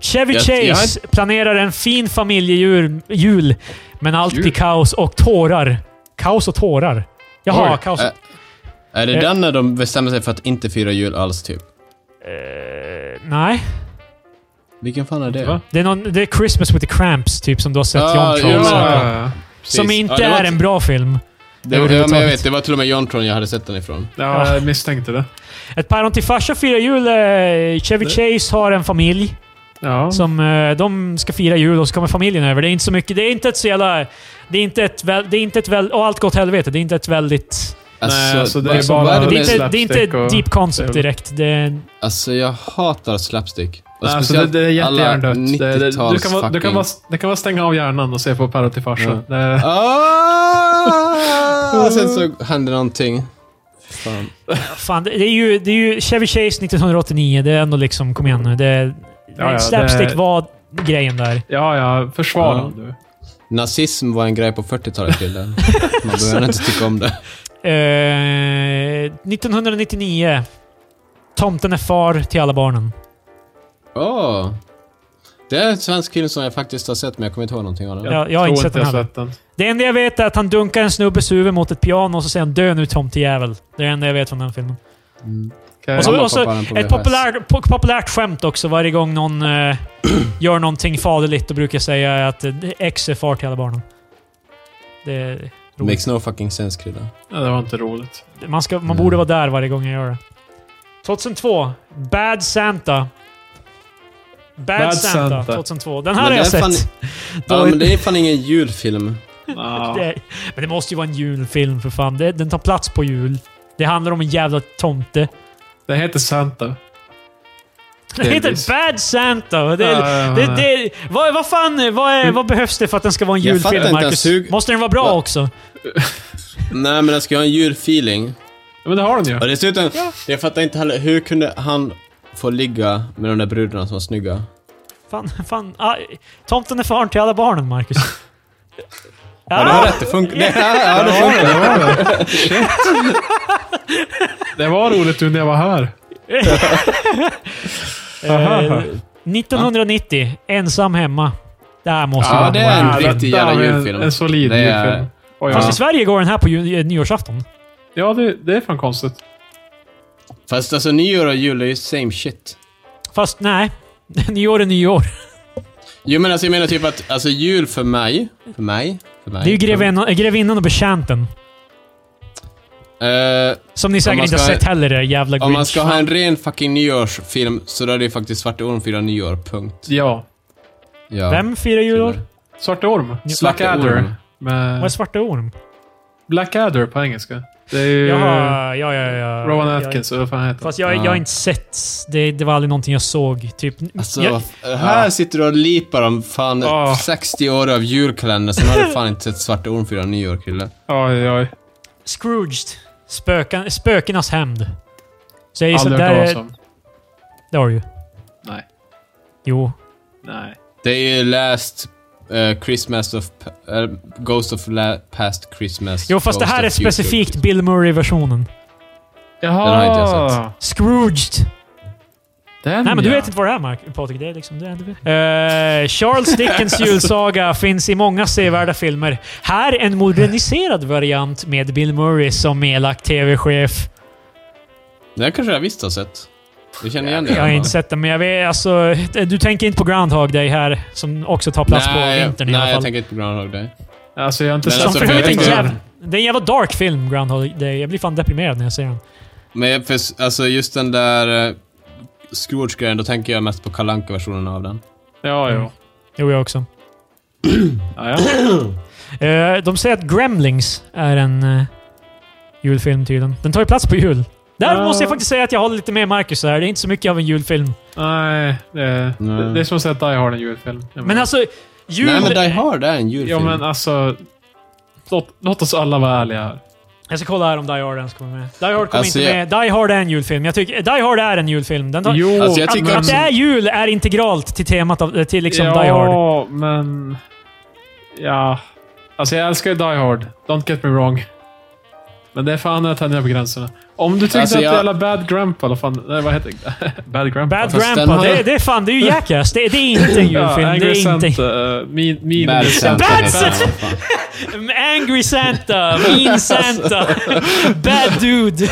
Speaker 3: Chevy
Speaker 1: Jag-
Speaker 3: Chase
Speaker 1: jag-
Speaker 3: planerar en fin familjejul, jul, men allt
Speaker 2: Jul?
Speaker 3: blir kaos och tårar. Kaos och tårar. Jaha,
Speaker 2: Oj,
Speaker 3: kaos.
Speaker 1: Ä- Är det
Speaker 3: Eh.
Speaker 1: den när de bestämmer sig för att inte fira jul alls, typ?
Speaker 3: Eh, nej.
Speaker 1: Vilken fan är det?
Speaker 2: Va?
Speaker 3: Det är, någon, det är Christmas with the Cramps, typ, som du har sett
Speaker 1: Ah,
Speaker 3: John Tron.
Speaker 1: ja.
Speaker 3: säkert.
Speaker 2: Ja,
Speaker 1: Precis.
Speaker 3: Som inte
Speaker 1: Ja, det var
Speaker 3: är en bra film.
Speaker 1: Det var, ja, men jag vet, det var till och med Jontron jag hade sett den ifrån.
Speaker 2: ja, jag misstänkte det.
Speaker 3: Ett päron till farsa firar jul. eh, Chevy Chase har en familj
Speaker 2: Ja.
Speaker 3: som eh, de ska fira jul och så kommer familjen över. Det är inte så mycket. Det är inte ett så jävla... Det är inte ett... Väl, det är inte ett väl, och allt gott helvete. Det är inte ett väldigt...
Speaker 2: Nej, alltså det är
Speaker 1: alltså,
Speaker 2: bara-
Speaker 1: vad är det
Speaker 3: Det är
Speaker 1: med,
Speaker 3: inte, det är
Speaker 2: slapstick
Speaker 3: inte
Speaker 2: och-
Speaker 3: deep concept
Speaker 2: det är-
Speaker 3: direkt. Det är,
Speaker 1: alltså jag hatar slapstick. Och
Speaker 2: Nej, alltså det,
Speaker 1: speciellt
Speaker 2: det är
Speaker 1: alla
Speaker 2: jättegärna dött. Det, det,
Speaker 1: 90-tals
Speaker 2: du, kan vara,
Speaker 1: fucking...
Speaker 2: du, kan vara, du kan vara stänga av hjärnan och se på Päron till farsa. Det-
Speaker 1: Ah! Och sen så hände någonting. Fan.
Speaker 3: fan, det, det är ju, det är ju Chevy Chase 1989. Det är ändå liksom... Kom igen nu. Det,
Speaker 2: ja, det-
Speaker 3: slapstick var grejen där.
Speaker 2: Ja, ja. Försvara
Speaker 1: Ja.
Speaker 2: honom du.
Speaker 1: Nazism var en grej på 40-talet killen. Man behöver inte tycka om det.
Speaker 3: Eh, 1999. Tomten är far till alla barnen.
Speaker 1: Åh! Det är en svensk film som jag faktiskt har sett, men jag kommer inte ihåg någonting av den.
Speaker 3: Ja. jag har inte
Speaker 2: tror
Speaker 3: sett den
Speaker 2: jag
Speaker 3: heller.
Speaker 2: sett den.
Speaker 3: Det enda jag vet är att han dunkar en snubbes huvud mot ett piano och så säger han “Dö nu tomtejävel”. Det är det enda jag vet från den filmen.
Speaker 1: Mm.
Speaker 2: Okej.
Speaker 3: Och så,
Speaker 1: Mamma
Speaker 3: och så
Speaker 1: poppar den på
Speaker 3: ett
Speaker 1: VHS.
Speaker 3: populärt, po populärt skämt också varje gång någon eh, gör någonting faderligt. Då brukar jag säga att eh, X är far till alla barnen. Det är roligt.
Speaker 1: Makes no fucking sense killen.
Speaker 2: Ja, det var inte roligt.
Speaker 3: Man, ska, man
Speaker 1: Mm.
Speaker 3: borde vara där varje gång jag gör det. 2002. Bad Santa. Bad,
Speaker 2: Bad
Speaker 3: Santa,
Speaker 2: Santa.
Speaker 3: 2002. Den här har
Speaker 1: det
Speaker 3: jag
Speaker 1: är
Speaker 3: sett.
Speaker 1: fan- Ja,
Speaker 3: Då-
Speaker 1: men det är fan ingen julfilm.
Speaker 2: Ja.
Speaker 3: Det, men det måste ju vara en julfilm för fan. Det, den tar plats på jul. Det handlar om en jävla tomte.
Speaker 2: Det heter Santa.
Speaker 3: Det heter
Speaker 1: Delvis.
Speaker 3: Bad Santa. Det,
Speaker 2: Ja, ja, ja.
Speaker 3: det, det, vad, vad fan vad, är, vad behövs det för att den ska vara en
Speaker 1: Jag fattar
Speaker 3: julfilm,
Speaker 1: inte ens
Speaker 3: Marcus?
Speaker 1: hur-
Speaker 3: Måste den vara bra
Speaker 1: Va?
Speaker 3: också?
Speaker 1: Nej, men den ska ha en julfeeling.
Speaker 2: Ja, Men det har den ju.
Speaker 1: Och dessutom, jag fattar inte heller, hur kunde han få ligga med de där brudarna som var snygga?
Speaker 3: Fan, fan. Ah, tomten är far till alla barnen, Marcus.
Speaker 1: Ja, du har
Speaker 3: Ah!
Speaker 1: rätt, det funkar. Det, ja, ja, det funkar.
Speaker 2: Det var det. Det var roligt nu när jag var här.
Speaker 3: Eh, 1990. Ensam hemma. Det här måste
Speaker 1: Ja,
Speaker 3: vara
Speaker 1: det är en
Speaker 3: Wow.
Speaker 1: riktig
Speaker 2: Där
Speaker 1: jävla
Speaker 2: har vi en-
Speaker 1: julfilm.
Speaker 2: En solid
Speaker 1: Det är-
Speaker 2: julfilm. Oj,
Speaker 3: Fast
Speaker 2: ja.
Speaker 3: i Sverige går den här på ju, eh, nyårsafton.
Speaker 2: ja, det, det är fan konstigt.
Speaker 1: Fast alltså nyår och jul är ju same shit.
Speaker 3: Fast nej. Nyår är nyår.
Speaker 1: Jo men alltså jag menar typ att, alltså jul för mig, för mig, för mig.
Speaker 3: Det är ju grevinnan, äh, grevinnan och betjänten.
Speaker 1: Eh,
Speaker 3: Som ni säkert
Speaker 1: man
Speaker 3: inte har
Speaker 1: ska-
Speaker 3: sett heller, det jävla
Speaker 1: om man
Speaker 3: Grinch.
Speaker 1: ska ha en ren fucking nyårsfilm så då är det ju faktiskt Svarte Orm firar nyår, punkt.
Speaker 2: Ja.
Speaker 1: Ja.
Speaker 3: Vem firar jul?
Speaker 1: Svarte
Speaker 2: Svarte Orm.
Speaker 1: Orm.
Speaker 2: Blackadder. Med...
Speaker 3: Vad är Svarta Orm?
Speaker 2: Blackadder på engelska. Det är ju
Speaker 3: Jaha, ja, ja, ja.
Speaker 2: Rowan
Speaker 3: Jag-
Speaker 2: Atkins, eller vad fan heter han?
Speaker 3: Fast jag, jag har inte sett... Det, det var aldrig någonting jag såg. Typ...
Speaker 1: Alltså,
Speaker 3: jag,
Speaker 1: här sitter du och lipar om fan
Speaker 2: Ah.
Speaker 1: 60 år av julkalender, sen har du fan inte sett Svarta Orm fyra nyår, kille.
Speaker 2: Oj, oj.
Speaker 3: Scrooged. Spöken, spökenas hämnd. Så jag gissar...
Speaker 2: Aldrig hört talas
Speaker 3: Där,
Speaker 2: om.
Speaker 3: det har du ju.
Speaker 2: Nej.
Speaker 3: Jo.
Speaker 2: Nej.
Speaker 1: Det är ju Last eh, Christmas of... pa- eh, Ghost of la- Past Christmas.
Speaker 3: Jo, fast det
Speaker 1: Ghost
Speaker 3: här
Speaker 1: of
Speaker 3: är
Speaker 1: Future
Speaker 3: specifikt
Speaker 1: Christmas.
Speaker 3: Bill Murray-versionen.
Speaker 2: Jaha!
Speaker 1: Den har inte jag sett.
Speaker 3: Scrooged.
Speaker 2: Den,
Speaker 3: Nej, men du
Speaker 2: ja. Mm.
Speaker 3: vet inte vad det är, Mark, Patrik. Det är liksom det. du vet. Eh, Charles Dickens julsaga finns i många sevärda filmer. Här en moderniserad variant med Bill Murray som elak tv-chef.
Speaker 1: Det här kanske jag visst har sett. Du känner igen det?
Speaker 3: Jag har
Speaker 1: va?
Speaker 3: inte sett den, men jag vet alltså... Du tänker inte på Groundhog Day här, som också tar plats
Speaker 1: nej,
Speaker 3: på vintern
Speaker 1: nej,
Speaker 3: i alla fall.
Speaker 1: jag tänker inte på Groundhog Day.
Speaker 2: Alltså, jag har inte
Speaker 1: Men
Speaker 2: sett
Speaker 1: alltså,
Speaker 3: som för
Speaker 1: jag
Speaker 3: övrigt är en
Speaker 1: tänker-
Speaker 3: jävla, det är en jävla dark film, Groundhog Day. Jag blir fan deprimerad när jag ser den.
Speaker 1: Men jag- för, alltså just den där uh, Scrooge-grejen, då tänker jag mest på kalanka versionen av den.
Speaker 2: Ja,
Speaker 1: Mm.
Speaker 2: jo.
Speaker 3: Jo, jag också.
Speaker 2: Ja, ja.
Speaker 3: Eh, de säger att Gremlings är en eh, julfilm tydligen. Den tar ju plats på jul. Där
Speaker 2: Ja.
Speaker 3: måste jag faktiskt säga att jag håller lite med Marcus här. Det är inte så mycket av en julfilm.
Speaker 1: Mm.
Speaker 2: Nej, det,
Speaker 1: Nej.
Speaker 2: Det, det är som att säga att Die Hard är en julfilm. Jag
Speaker 3: Men
Speaker 2: menar.
Speaker 3: alltså, jul...
Speaker 1: Nej, men Die Hard är en julfilm.
Speaker 2: Ja, men alltså... Låt, låt oss alla vara ärliga här.
Speaker 3: Jag ska kolla här om Die Hard ens kommer med. Die Hard kommer
Speaker 1: Alltså,
Speaker 3: inte
Speaker 1: jag-
Speaker 3: med. Die Hard är en julfilm. Jag tycker, Die Hard är en julfilm. Den tar,
Speaker 2: Jo,
Speaker 1: Alltså, jag
Speaker 3: att,
Speaker 1: tycker
Speaker 3: att det är jul är integralt till temat av, till liksom Die Hard.
Speaker 2: Ja, men... Ja. Alltså jag älskar ju Die Hard. Don't get me wrong. Men det är fan att tänja på gränserna. Om du tyckte
Speaker 1: Alltså,
Speaker 2: att
Speaker 1: jag-
Speaker 2: det jävla Bad Grandpa, eller fan, nej, vad heter det? Bad Grandpa.
Speaker 3: Bad
Speaker 1: Fast den
Speaker 3: Grandpa,
Speaker 1: har-
Speaker 3: det, det är fan, det är ju Jackass. Det, det är inte en julfilm.
Speaker 2: Ja,
Speaker 3: det
Speaker 2: Angry
Speaker 3: är inte...
Speaker 2: Santa. eh, Mean... mean
Speaker 1: Bad Santa.
Speaker 3: Bad
Speaker 1: heter den,
Speaker 2: Santa.
Speaker 1: vad fan.
Speaker 3: Angry Santa, Mean
Speaker 1: Alltså.
Speaker 3: Santa, Bad Dude.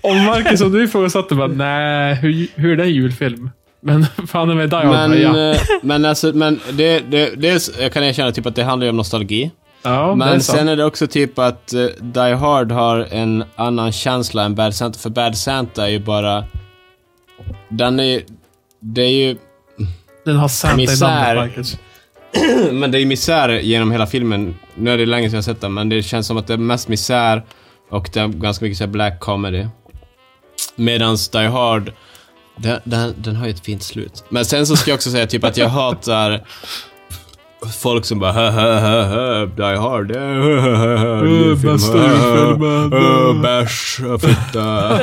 Speaker 2: Och Marcus, om du ifrågasatte bara, nej, hur, hur är det en julfilm? Men fan är med Die Hard?
Speaker 1: Men,
Speaker 2: ja.
Speaker 1: eh, men alltså, men det, det, dels jag kan erkänna typ att det handlar ju om nostalgi.
Speaker 2: ja, det är
Speaker 1: men
Speaker 2: sant.
Speaker 1: sen är det också typ att eh, Die Hard har en annan känsla än Bad Santa, för Bad Santa är ju bara... Den är ju... Det är ju...
Speaker 2: Den har Santa i
Speaker 1: Misär.
Speaker 2: namnet, Marcus.
Speaker 1: Men det är misär genom hela filmen. Nu är det länge sedan jag har sett den, men det känns som att det är mest misär och det är ganska mycket så här black comedy. Medans Die Hard, den, den, den har ju ett fint slut. Men sen så ska jag också säga typ att jag hatar folk som bara hö, hö, hö, hö, Die Hard, det är hö, hö, hö, hö, ny film,
Speaker 2: bästa
Speaker 1: hö, hö,
Speaker 2: filmen.
Speaker 1: hö, Bärs, hö, fitta.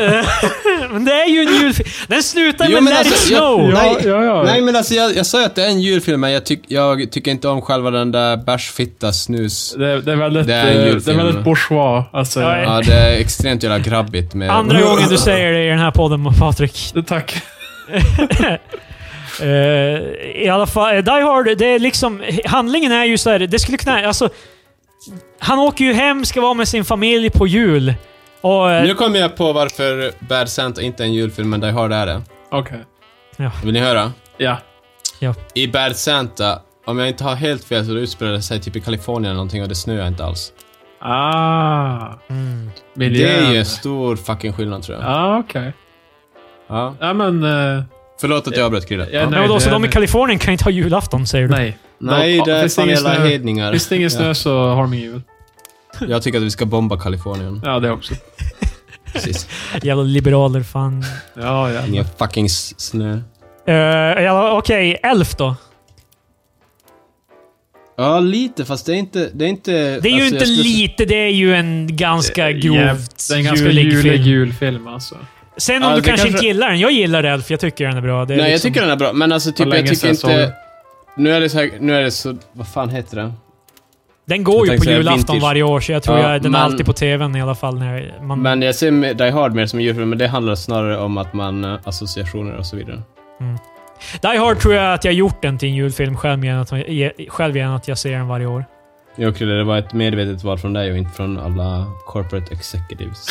Speaker 3: Men det är ju en julfilm. Den slutar
Speaker 1: Jo,
Speaker 3: med
Speaker 1: men
Speaker 3: Let It
Speaker 1: alltså, jag-
Speaker 3: Snow.
Speaker 2: Ja,
Speaker 1: Nej,
Speaker 2: ja, ja.
Speaker 1: Nej men alltså jag, jag sa ju att det är en julfilm, men jag, tyck, jag tycker inte om själva den där bärs, fitta, snus.
Speaker 2: Det, det är väldigt,
Speaker 1: Det
Speaker 2: det
Speaker 1: är en
Speaker 2: är, det är
Speaker 1: julfilm.
Speaker 2: väldigt bourgeois. Alltså,
Speaker 3: Ja, ja.
Speaker 1: Ja, det är extremt jävla grabbigt med...
Speaker 3: Andra gången du säger det i den här podden, Patrik.
Speaker 2: Tack.
Speaker 3: Eh, I alla fall, eh, Die Hard, det är liksom... Handlingen är ju så här, det skulle kunna... Alltså, han åker ju hem, ska vara med sin familj på jul. Och, eh,
Speaker 1: Nu kommer jag på varför Bad Santa inte är en julfilm, men Die Hard är det.
Speaker 2: Okej.
Speaker 1: Vill ni höra?
Speaker 2: Ja.
Speaker 1: I Bad Santa, om jag inte har helt fel, så utspelar det sig typ i Kalifornien eller någonting och det snöar inte alls.
Speaker 2: Ah.
Speaker 3: mm,
Speaker 1: Det
Speaker 2: Miljön.
Speaker 1: är ju stor fucking skillnad tror jag.
Speaker 2: Ja,
Speaker 1: Ja.
Speaker 2: ah, okej. Ja, men... eh,
Speaker 1: Förlåt att jag avbröt Krille.
Speaker 2: jag är
Speaker 1: Ja.
Speaker 2: nöjd.
Speaker 3: men vadå, så
Speaker 2: Jag är
Speaker 3: de i
Speaker 2: nöjd.
Speaker 3: Kalifornien kan inte ha julafton, säger du?
Speaker 2: Nej.
Speaker 1: Nej,
Speaker 2: De-
Speaker 1: det är
Speaker 2: finns
Speaker 1: fan
Speaker 2: ingen
Speaker 1: jävla
Speaker 2: snö.
Speaker 1: hedningar.
Speaker 2: Finns det ingen snö
Speaker 1: Ja.
Speaker 2: så har de ingen jul.
Speaker 1: Jag tycker att vi ska bomba Kalifornien.
Speaker 2: Ja, det också.
Speaker 1: Precis.
Speaker 3: Jävla liberaler, fan.
Speaker 2: Ja, ja.
Speaker 1: Ingen fucking s- snö.
Speaker 3: Eh, ja, Okej, Elf då?
Speaker 1: Ja, lite, fast det är inte... Det är, inte, alltså,
Speaker 3: Det är ju inte lite, det är ju en ganska grovt
Speaker 2: Eh, Det är en ganska
Speaker 3: julig
Speaker 2: julig
Speaker 3: film.
Speaker 2: julfilm alltså.
Speaker 3: Sen om
Speaker 1: Ja,
Speaker 3: du
Speaker 1: det
Speaker 3: kanske, inte
Speaker 1: kanske-
Speaker 3: gillar den. Jag gillar Elf, jag tycker den är bra. Det är
Speaker 1: Nej, jag
Speaker 3: liksom-
Speaker 1: tycker den är bra, men alltså typ
Speaker 2: Var
Speaker 1: jag
Speaker 2: länge
Speaker 1: tycker
Speaker 2: sedan jag
Speaker 1: inte... Nu är det så här, nu är det så... Vad fan heter det?
Speaker 3: Mm. Den
Speaker 1: Jag
Speaker 3: går ju
Speaker 1: tänkte
Speaker 3: på
Speaker 1: säga
Speaker 3: julafton
Speaker 1: vintage.
Speaker 3: varje år, så jag tror
Speaker 1: Ja,
Speaker 3: jag, den
Speaker 1: men-
Speaker 3: är alltid på tvn i alla fall. När man,
Speaker 1: Men jag ser med Die Hard mer som en julfilm, men det handlar snarare om att man... eh, Associationer och så vidare.
Speaker 3: Die Hard tror jag att jag gjort den till en julfilm själv genom att, ge- själv genom att jag ser den varje år.
Speaker 1: Jo, Krille, det var ett medvetet val från dig och inte från alla corporate executives.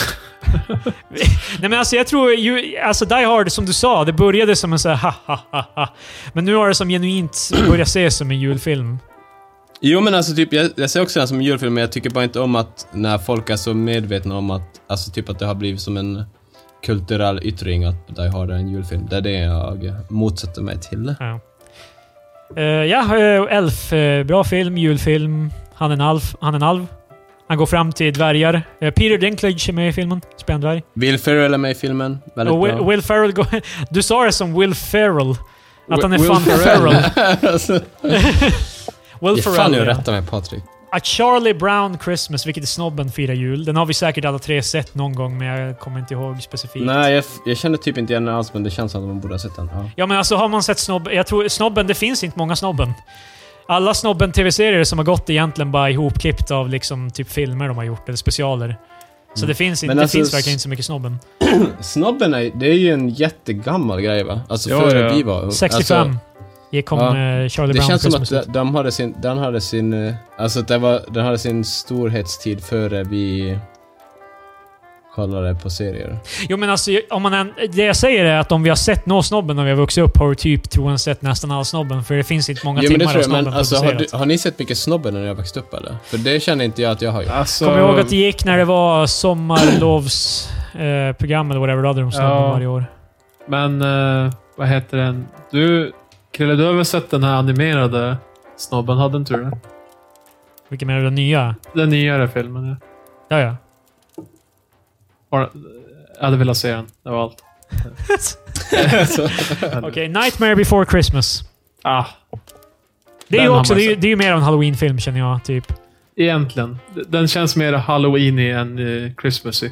Speaker 3: Nej men alltså jag tror ju, alltså Die Hard som du sa, det började som en sån här ha ha ha ha. Men nu har det som genuint börjat ses som en julfilm.
Speaker 1: jo, men alltså typ, jag, jag ser också den som en julfilm, men jag tycker bara inte om att när folk är så medvetna om att... Alltså typ att det har blivit som en kulturell yttring att Die Hard är en julfilm. Det är det jag motsätter mig till.
Speaker 3: Ja, Eh, ja eh, Elf, eh, bra film, julfilm. Han är en alf, han är en alv. Han går fram till dvärgar. Eh, Peter Dinklage är med i filmen. Spelar en dvärg.
Speaker 1: Will Ferrell är med i filmen. Väldigt
Speaker 3: Och Will,
Speaker 1: bra.
Speaker 3: Will Ferrell går... Du sa det som Will Ferrell. Att han är
Speaker 2: Will
Speaker 3: fan
Speaker 2: Ferrell.
Speaker 3: Ferrell.
Speaker 1: alltså,
Speaker 3: Will
Speaker 1: ge fan nu
Speaker 3: Ferrell, ja.
Speaker 1: rätta mig Patrik.
Speaker 3: A Charlie Brown Christmas, vilket är Snobben firar jul. Den har vi säkert alla tre sett någon gång, men jag kommer inte ihåg specifikt.
Speaker 1: Nej, jag, f- jag känner typ inte igen den alls, men det känns som att man borde ha sett den. Ja.
Speaker 3: Ja, men alltså har man sett Snobben... Jag tror Snobben, det finns inte många Snobben. Alla Snobben-tv-serier som har gått är egentligen bara ihopklippt av liksom typ filmer de har gjort, eller specialer. Så det finns, inte,
Speaker 1: Men alltså,
Speaker 3: det finns
Speaker 1: s-
Speaker 3: verkligen inte så mycket Snobben.
Speaker 1: Snobben är, det är ju en jättegammal grej va? Alltså
Speaker 2: Ja,
Speaker 1: före
Speaker 2: ja.
Speaker 1: vi var alltså,
Speaker 3: 65 alltså, kom
Speaker 1: ja.
Speaker 3: eh, Charlie
Speaker 1: Det
Speaker 3: Brown
Speaker 1: känns som att
Speaker 3: Christmas.
Speaker 1: de,
Speaker 3: ut.
Speaker 1: de hade sin, den hade sin, eh, alltså det var, den hade sin storhetstid före vi kollade på serier.
Speaker 3: Jo men alltså, om man, än- det jag säger är att om vi har sett nå snobben när vi har vuxit upp har vi typ troligen sett nästan all snobben. För det finns inte många
Speaker 1: Jo men det
Speaker 3: timmar
Speaker 1: tror
Speaker 3: av
Speaker 1: jag,
Speaker 3: snobben
Speaker 1: men alltså har,
Speaker 3: producerat.
Speaker 1: du, har ni sett mycket Snobben när jag växte upp eller? För det känner inte jag att jag har gjort.
Speaker 2: Alltså,
Speaker 3: Kommer jag ihåg att det gick när det var sommarlovsprogram eh, program eller whatever, då hade de snobben
Speaker 2: Ja.
Speaker 3: varje år.
Speaker 2: Men eh, vad heter den? Du, Krille, du har väl sett den här animerade snobben? Hade inte du det?
Speaker 3: Vilken menar du? Den nya?
Speaker 2: Den nyare filmen, ja.
Speaker 3: Ja, ja.
Speaker 2: Bara, jag hade velat se den. Det var allt.
Speaker 1: Alltså,
Speaker 3: Okej, Nightmare before Christmas.
Speaker 2: Ah,
Speaker 3: Det är
Speaker 2: Den
Speaker 3: ju
Speaker 2: har
Speaker 3: också,
Speaker 2: man
Speaker 3: det är, ju-
Speaker 2: sett.
Speaker 3: det är ju mer av en halloween-film känner jag, typ.
Speaker 2: egentligen. D- Den känns mer halloweenig än eh, Christmassy.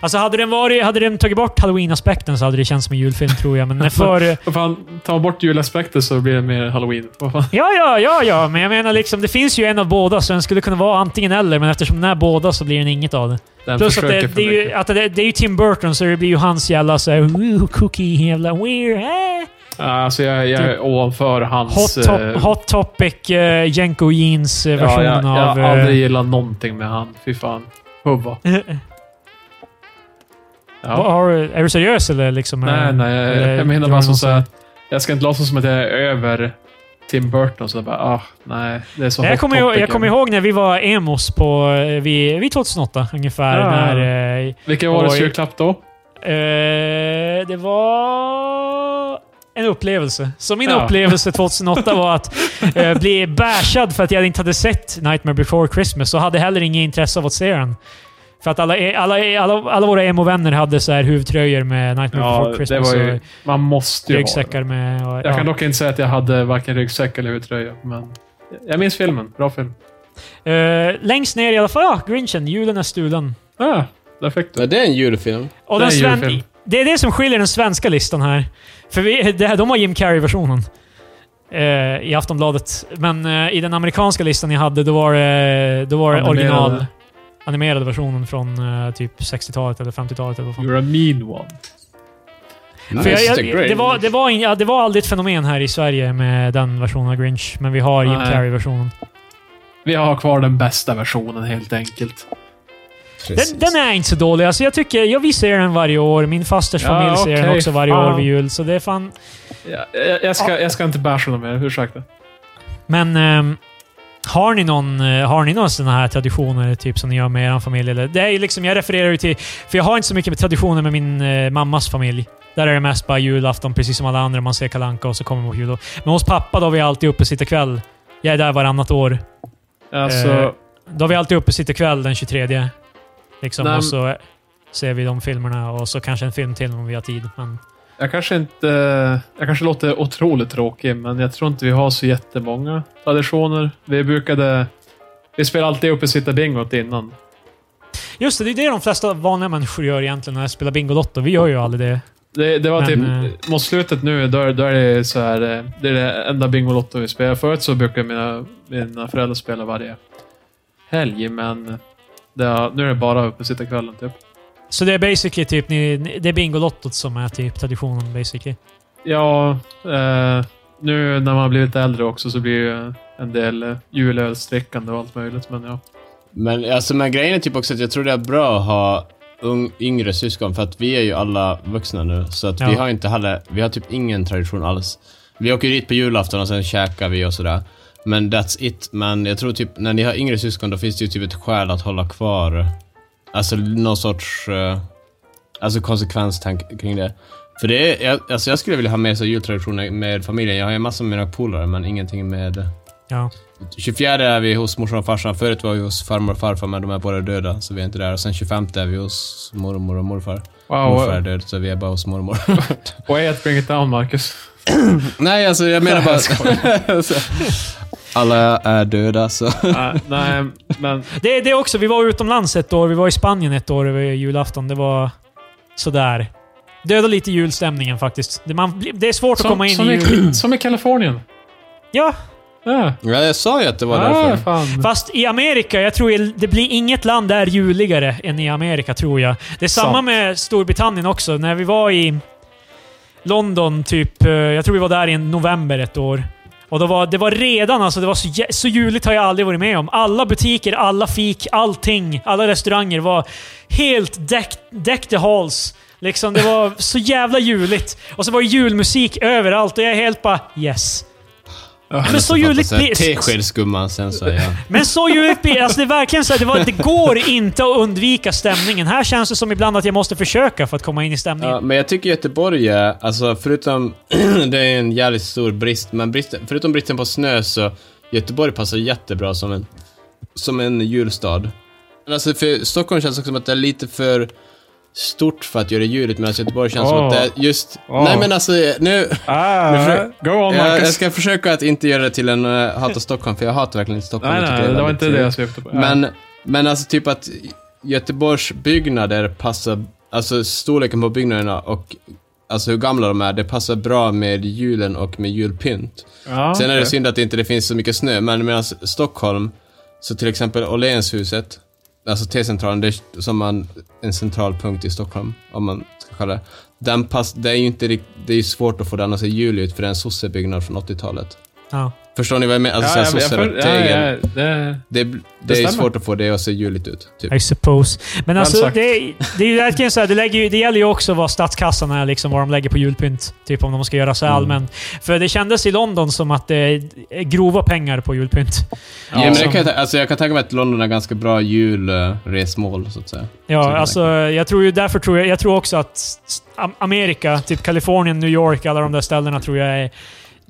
Speaker 3: Alltså hade den, varit, hade den tagit bort halloween-aspekten så hade det känts som en julfilm tror jag, men när för...
Speaker 2: Vad fan, ta bort julaspekter så blir det mer halloween. Vad fan?
Speaker 3: Ja, ja, ja, ja, men jag menar liksom, det finns ju en av båda, så den skulle kunna vara antingen eller, men eftersom den är båda så blir den inget av det.
Speaker 2: Den
Speaker 3: Plus att
Speaker 2: försöker
Speaker 3: det,
Speaker 2: för
Speaker 3: det, är ju,
Speaker 2: mycket.
Speaker 3: att det, det är ju Tim Burton, så det blir ju hans jävla såhär "Ooh, cookie, jävla weird, eh.
Speaker 2: Ah, Alltså jag, jag är ovanför hans...
Speaker 3: Typ Hot, top,
Speaker 2: eh,
Speaker 3: hot Topic, eh, Jenko Jeans eh,
Speaker 2: ja,
Speaker 3: versionen
Speaker 2: jag, jag
Speaker 3: av...
Speaker 2: har
Speaker 3: eh,
Speaker 2: aldrig gillat någonting med han. Fy fan. Hubba.
Speaker 3: vad
Speaker 2: Ja.
Speaker 3: eh, har, du- är du seriös eller liksom?
Speaker 2: Nej,
Speaker 3: eh,
Speaker 2: nej. Jag,
Speaker 3: eller
Speaker 2: jag menar
Speaker 3: drar
Speaker 2: bara
Speaker 3: du
Speaker 2: som
Speaker 3: någon
Speaker 2: såhär... Jag ska inte låtsas som att jag är över Tim Burton. Så jag bara, ah, nej. Det är så
Speaker 3: Nej, Jag
Speaker 2: hot
Speaker 3: kommer, ihåg,
Speaker 2: topic.
Speaker 3: jag kommer ihåg när vi var emos på, eh, vid, vid 2008 ungefär.
Speaker 2: Ja.
Speaker 3: När, eh,
Speaker 2: Vilken var årets
Speaker 3: Oj.
Speaker 2: julklapp då?
Speaker 3: Eh, det var en upplevelse. Så min
Speaker 2: Ja.
Speaker 3: upplevelse 2008 var att eh, bli bashad för att jag inte hade sett Nightmare before Christmas och hade heller inget intresse av att se den. För att alla, eh, alla, alla, alla våra emo-vänner hade så här huvtröjor med Nightmare
Speaker 2: Ja,
Speaker 3: before
Speaker 2: det
Speaker 3: Christmas
Speaker 2: var ju... typ- Man måste
Speaker 3: och
Speaker 2: ju ha det.
Speaker 3: ryggsäckar med... Och,
Speaker 2: Jag
Speaker 3: ja.
Speaker 2: kan dock inte säga att jag hade varken ryggsäck eller huvtröja, men... Jag minns filmen. Bra film.
Speaker 3: Eh, längst ner i alla fall, ja, Grinchen. Julen är stulen.
Speaker 2: Ah, där fick du.
Speaker 1: ja, det är en julfilm.
Speaker 3: Och
Speaker 2: Det
Speaker 3: den
Speaker 2: är en
Speaker 3: sven-
Speaker 2: julfilm.
Speaker 3: det är det som skiljer den svenska listan här. För vi, det här, de har Jim Carrey-versionen eh, i Aftonbladet. Men eh, i den amerikanska listan jag hade, då var det, då var det
Speaker 2: Animerade.
Speaker 3: original animerade versionen från eh, typ 60-talet eller 50-talet. Eller vad fan.
Speaker 2: You're a mean one.
Speaker 3: För jag,
Speaker 1: Mr.
Speaker 3: jag,
Speaker 1: Grinch.
Speaker 3: det, var, det, var in, ja, det var aldrig ett fenomen här i Sverige med den versionen av Grinch, men vi har Jim
Speaker 2: Nej.
Speaker 3: Carrey-versionen.
Speaker 2: Vi har kvar den bästa versionen helt enkelt.
Speaker 1: Precis.
Speaker 3: Den, den är inte så dålig. Alltså, jag tycker, ja, vi ser den varje år. Min fasters
Speaker 2: Ja,
Speaker 3: familj ser den
Speaker 2: okej.
Speaker 3: också varje år
Speaker 2: Fan.
Speaker 3: vid jul, så det är fan...
Speaker 2: Ja, jag, jag, ska, jag ska inte basha dem mer, ursäkta.
Speaker 3: Men ehm, har ni någon, eh, har ni någon sådana här traditioner typ som ni gör med er familj? Eller, det är ju liksom, jag refererar ju till, för jag har inte så mycket med traditioner med min eh, mammas familj. Där är det mest bara julafton, precis som alla andra. Man ser kalanka och så kommer man på jul. Men hos pappa då är vi alltid uppe sitta kväll. Jag är där varannat år.
Speaker 2: Alltså,
Speaker 3: Eh, Då är vi alltid uppe sitta kväll den 23. Liksom,
Speaker 2: Nej,
Speaker 3: och så ser vi de filmerna och så kanske en film till om vi har tid. Men,
Speaker 2: jag kanske inte... Jag kanske låter otroligt tråkig, men jag tror inte vi har så jättemånga traditioner. Vi brukade... Vi spelade alltid uppe sitta bingot innan.
Speaker 3: just det, det är det de flesta vanliga människor gör egentligen när de spelar Bingolotto. Vi gör ju aldrig det.
Speaker 2: Det, det var
Speaker 3: Men,
Speaker 2: typ...
Speaker 3: eh,
Speaker 2: Mot slutet nu, då, är- då är det så här... eh, Det är det enda Bingolotto vi spelar. Förut så brukade mina, mina föräldrar spela varje helg, men... Det, har- nu är det bara uppe sitta kvällen typ.
Speaker 3: Så det är basically typ, ni, ni- det är Bingolottot som är typ traditionen basically.
Speaker 2: Ja, eh, nu när man har blivit äldre också så blir ju en del eh, julölsdrickande och allt möjligt. Men ja.
Speaker 1: Men alltså men grejen är typ också att jag tror det är bra att ha ung, yngre syskon för att vi är ju alla vuxna nu. Så att vi
Speaker 3: Ja.
Speaker 1: har inte heller, vi har typ ingen tradition alls. Vi åker ju dit på julafton och sen käkar vi och sådär. Men that's it. Men jag tror typ när ni har yngre syskon då finns det ju typ ett skäl att hålla kvar, alltså någon sorts, eh, alltså konsekvenstank kring det. För det är, jag, alltså jag skulle vilja ha med sig jultraditioner med familjen. Jag har ju massor med mina polare men ingenting med
Speaker 3: Ja.
Speaker 1: 24 är vi hos morsan och farsan. Förut var vi hos farmor och farfar, men de är båda döda, så vi är inte där. Och sen 25 är vi hos mormor och morfar.
Speaker 2: Wow.
Speaker 1: Morfar är död, så vi är bara hos mormor.
Speaker 2: Way to bring it down, Marcus.
Speaker 1: Nej, alltså jag menar bara... Så- Alla är döda, så...
Speaker 2: Nej, nej, men...
Speaker 3: Det, det också, vi var utomlands ett år. Vi var i Spanien ett år över julafton. Det var sådär. Döda lite julstämningen faktiskt. Det, man, blir- det är svårt att komma in
Speaker 2: som,
Speaker 3: i jul.
Speaker 2: i, som i Kalifornien.
Speaker 3: Ja,
Speaker 2: Ja.
Speaker 1: Ja, jag sa ju att det var
Speaker 2: Ah,
Speaker 1: därför.
Speaker 2: fan.
Speaker 3: fast i Amerika, jag tror det blir inget land där juligare än i Amerika, tror jag. Det är samma
Speaker 2: Sant.
Speaker 3: med Storbritannien också. När vi var i London, typ, eh, jag tror vi var där i november ett år. Och då var, det var redan alltså, det var så, jä- så juligt har jag aldrig varit med om. Alla butiker, alla fik, allting, alla restauranger var helt deck, deck the halls. Liksom, det var så jävla juligt. Och så var det julmusik överallt och jag är helt bara yes. Men så juligt
Speaker 1: Fattar, så här,
Speaker 3: blir-
Speaker 1: Teskedsgumman sen så, ja.
Speaker 3: men så djupt blir alltså det. är verkligen så här, det, var, det går inte att undvika stämningen. Här känns det som ibland att jag måste försöka för att komma in i stämningen.
Speaker 1: Ja, men jag tycker Göteborg är, alltså förutom, det är en jävligt stor brist, men bristen, förutom bristen på snö så Göteborg passar jättebra som en, som en julstad. Men alltså för Stockholm känns också som att det är lite för stort för att göra juligt medan Göteborg känns som
Speaker 2: Åh.
Speaker 1: att det är just...
Speaker 2: Åh.
Speaker 1: Nej men alltså nu... Nu
Speaker 2: Ah,
Speaker 1: försöker-
Speaker 2: go on,
Speaker 1: Jag, jag
Speaker 2: Marcus.
Speaker 1: ska försöka att inte göra det till en eh, hata Stockholm, för jag hatar verkligen inte Stockholm.
Speaker 2: Nej,
Speaker 1: Jag tycker
Speaker 2: nej, det var
Speaker 1: väldigt
Speaker 2: inte det
Speaker 1: trevligt.
Speaker 2: jag syftade på. Ja.
Speaker 1: Men, men alltså typ att Göteborgs byggnader passar, alltså storleken på byggnaderna och alltså hur gamla de är, det passar bra med julen och med julpynt.
Speaker 2: ja,
Speaker 1: Sen är
Speaker 2: okej.
Speaker 1: det synd att det inte det finns så mycket snö, men medan Stockholm, så till exempel Åhlénshuset, alltså T-centralen, det är som man, en central punkt i Stockholm, om man ska kalla det. Den pass, det är ju inte rikt, det är ju svårt att få den att se jul ut, för det är en sossebyggnad från 80-talet.
Speaker 3: Ja.
Speaker 1: Förstår ni vad jag menar? Alltså
Speaker 2: ja,
Speaker 1: såhär
Speaker 2: jag- jag-
Speaker 1: sosseregel.
Speaker 2: ja, ja, det,
Speaker 1: Det, det, är ju
Speaker 2: stämmer.
Speaker 1: svårt att få det att se juligt ut. Typ.
Speaker 3: I suppose. Men alltså,
Speaker 2: sagt.
Speaker 3: det, det är ju verkligen så här, det, lägger ju, det gäller ju också vad statskassan är, liksom, vad de lägger på julpynt. Typ om de ska göra så här allmänt. För det kändes i London som att det är grova pengar på julpynt.
Speaker 1: Ja, men det
Speaker 3: som-
Speaker 1: kan jag, ta- alltså, jag kan tänka mig att London har ganska bra julresmål, så att säga.
Speaker 3: Ja,
Speaker 1: Så
Speaker 3: alltså jag tror ju därför tror jag, jag tror också att s- Am- Amerika, typ Kalifornien, New York, alla de där ställena tror jag är...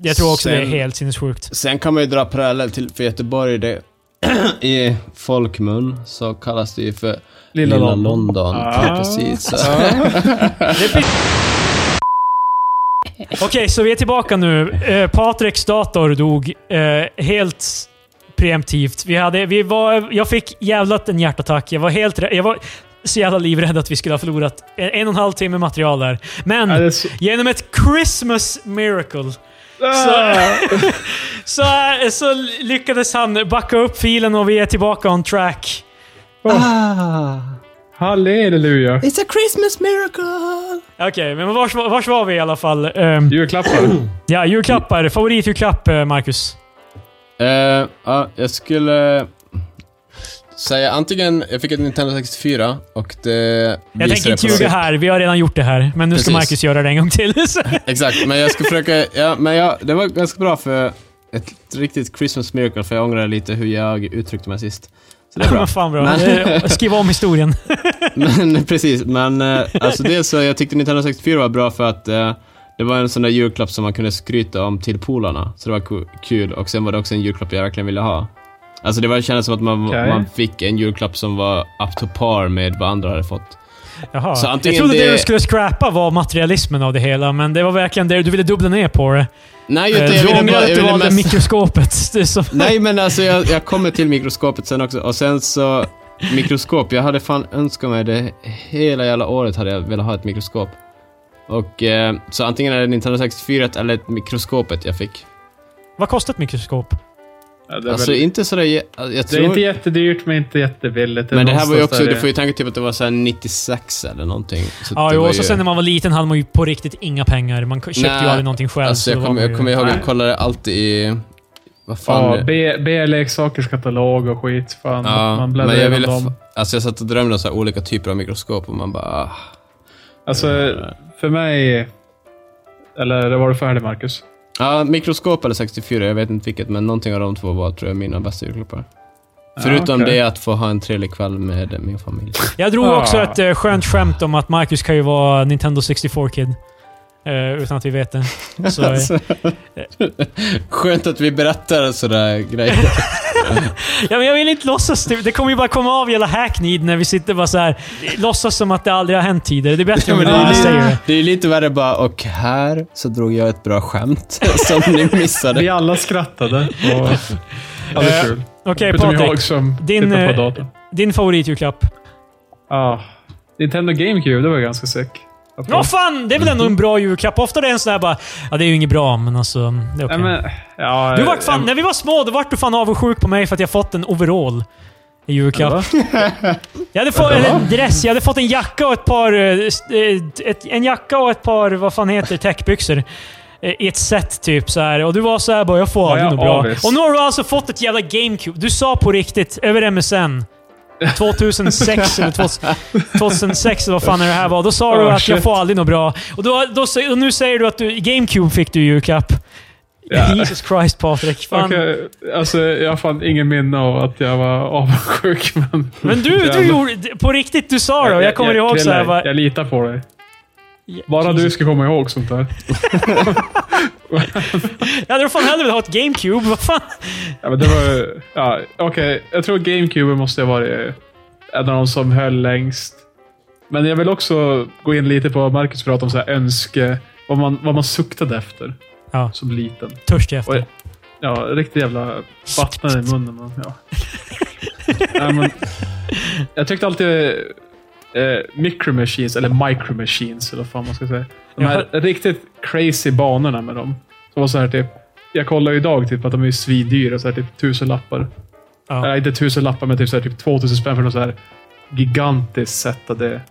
Speaker 3: Jag tror också det är
Speaker 1: Sen-
Speaker 3: helt sinnessjukt.
Speaker 1: Sen kan man ju dra parallell till, för Göteborg, det, i folkmun så kallas det ju för
Speaker 2: Lilla London. Ah.
Speaker 1: Precis.
Speaker 2: Ja.
Speaker 3: Det blir- Okej, så vi är tillbaka nu. Eh, Patricks dator dog eh, helt preemptivt. Vi hade, vi var, jag fick jävlat en hjärtattack. Jag var helt rä- Jag var så jävla livrädd att vi skulle ha förlorat en, en och en halv timme material där. Men
Speaker 2: Ja, det är så-
Speaker 3: genom ett Christmas miracle
Speaker 2: Ah!
Speaker 3: så, så lyckades han backa upp filen och vi är tillbaka on track.
Speaker 2: Halleluja.
Speaker 1: It's a Christmas miracle!
Speaker 3: Okej, men vars, vars var vi i alla fall? Ehm,
Speaker 2: Julklappar.
Speaker 3: ja, julklappar. Favoritjulklapp, eh, Marcus?
Speaker 1: Eh, ja, jag skulle säga antingen, jag fick ett Nintendo 64 och det
Speaker 3: Jag tänker inte ljuga här. Vi har redan gjort det här. Men nu ska
Speaker 1: Precis.
Speaker 3: Marcus göra det en gång till. Så-
Speaker 1: Exakt, men jag ska försöka... Ja, men jag, det var ganska bra för ett riktigt Christmas miracle, för jag ångrar lite hur jag uttryckte mig sist. Så det är bra.
Speaker 3: Vad fan bra.
Speaker 1: Men-
Speaker 3: Eh, Skriv om historien.
Speaker 1: men precis, men eh, alltså dels så jag tyckte 1964 var bra för att eh, det var en sån där julklapp som man kunde skryta om till polarna, så det var ku- kul. Och sen var det också en julklapp jag verkligen ville ha. Alltså det var, det kändes som att man,
Speaker 2: Okej.
Speaker 1: man fick en julklapp som var up to par med vad andra hade fått.
Speaker 3: Jaha.
Speaker 1: Så
Speaker 3: Jag
Speaker 1: antingen
Speaker 3: trodde det...
Speaker 1: det-
Speaker 3: du skulle scrappa var materialismen av det hela, men det var verkligen det du ville dubbla ner på det.
Speaker 1: Nej,
Speaker 3: Eh,
Speaker 1: utan jag
Speaker 3: Du
Speaker 1: ville
Speaker 3: ångrar
Speaker 1: bara...
Speaker 3: att
Speaker 1: Jag
Speaker 3: du
Speaker 1: ville
Speaker 3: valde
Speaker 1: mest...
Speaker 3: mikroskopet. Det är som...
Speaker 1: Nej, men alltså jag, jag kommer till mikroskopet sen också. Och sen så, mikroskop. Jag hade fan önskat mig det hela jävla året hade jag velat ha ett mikroskop. Och eh, så antingen är det Nintendo 64 eller ett mikroskopet jag fick.
Speaker 3: Vad kostar ett mikroskop?
Speaker 2: Ja, det, är
Speaker 1: Alltså
Speaker 2: väl,
Speaker 1: inte sådär, jä- alltså, jag
Speaker 2: det är
Speaker 1: tror...
Speaker 2: inte jättedyrt, men inte jättebilligt.
Speaker 1: men det här var ju också,
Speaker 2: någonstans
Speaker 1: du
Speaker 2: där
Speaker 1: får ju tänka typ att det var såhär 96 eller någonting. Så
Speaker 3: Ja,
Speaker 1: det
Speaker 3: jo,
Speaker 1: var
Speaker 3: och så
Speaker 1: ju-
Speaker 3: sen när man var liten hade man ju på riktigt inga pengar. Man köpte ju
Speaker 1: Nej,
Speaker 3: aldrig någonting själv.
Speaker 1: Alltså
Speaker 3: så
Speaker 1: jag
Speaker 3: då var
Speaker 1: kommer
Speaker 3: man ju-
Speaker 1: jag kommer ihåg att
Speaker 2: Nej.
Speaker 1: jag kollade alltid i... Vad fan...
Speaker 2: Ja, B- B-leksakers katalog och skit. Fan,
Speaker 1: Ja,
Speaker 2: man bläddrar
Speaker 1: men jag
Speaker 2: igenom
Speaker 1: ville...
Speaker 2: dem.
Speaker 1: f- Alltså jag satt och drömde om så här olika typer av mikroskop och man bara... ah.
Speaker 2: Alltså,
Speaker 1: Eh.
Speaker 2: för mig... Eller var du färdig, Marcus?
Speaker 1: Ja, mikroskop eller 64, jag vet inte vilket, men någonting av de två var tror jag mina bästa julklappar. Förutom
Speaker 2: okej.
Speaker 1: det att få ha en trevlig kväll med min familj.
Speaker 3: Jag drog också
Speaker 2: Ah.
Speaker 3: ett eh, skönt skämt om att Marcus kan ju vara Nintendo 64-kid. eh, utan att vi vet det. Så, eh,
Speaker 1: Alltså, Skönt att vi berättar sådana grejer.
Speaker 3: ja, men jag vill inte låtsas. Det, det kommer ju bara komma av hela hacknid när vi sitter bara så här. låtsas som att det aldrig har hänt tidigare. Det är bättre
Speaker 1: Ja,
Speaker 3: om
Speaker 1: men
Speaker 3: vi
Speaker 1: det, är
Speaker 3: bara
Speaker 1: ju
Speaker 3: säger
Speaker 1: lite,
Speaker 3: det.
Speaker 1: det är ju lite värre bara, och här så drog jag ett bra skämt som ni missade.
Speaker 2: Vi alla skrattade. Och, ja, det är Eh, kul.
Speaker 3: Okej
Speaker 2: Förutom jag
Speaker 3: Patrik,
Speaker 2: som
Speaker 3: din,
Speaker 2: tittar på
Speaker 3: eh,
Speaker 2: datorn.
Speaker 3: din favoritjulklapp?
Speaker 2: Ah, Nintendo GameCube, det var ganska sick. Att få.
Speaker 3: Ja fan, det är väl ändå
Speaker 1: Mm.
Speaker 3: en bra julklapp. Ofta är det en sån här bara, ja det är ju inget bra, men alltså, det är
Speaker 2: Nej,
Speaker 3: okej.
Speaker 2: men, ja, eh,
Speaker 3: Du vart fan,
Speaker 2: jag-
Speaker 3: när vi var små, då vart du fan avundsjuk på mig för att jag fått en overall i julklapp. Jag hade fått, eller en dress, jag hade fått en jacka och ett par... eh, s- eh, Ett, en jacka och ett par, vad fan heter det, täckbyxor. Eh, I ett set typ så här. Och du var så här bara, jag får
Speaker 2: Var
Speaker 3: aldrig
Speaker 2: jag
Speaker 3: något bra.
Speaker 2: avis?
Speaker 3: Och nu har du alltså fått ett jävla GameCube. Du sa på riktigt, över MSN, 2006 eller 2000 2006 eller vad fan är det här var. Då sa du
Speaker 2: Oh,
Speaker 3: att jag
Speaker 2: shit.
Speaker 3: får aldrig något bra. Och, då, då, sä- och nu säger du att du, GameCube fick du i julklapp.
Speaker 2: Ja.
Speaker 3: Jesus Christ Patrik. Fan.
Speaker 2: Okej, alltså, jag har fan ingen minne av att jag var avundsjuk. Men,
Speaker 3: Men du, du
Speaker 2: Jävlar.
Speaker 3: gjorde... På riktigt, du sa det. och Jag kommer ihåg så här,
Speaker 2: jag,
Speaker 3: bara-
Speaker 2: jag litar på dig. Bara
Speaker 3: Jesus.
Speaker 2: du ska komma ihåg sånt där.
Speaker 3: Jag hade fan hellre velat ha ett GameCube. Vad fan?
Speaker 2: Ja, men det var ju- ja, Okej, jag tror GameCube måste ha varit en av de som höll längst. Men jag vill också gå in lite på vad Marcus pratade om, så här, önske, vad man, vad man suktade efter
Speaker 3: Ja.
Speaker 2: som liten.
Speaker 3: Törstig efter.
Speaker 2: Oj. Ja, riktigt jävla vattnade i munnen. Men, ja. Nej, men, jag tyckte alltid eh, micro machines, eller micro machines, eller vad fan man ska säga. De här riktigt crazy banorna med dem. Som var så här typ, jag kollar ju idag typ att de är svindyra, så här typ tusen lappar.
Speaker 3: Ja.
Speaker 2: Nej, inte tusen lappar men typ, så här, typ 2000 spänn för något så här gigantiskt set av det.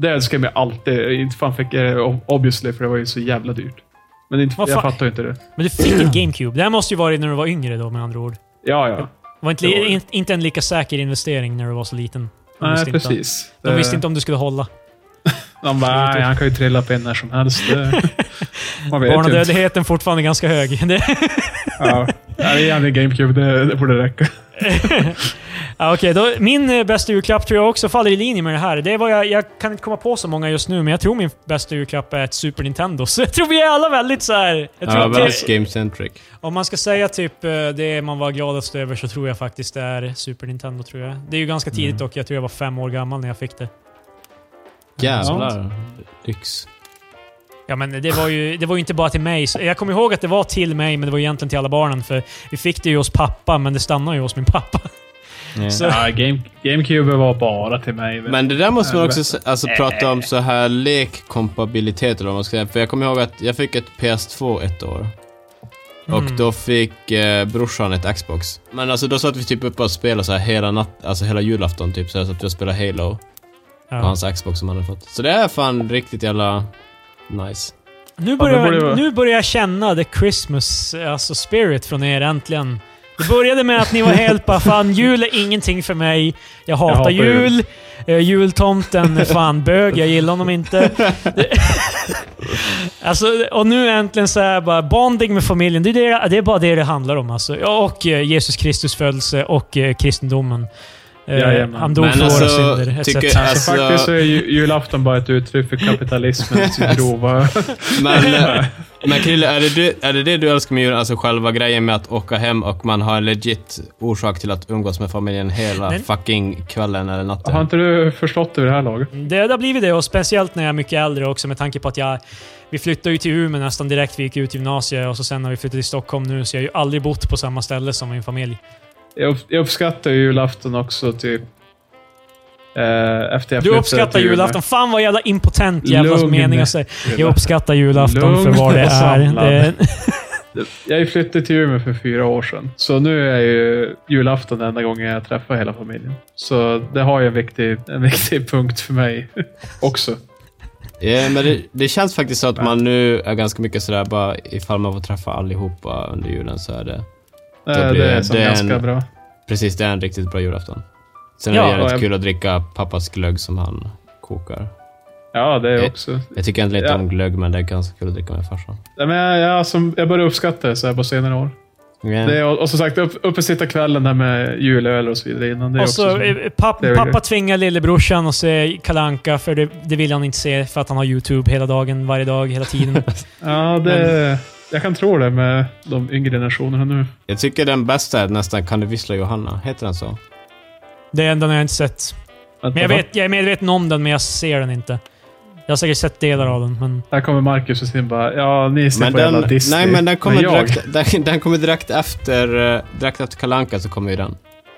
Speaker 2: Det älskar jag alltid. Inte fan fick jag det obviously, för det var ju så jävla dyrt. Men inte,
Speaker 3: Vad
Speaker 2: jag
Speaker 3: fan?
Speaker 2: fattar ju inte det.
Speaker 3: Men du fick ett GameCube. Det här måste ju varit när du var yngre då, med andra ord.
Speaker 2: Ja, ja.
Speaker 3: Det var inte,
Speaker 2: Det var det.
Speaker 3: in, inte en lika säker investering när du var så liten. De
Speaker 2: Nej,
Speaker 3: visste Inte,
Speaker 2: precis.
Speaker 3: de visste inte om du skulle hålla.
Speaker 2: De bara, nej, han kan ju trilla på in när som helst. Det- Man vet ju inte.
Speaker 3: Barnadödligheten fortfarande ganska hög. Det,
Speaker 2: Ja, det är en GameCube, det, det borde räcka.
Speaker 3: Ja, okej, då, min eh, bästa julklapp tror jag också faller i linje med det här. Det var jag, jag kan inte komma på så många just nu, men jag tror min bästa julklapp är ett Super Nintendo. Så jag tror vi är alla väldigt så här. Jag tror
Speaker 1: Ja, alltså,
Speaker 3: att
Speaker 1: väldigt
Speaker 3: det,
Speaker 1: game-centric.
Speaker 3: om man ska säga typ eh, det man var gladast över så tror jag faktiskt det är Super Nintendo. tror jag. Det är ju
Speaker 1: Mm.
Speaker 3: ganska tidigt dock. Jag tror jag var fem år gammal när jag fick det.
Speaker 1: Jävlar. Lyx.
Speaker 3: Ja, men det var ju, det var ju inte bara till mig. Så Jag kommer ihåg att det var till mig, men det var egentligen till alla barnen. För vi fick det ju hos pappa, men det stannade ju hos min pappa. Så-
Speaker 2: Ja, Game, GameCube var bara till mig. vet du.
Speaker 1: Men det där måste man
Speaker 2: Ja,
Speaker 1: också
Speaker 2: men-
Speaker 1: s- alltså, prata om så här lekkompabilitet eller vad man ska säga. För jag kommer ihåg att jag fick ett PS2 ett år. Och
Speaker 3: Mm.
Speaker 1: då fick eh, brorsan ett Xbox. Men alltså då satt vi typ uppe och spelade så här hela natt, alltså hela julafton typ. Så, här, så att jag spelade Halo på
Speaker 3: Ja.
Speaker 1: hans Xbox som han hade fått. Så det är fan riktigt jävla nice.
Speaker 3: Nu
Speaker 2: det
Speaker 3: börjar,
Speaker 2: borde vara-
Speaker 3: nu börjar jag känna the Christmas alltså spirit från er äntligen. Det började med att ni var helt bara fan, jul är ingenting för mig. Jag hatar,
Speaker 2: hatar
Speaker 3: jul.
Speaker 2: jul."
Speaker 3: Eh, jultomten är fan bög, jag gillar honom inte. Det- alltså, och nu äntligen så här bara, bonding med familjen. Det är, det, det är bara det det handlar om alltså. Ja, Och eh, Jesus Kristus födelse och eh, kristendomen. Eh,
Speaker 2: Jajamän.
Speaker 3: han dog
Speaker 1: Men
Speaker 3: för våra
Speaker 1: alltså,
Speaker 3: synder, etc.
Speaker 1: tycker-
Speaker 2: Alltså,
Speaker 1: Alltså-
Speaker 2: faktiskt så är ju, julafton bara ett uttryck för kapitalismens grova...
Speaker 1: Men, eh, men Krille, är det, du, är det det du älskar med julen? Alltså själva grejen med att åka hem och man har en legit orsak till att umgås med familjen hela
Speaker 3: Nej.
Speaker 1: fucking kvällen eller natten.
Speaker 2: Har inte du förstått det vid det här laget?
Speaker 3: Det det har blivit det och speciellt när jag är mycket äldre också med tanke på att jag... Vi flyttade ju till Umeå nästan direkt vi gick ut gymnasiet och så sen har vi flyttat till Stockholm nu så jag har ju aldrig bott på samma ställe som min familj.
Speaker 2: Jag, upp- jag uppskattar ju julafton också, typ. Eh, efter jag
Speaker 3: Du
Speaker 2: flyttade
Speaker 3: uppskattar
Speaker 2: till Umeå.
Speaker 3: julafton. Fan vad jävla impotent jävla
Speaker 2: Lugn.
Speaker 3: mening att säga. Jag uppskattar julafton
Speaker 2: Lugn
Speaker 3: för vad det
Speaker 2: och
Speaker 3: är.
Speaker 2: samlad.
Speaker 3: Det,
Speaker 2: Jag flyttade till Umeå för fyra år sedan, så nu är ju julafton enda gången jag träffar hela familjen. Så det har ju en viktig, en viktig punkt för mig också.
Speaker 1: Ja, men det, det känns faktiskt så att man nu är ganska mycket sådär bara ifall man får träffa allihopa under julen så är det
Speaker 2: Eh,
Speaker 1: Det
Speaker 2: Det,
Speaker 1: blir-
Speaker 2: är som
Speaker 1: det är
Speaker 2: ganska
Speaker 1: en-
Speaker 2: bra.
Speaker 1: precis, det är en riktigt bra julafton. Sen
Speaker 3: Ja,
Speaker 1: är det
Speaker 2: och
Speaker 1: jävligt
Speaker 2: jag-
Speaker 1: kul att dricka pappas glögg som han kokar.
Speaker 2: Ja, det
Speaker 1: Eh,
Speaker 2: är också.
Speaker 1: Jag tycker egentligen inte
Speaker 2: Ja.
Speaker 1: om glögg men det är ganska kul att dricka med farsan.
Speaker 2: Nej, Men jag, jag, som, jag börjar uppskatta det så här på senare år. Det är, och, och som sagt, upp, uppe sitta kvällen där med julöl och så vidare innan. Det är
Speaker 3: Och
Speaker 2: också
Speaker 3: så,
Speaker 2: som-
Speaker 3: eh, papp,
Speaker 2: det är väl
Speaker 3: pappa tvingar lillebrorsan att se Kalanka för det, det vill han inte se för att han har YouTube hela dagen, varje dag, hela tiden.
Speaker 2: Ja, det, jag kan tro det med de yngre generationerna nu.
Speaker 1: Jag tycker den bästa är nästan Kan du vissla Johanna? Heter den så?
Speaker 3: det är den jag inte sett.
Speaker 2: Att,
Speaker 3: Men jag, vet, jag är medveten om den, men jag ser den inte. Jag har säkert sett delar av den, men...
Speaker 2: Där kommer Marcus och sin bara, ja ni ser
Speaker 1: Men
Speaker 2: på jävla
Speaker 1: den,
Speaker 2: Disney.
Speaker 1: nej, men den kommer,
Speaker 2: jag,
Speaker 1: direkt, den, den kommer direkt efter eh, direkt efter Kalanka så kommer ju den.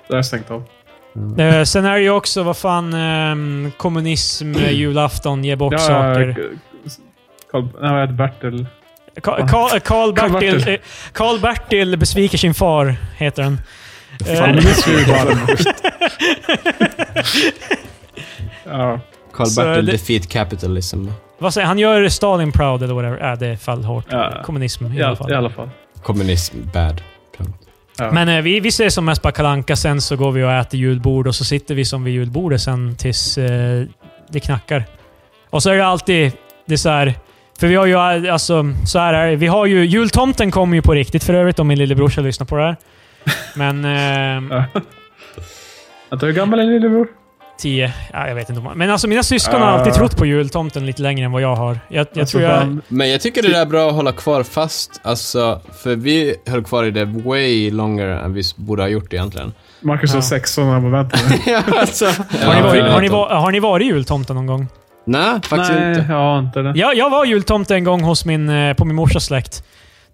Speaker 2: Det har jag stängt av.
Speaker 3: Eh, sen är det ju också, vad fan, ehm, kommunism, eh, julafton, ge bort
Speaker 2: Mm. Ja,
Speaker 3: saker.
Speaker 2: Carl, nej, vad heter Bertil?
Speaker 3: Karl-Bertil
Speaker 2: Karl-Bertil.
Speaker 3: eh, Karl-Bertil besviker sin far, heter den. Eh,
Speaker 2: Fan, det minns vi ju bara. Ja,
Speaker 1: Carl
Speaker 3: Så
Speaker 1: Bertil
Speaker 3: det-
Speaker 1: Defeat Capitalism.
Speaker 3: vad säger han? gör Stalin proud eller whatever. Äh, det faller hårt.
Speaker 2: Ja.
Speaker 3: Kommunism i
Speaker 2: i,
Speaker 3: alla
Speaker 2: all,
Speaker 3: fall.
Speaker 2: i alla fall.
Speaker 1: Kommunism bad.
Speaker 2: Ja.
Speaker 3: Men eh, vi, vi ses som mest på Kalle Anka, sen så går vi och äter julbord och så sitter vi som vid julbordet sen tills eh, det knackar. Och så är det alltid, det är så här, för vi har ju eh, alltså, så här är det. vi har ju, jultomten kommer ju på riktigt för övrigt om min lillebrorsa lyssnar på det här. Men, eh,
Speaker 2: Vänta, hur gammal är din lillebror?
Speaker 3: tio, ja, jag vet inte om man- Men alltså mina syskon har
Speaker 2: Ah.
Speaker 3: alltid trott på jultomten lite längre än vad jag har. Jag, jag
Speaker 2: Alltså,
Speaker 3: tror jag...
Speaker 2: fan,
Speaker 1: Men jag tycker det där är bra att hålla kvar fast, alltså, för vi höll kvar i det way longer än vi borde ha gjort egentligen.
Speaker 2: Marcus var
Speaker 3: Ja.
Speaker 2: 16 när han var vänta. nu.
Speaker 1: ja, alltså.
Speaker 3: Har ni,
Speaker 2: Ja,
Speaker 3: varit,
Speaker 2: jag
Speaker 3: har, ni, va- har ni varit jultomten någon gång?
Speaker 1: Nej, faktiskt
Speaker 2: Nej,
Speaker 1: inte.
Speaker 2: ja, inte det.
Speaker 3: Jag, jag var jultomte en gång hos min, eh, på min morsas släkt.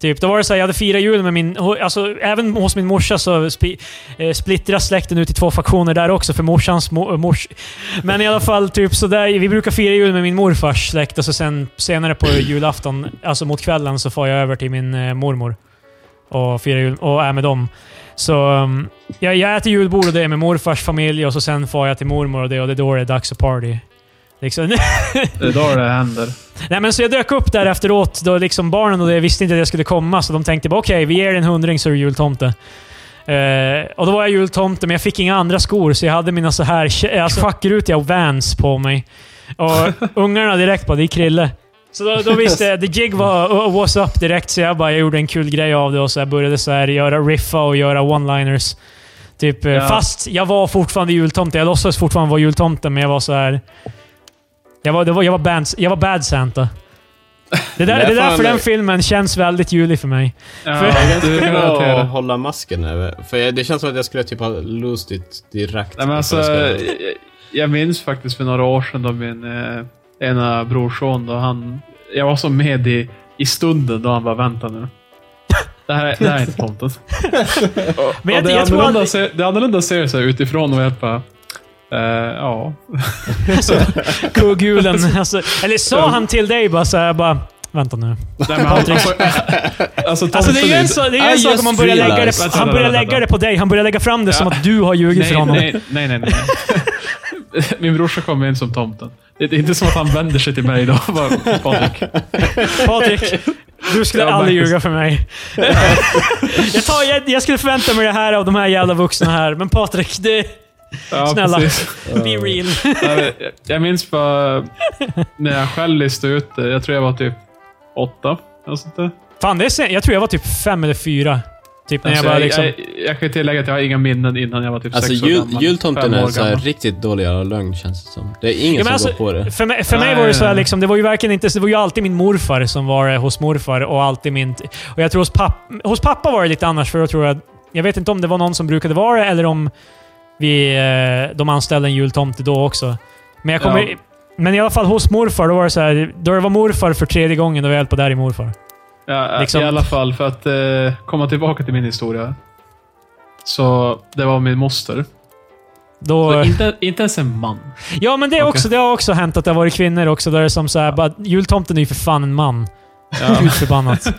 Speaker 3: Typ, då var det så här, jag hade firat jul med min... ho- Alltså, även hos min morsa så spi, eh, splittras släkten ut i två faktioner där också, för morsans mo, eh, mors... Men i alla fall, typ så där, vi brukar fira jul med min morfars släkt och så sen senare på julafton, alltså mot kvällen, så far jag över till min eh, mormor och firar jul och är med dem. Så um, jag, jag äter julbord och det är med morfars familj och så sen far jag till mormor och det och det är då det är dags att party. Liksom.
Speaker 2: Det är då det händer.
Speaker 3: Nej, men så jag dök upp där efteråt. Då liksom barnen och det visste inte att jag skulle komma, så de tänkte bara okej, vi ger dig en hundring så är du jultomte. Eh, och då var jag jultomte, men jag fick inga andra skor, så jag hade mina så här kä- alltså, schackrutiga och Vans på mig. Och ungarna direkt bara, det är Krille. Så då, då visste jag, the jig var uh, what's up direkt, så jag bara jag gjorde en kul grej av det och så jag började så här göra riffa och göra one-liners. Typ, eh,
Speaker 2: Ja.
Speaker 3: Fast jag var fortfarande jultomte. Jag låtsades fortfarande vara jultomte, men jag var så här... Jag var, det var, jag var, bad, jag var bad Santa.
Speaker 1: Det
Speaker 3: Det, där, det,
Speaker 1: är
Speaker 3: är därför
Speaker 1: fan-
Speaker 3: den filmen känns väldigt julig för mig.
Speaker 2: Ja,
Speaker 3: För-
Speaker 2: du kan relatera.
Speaker 1: att hålla masken över. För jag, det känns som att jag skulle typ ha lost it direkt.
Speaker 2: Nej, men alltså,
Speaker 1: För jag skulle-
Speaker 2: jag, jag minns faktiskt för några år sedan då min eh, ena brorson, då han, jag var som med i, i stunden då han bara vänta nu. Det här, är- det här är inte tomten. och,
Speaker 3: Men jag-
Speaker 2: och det, är
Speaker 3: jag tror
Speaker 2: annorlunda,
Speaker 3: aldrig-
Speaker 2: att se, det är annorlunda att se det så här utifrån och jag bara, eh, ja.
Speaker 3: Kuggulen. Alltså, eller sa han till dig bara så här, bara... Vänta nu.
Speaker 2: Nej, men han, han får, alltså,
Speaker 3: Alltså det är ju
Speaker 2: tomten
Speaker 3: en, så, det är ju
Speaker 1: I
Speaker 3: en sak
Speaker 1: just
Speaker 3: om man börjar lägga det,
Speaker 1: realized.
Speaker 3: på- han börjar lägga det på dig. Han börjar lägga fram det som att du har ljugit för
Speaker 2: nej,
Speaker 3: honom.
Speaker 2: nej, nej, nej, nej. Min brorsa kom in som tomten. Det är inte som att han vänder sig till mig då. Bara, Patrik.
Speaker 3: Patrik, du skulle
Speaker 2: Ja,
Speaker 3: aldrig
Speaker 2: Marcus.
Speaker 3: ljuga för mig. jag, tar, jag, jag skulle förvänta mig det här av de här jävla vuxna här, men Patrik, det,
Speaker 2: Ja,
Speaker 3: Snälla.
Speaker 2: precis.
Speaker 3: be real.
Speaker 2: jag, jag- jag minns bara när jag själv listade ut det. Jag tror jag var typ åtta. eller sånt där.
Speaker 3: Fan, det är sen, jag tror jag var typ fem eller fyra. Typ när jag
Speaker 2: Alltså,
Speaker 3: bara
Speaker 2: jag,
Speaker 3: liksom...
Speaker 2: jag, jag kan ju tillägga att jag har inga minnen innan jag var typ
Speaker 1: Alltså
Speaker 2: sex år
Speaker 1: jul,
Speaker 2: gammal.
Speaker 1: jultomten
Speaker 2: Fem
Speaker 1: är
Speaker 2: år
Speaker 1: så här
Speaker 2: gammal.
Speaker 1: riktigt dålig jävla lögn känns det som. Det är ingen
Speaker 3: Ja,
Speaker 1: som
Speaker 3: men alltså,
Speaker 1: går på det.
Speaker 3: För mig, för
Speaker 2: Nej,
Speaker 3: mig var det så här,
Speaker 2: nej, nej.
Speaker 3: liksom, det var ju verkligen inte, det var ju alltid min morfar som var eh, hos morfar och alltid min... Och jag tror hos pappa, hos pappa var det lite annars för jag tror jag... Jag vet inte om det var någon som brukade vara det eller om vi, eh, de anställde en jultomte då också. Men jag kommer...
Speaker 2: Ja.
Speaker 3: Men i alla fall hos morfar, då var det så här, Då det var morfar för tredje gången, då var jag hjälpte där i morfar.
Speaker 2: Ja,
Speaker 3: liksom-
Speaker 2: I alla fall, för att eh, komma tillbaka till min historia. Så det var min moster.
Speaker 3: Då,
Speaker 2: Så Inte, inte ens en man.
Speaker 3: ja, men det, är också, det har också hänt att det har varit kvinnor också. Där det är som så här, bara, jultomten är ju för fan en man.
Speaker 2: Ja.
Speaker 3: Gud förbannat.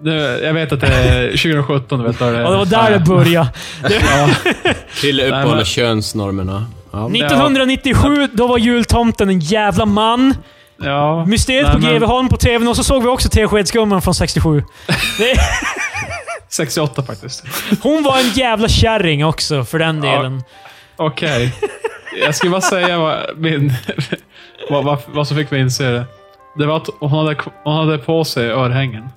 Speaker 2: Nu, jag vet att det är 2017. Vet du,
Speaker 3: Och det var där det började.
Speaker 2: Ja.
Speaker 1: Krille
Speaker 2: men-
Speaker 1: uppehåller könsnormerna. Ja.
Speaker 3: 1997, då var jultomten en jävla man.
Speaker 2: Ja.
Speaker 3: Mysteriet
Speaker 2: Nej,
Speaker 3: på
Speaker 2: men-
Speaker 3: Greveholm på tvn och så såg vi också Teskedsgumman från 67. Det,
Speaker 2: 68 faktiskt.
Speaker 3: hon var en jävla kärring också, för den
Speaker 2: Ja.
Speaker 3: delen.
Speaker 2: Okej. Jag ska bara säga vad, min, vad, vad, vad som fick mig inse det. Det var att hon hade, hon hade på sig örhängen.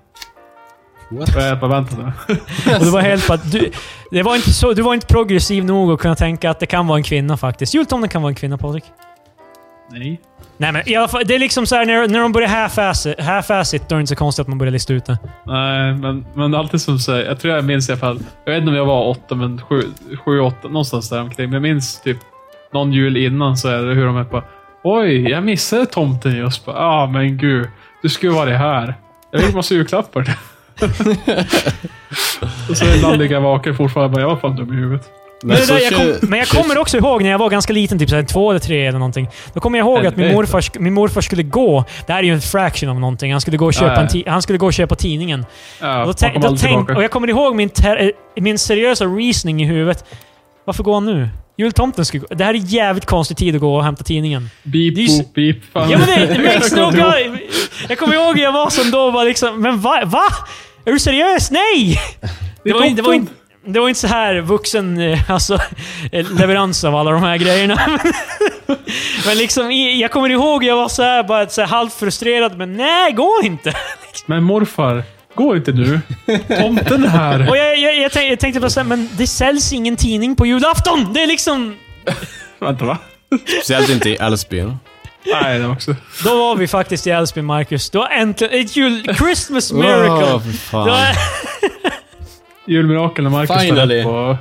Speaker 1: What?
Speaker 2: Och jag bara, vänta nu.
Speaker 3: Och det var helt bara, du, det var inte så, du var inte progressiv nog att kunna tänka att det kan vara en kvinna faktiskt. Jultomten kan vara en kvinna, Patrik.
Speaker 2: Nej.
Speaker 3: Nej men i alla fall, det är liksom så här när, när de börjar half-ass it, half-ass it, då är det inte så konstigt att man börjar lista ut det.
Speaker 2: Nej, men, men alltid som säger. Jag tror jag minns i alla fall. Jag vet inte om jag var åtta, men sju, sju åtta. Någonstans där omkring. Men jag minns typ någon jul innan så är det hur de är på. Oj, jag missade tomten just. Ja, ah, men gud. Du skulle varit här. Jag fick massa julklappar. och så ibland ligger jag vaken fortfarande. bara, Jag var fan dum i huvudet.
Speaker 3: Men, det
Speaker 1: så
Speaker 3: där, jag
Speaker 1: kö-
Speaker 3: kom, men jag kommer också ihåg när jag var ganska liten, typ så här två eller tre eller någonting. Då kommer jag ihåg att min
Speaker 2: Helvete.
Speaker 3: morfar, sk- min morfar skulle gå, det här är ju en fraction av någonting, han skulle gå och köpa,
Speaker 2: Ja, ja.
Speaker 3: en ti- han skulle gå och köpa tidningen.
Speaker 2: Ja,
Speaker 3: Och, då
Speaker 2: jag
Speaker 3: tänk,
Speaker 2: kom
Speaker 3: då
Speaker 2: aldrig
Speaker 3: tänk,
Speaker 2: tillbaka.
Speaker 3: och jag kommer ihåg min, ter, eh, min seriösa reasoning i huvudet. Varför går han nu? Jultomten skulle gå. Det här är jävligt konstig tid att gå och hämta tidningen.
Speaker 2: Beep,
Speaker 3: det är ju-
Speaker 2: boop, beep. Fan.
Speaker 3: Ja men det, det makes no
Speaker 2: Jag kommer ihåg.
Speaker 3: guy. Jag kommer ihåg hur jag var som då och bara liksom, men va? va? Är du seriös? Nej! Det var, in- det, var in, det var inte så här vuxen eh, alltså, eh, leverans av alla de här grejerna. Men, men liksom, i- jag kommer ihåg jag var så här, bara så här halvt frustrerad, men nej, gå inte!
Speaker 2: Men morfar, gå inte nu. Tomten är här.
Speaker 3: Och jag, jag, jag, tänk, jag tänkte bara såhär, men det säljs ingen tidning på julafton! Det är liksom...
Speaker 2: Vänta, va?
Speaker 1: Speciellt inte i Älvsbyn.
Speaker 2: Nej, det också.
Speaker 3: Då var vi faktiskt i Älvsbyn, Marcus. Då äntligen... Ett jul... Christmas miracle!
Speaker 1: Åh, för fan.
Speaker 3: Då är-
Speaker 2: Julmirakel när Marcus
Speaker 1: Finally.
Speaker 2: är på,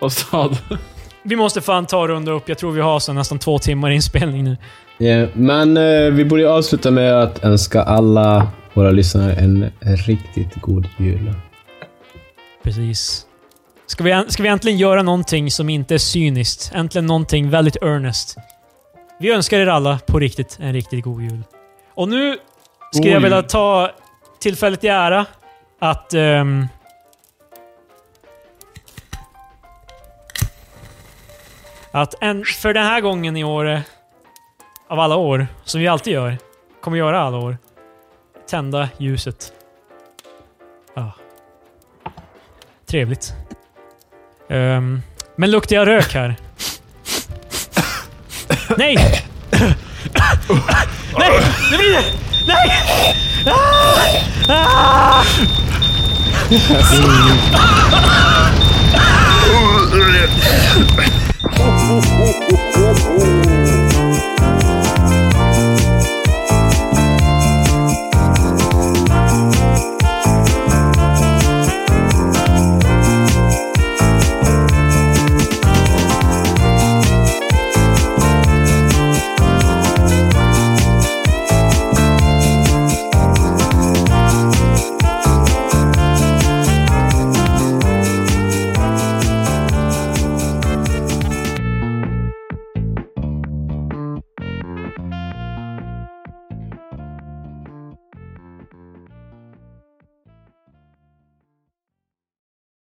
Speaker 2: på stad.
Speaker 3: vi måste fan ta och runda upp. Jag tror vi har så nästan två timmar inspelning nu.
Speaker 1: Ja, men eh, vi borde avsluta med att önska alla våra lyssnare en riktigt god jul.
Speaker 3: Precis. Ska vi, ska vi äntligen göra någonting som inte är cyniskt? Äntligen någonting väldigt earnest. Vi önskar er alla på riktigt en riktigt god jul. Och nu
Speaker 2: God
Speaker 3: skulle jag vilja
Speaker 2: jul.
Speaker 3: ta tillfället i ära att... ehm, att en, för den här gången i år, eh, av alla år, som vi alltid gör, kommer göra alla år, tända ljuset. Ja. Trevligt. Ehm, men luktar jag rök här? Nej! Nej! Nu blir det! Nej! Ah! Ah!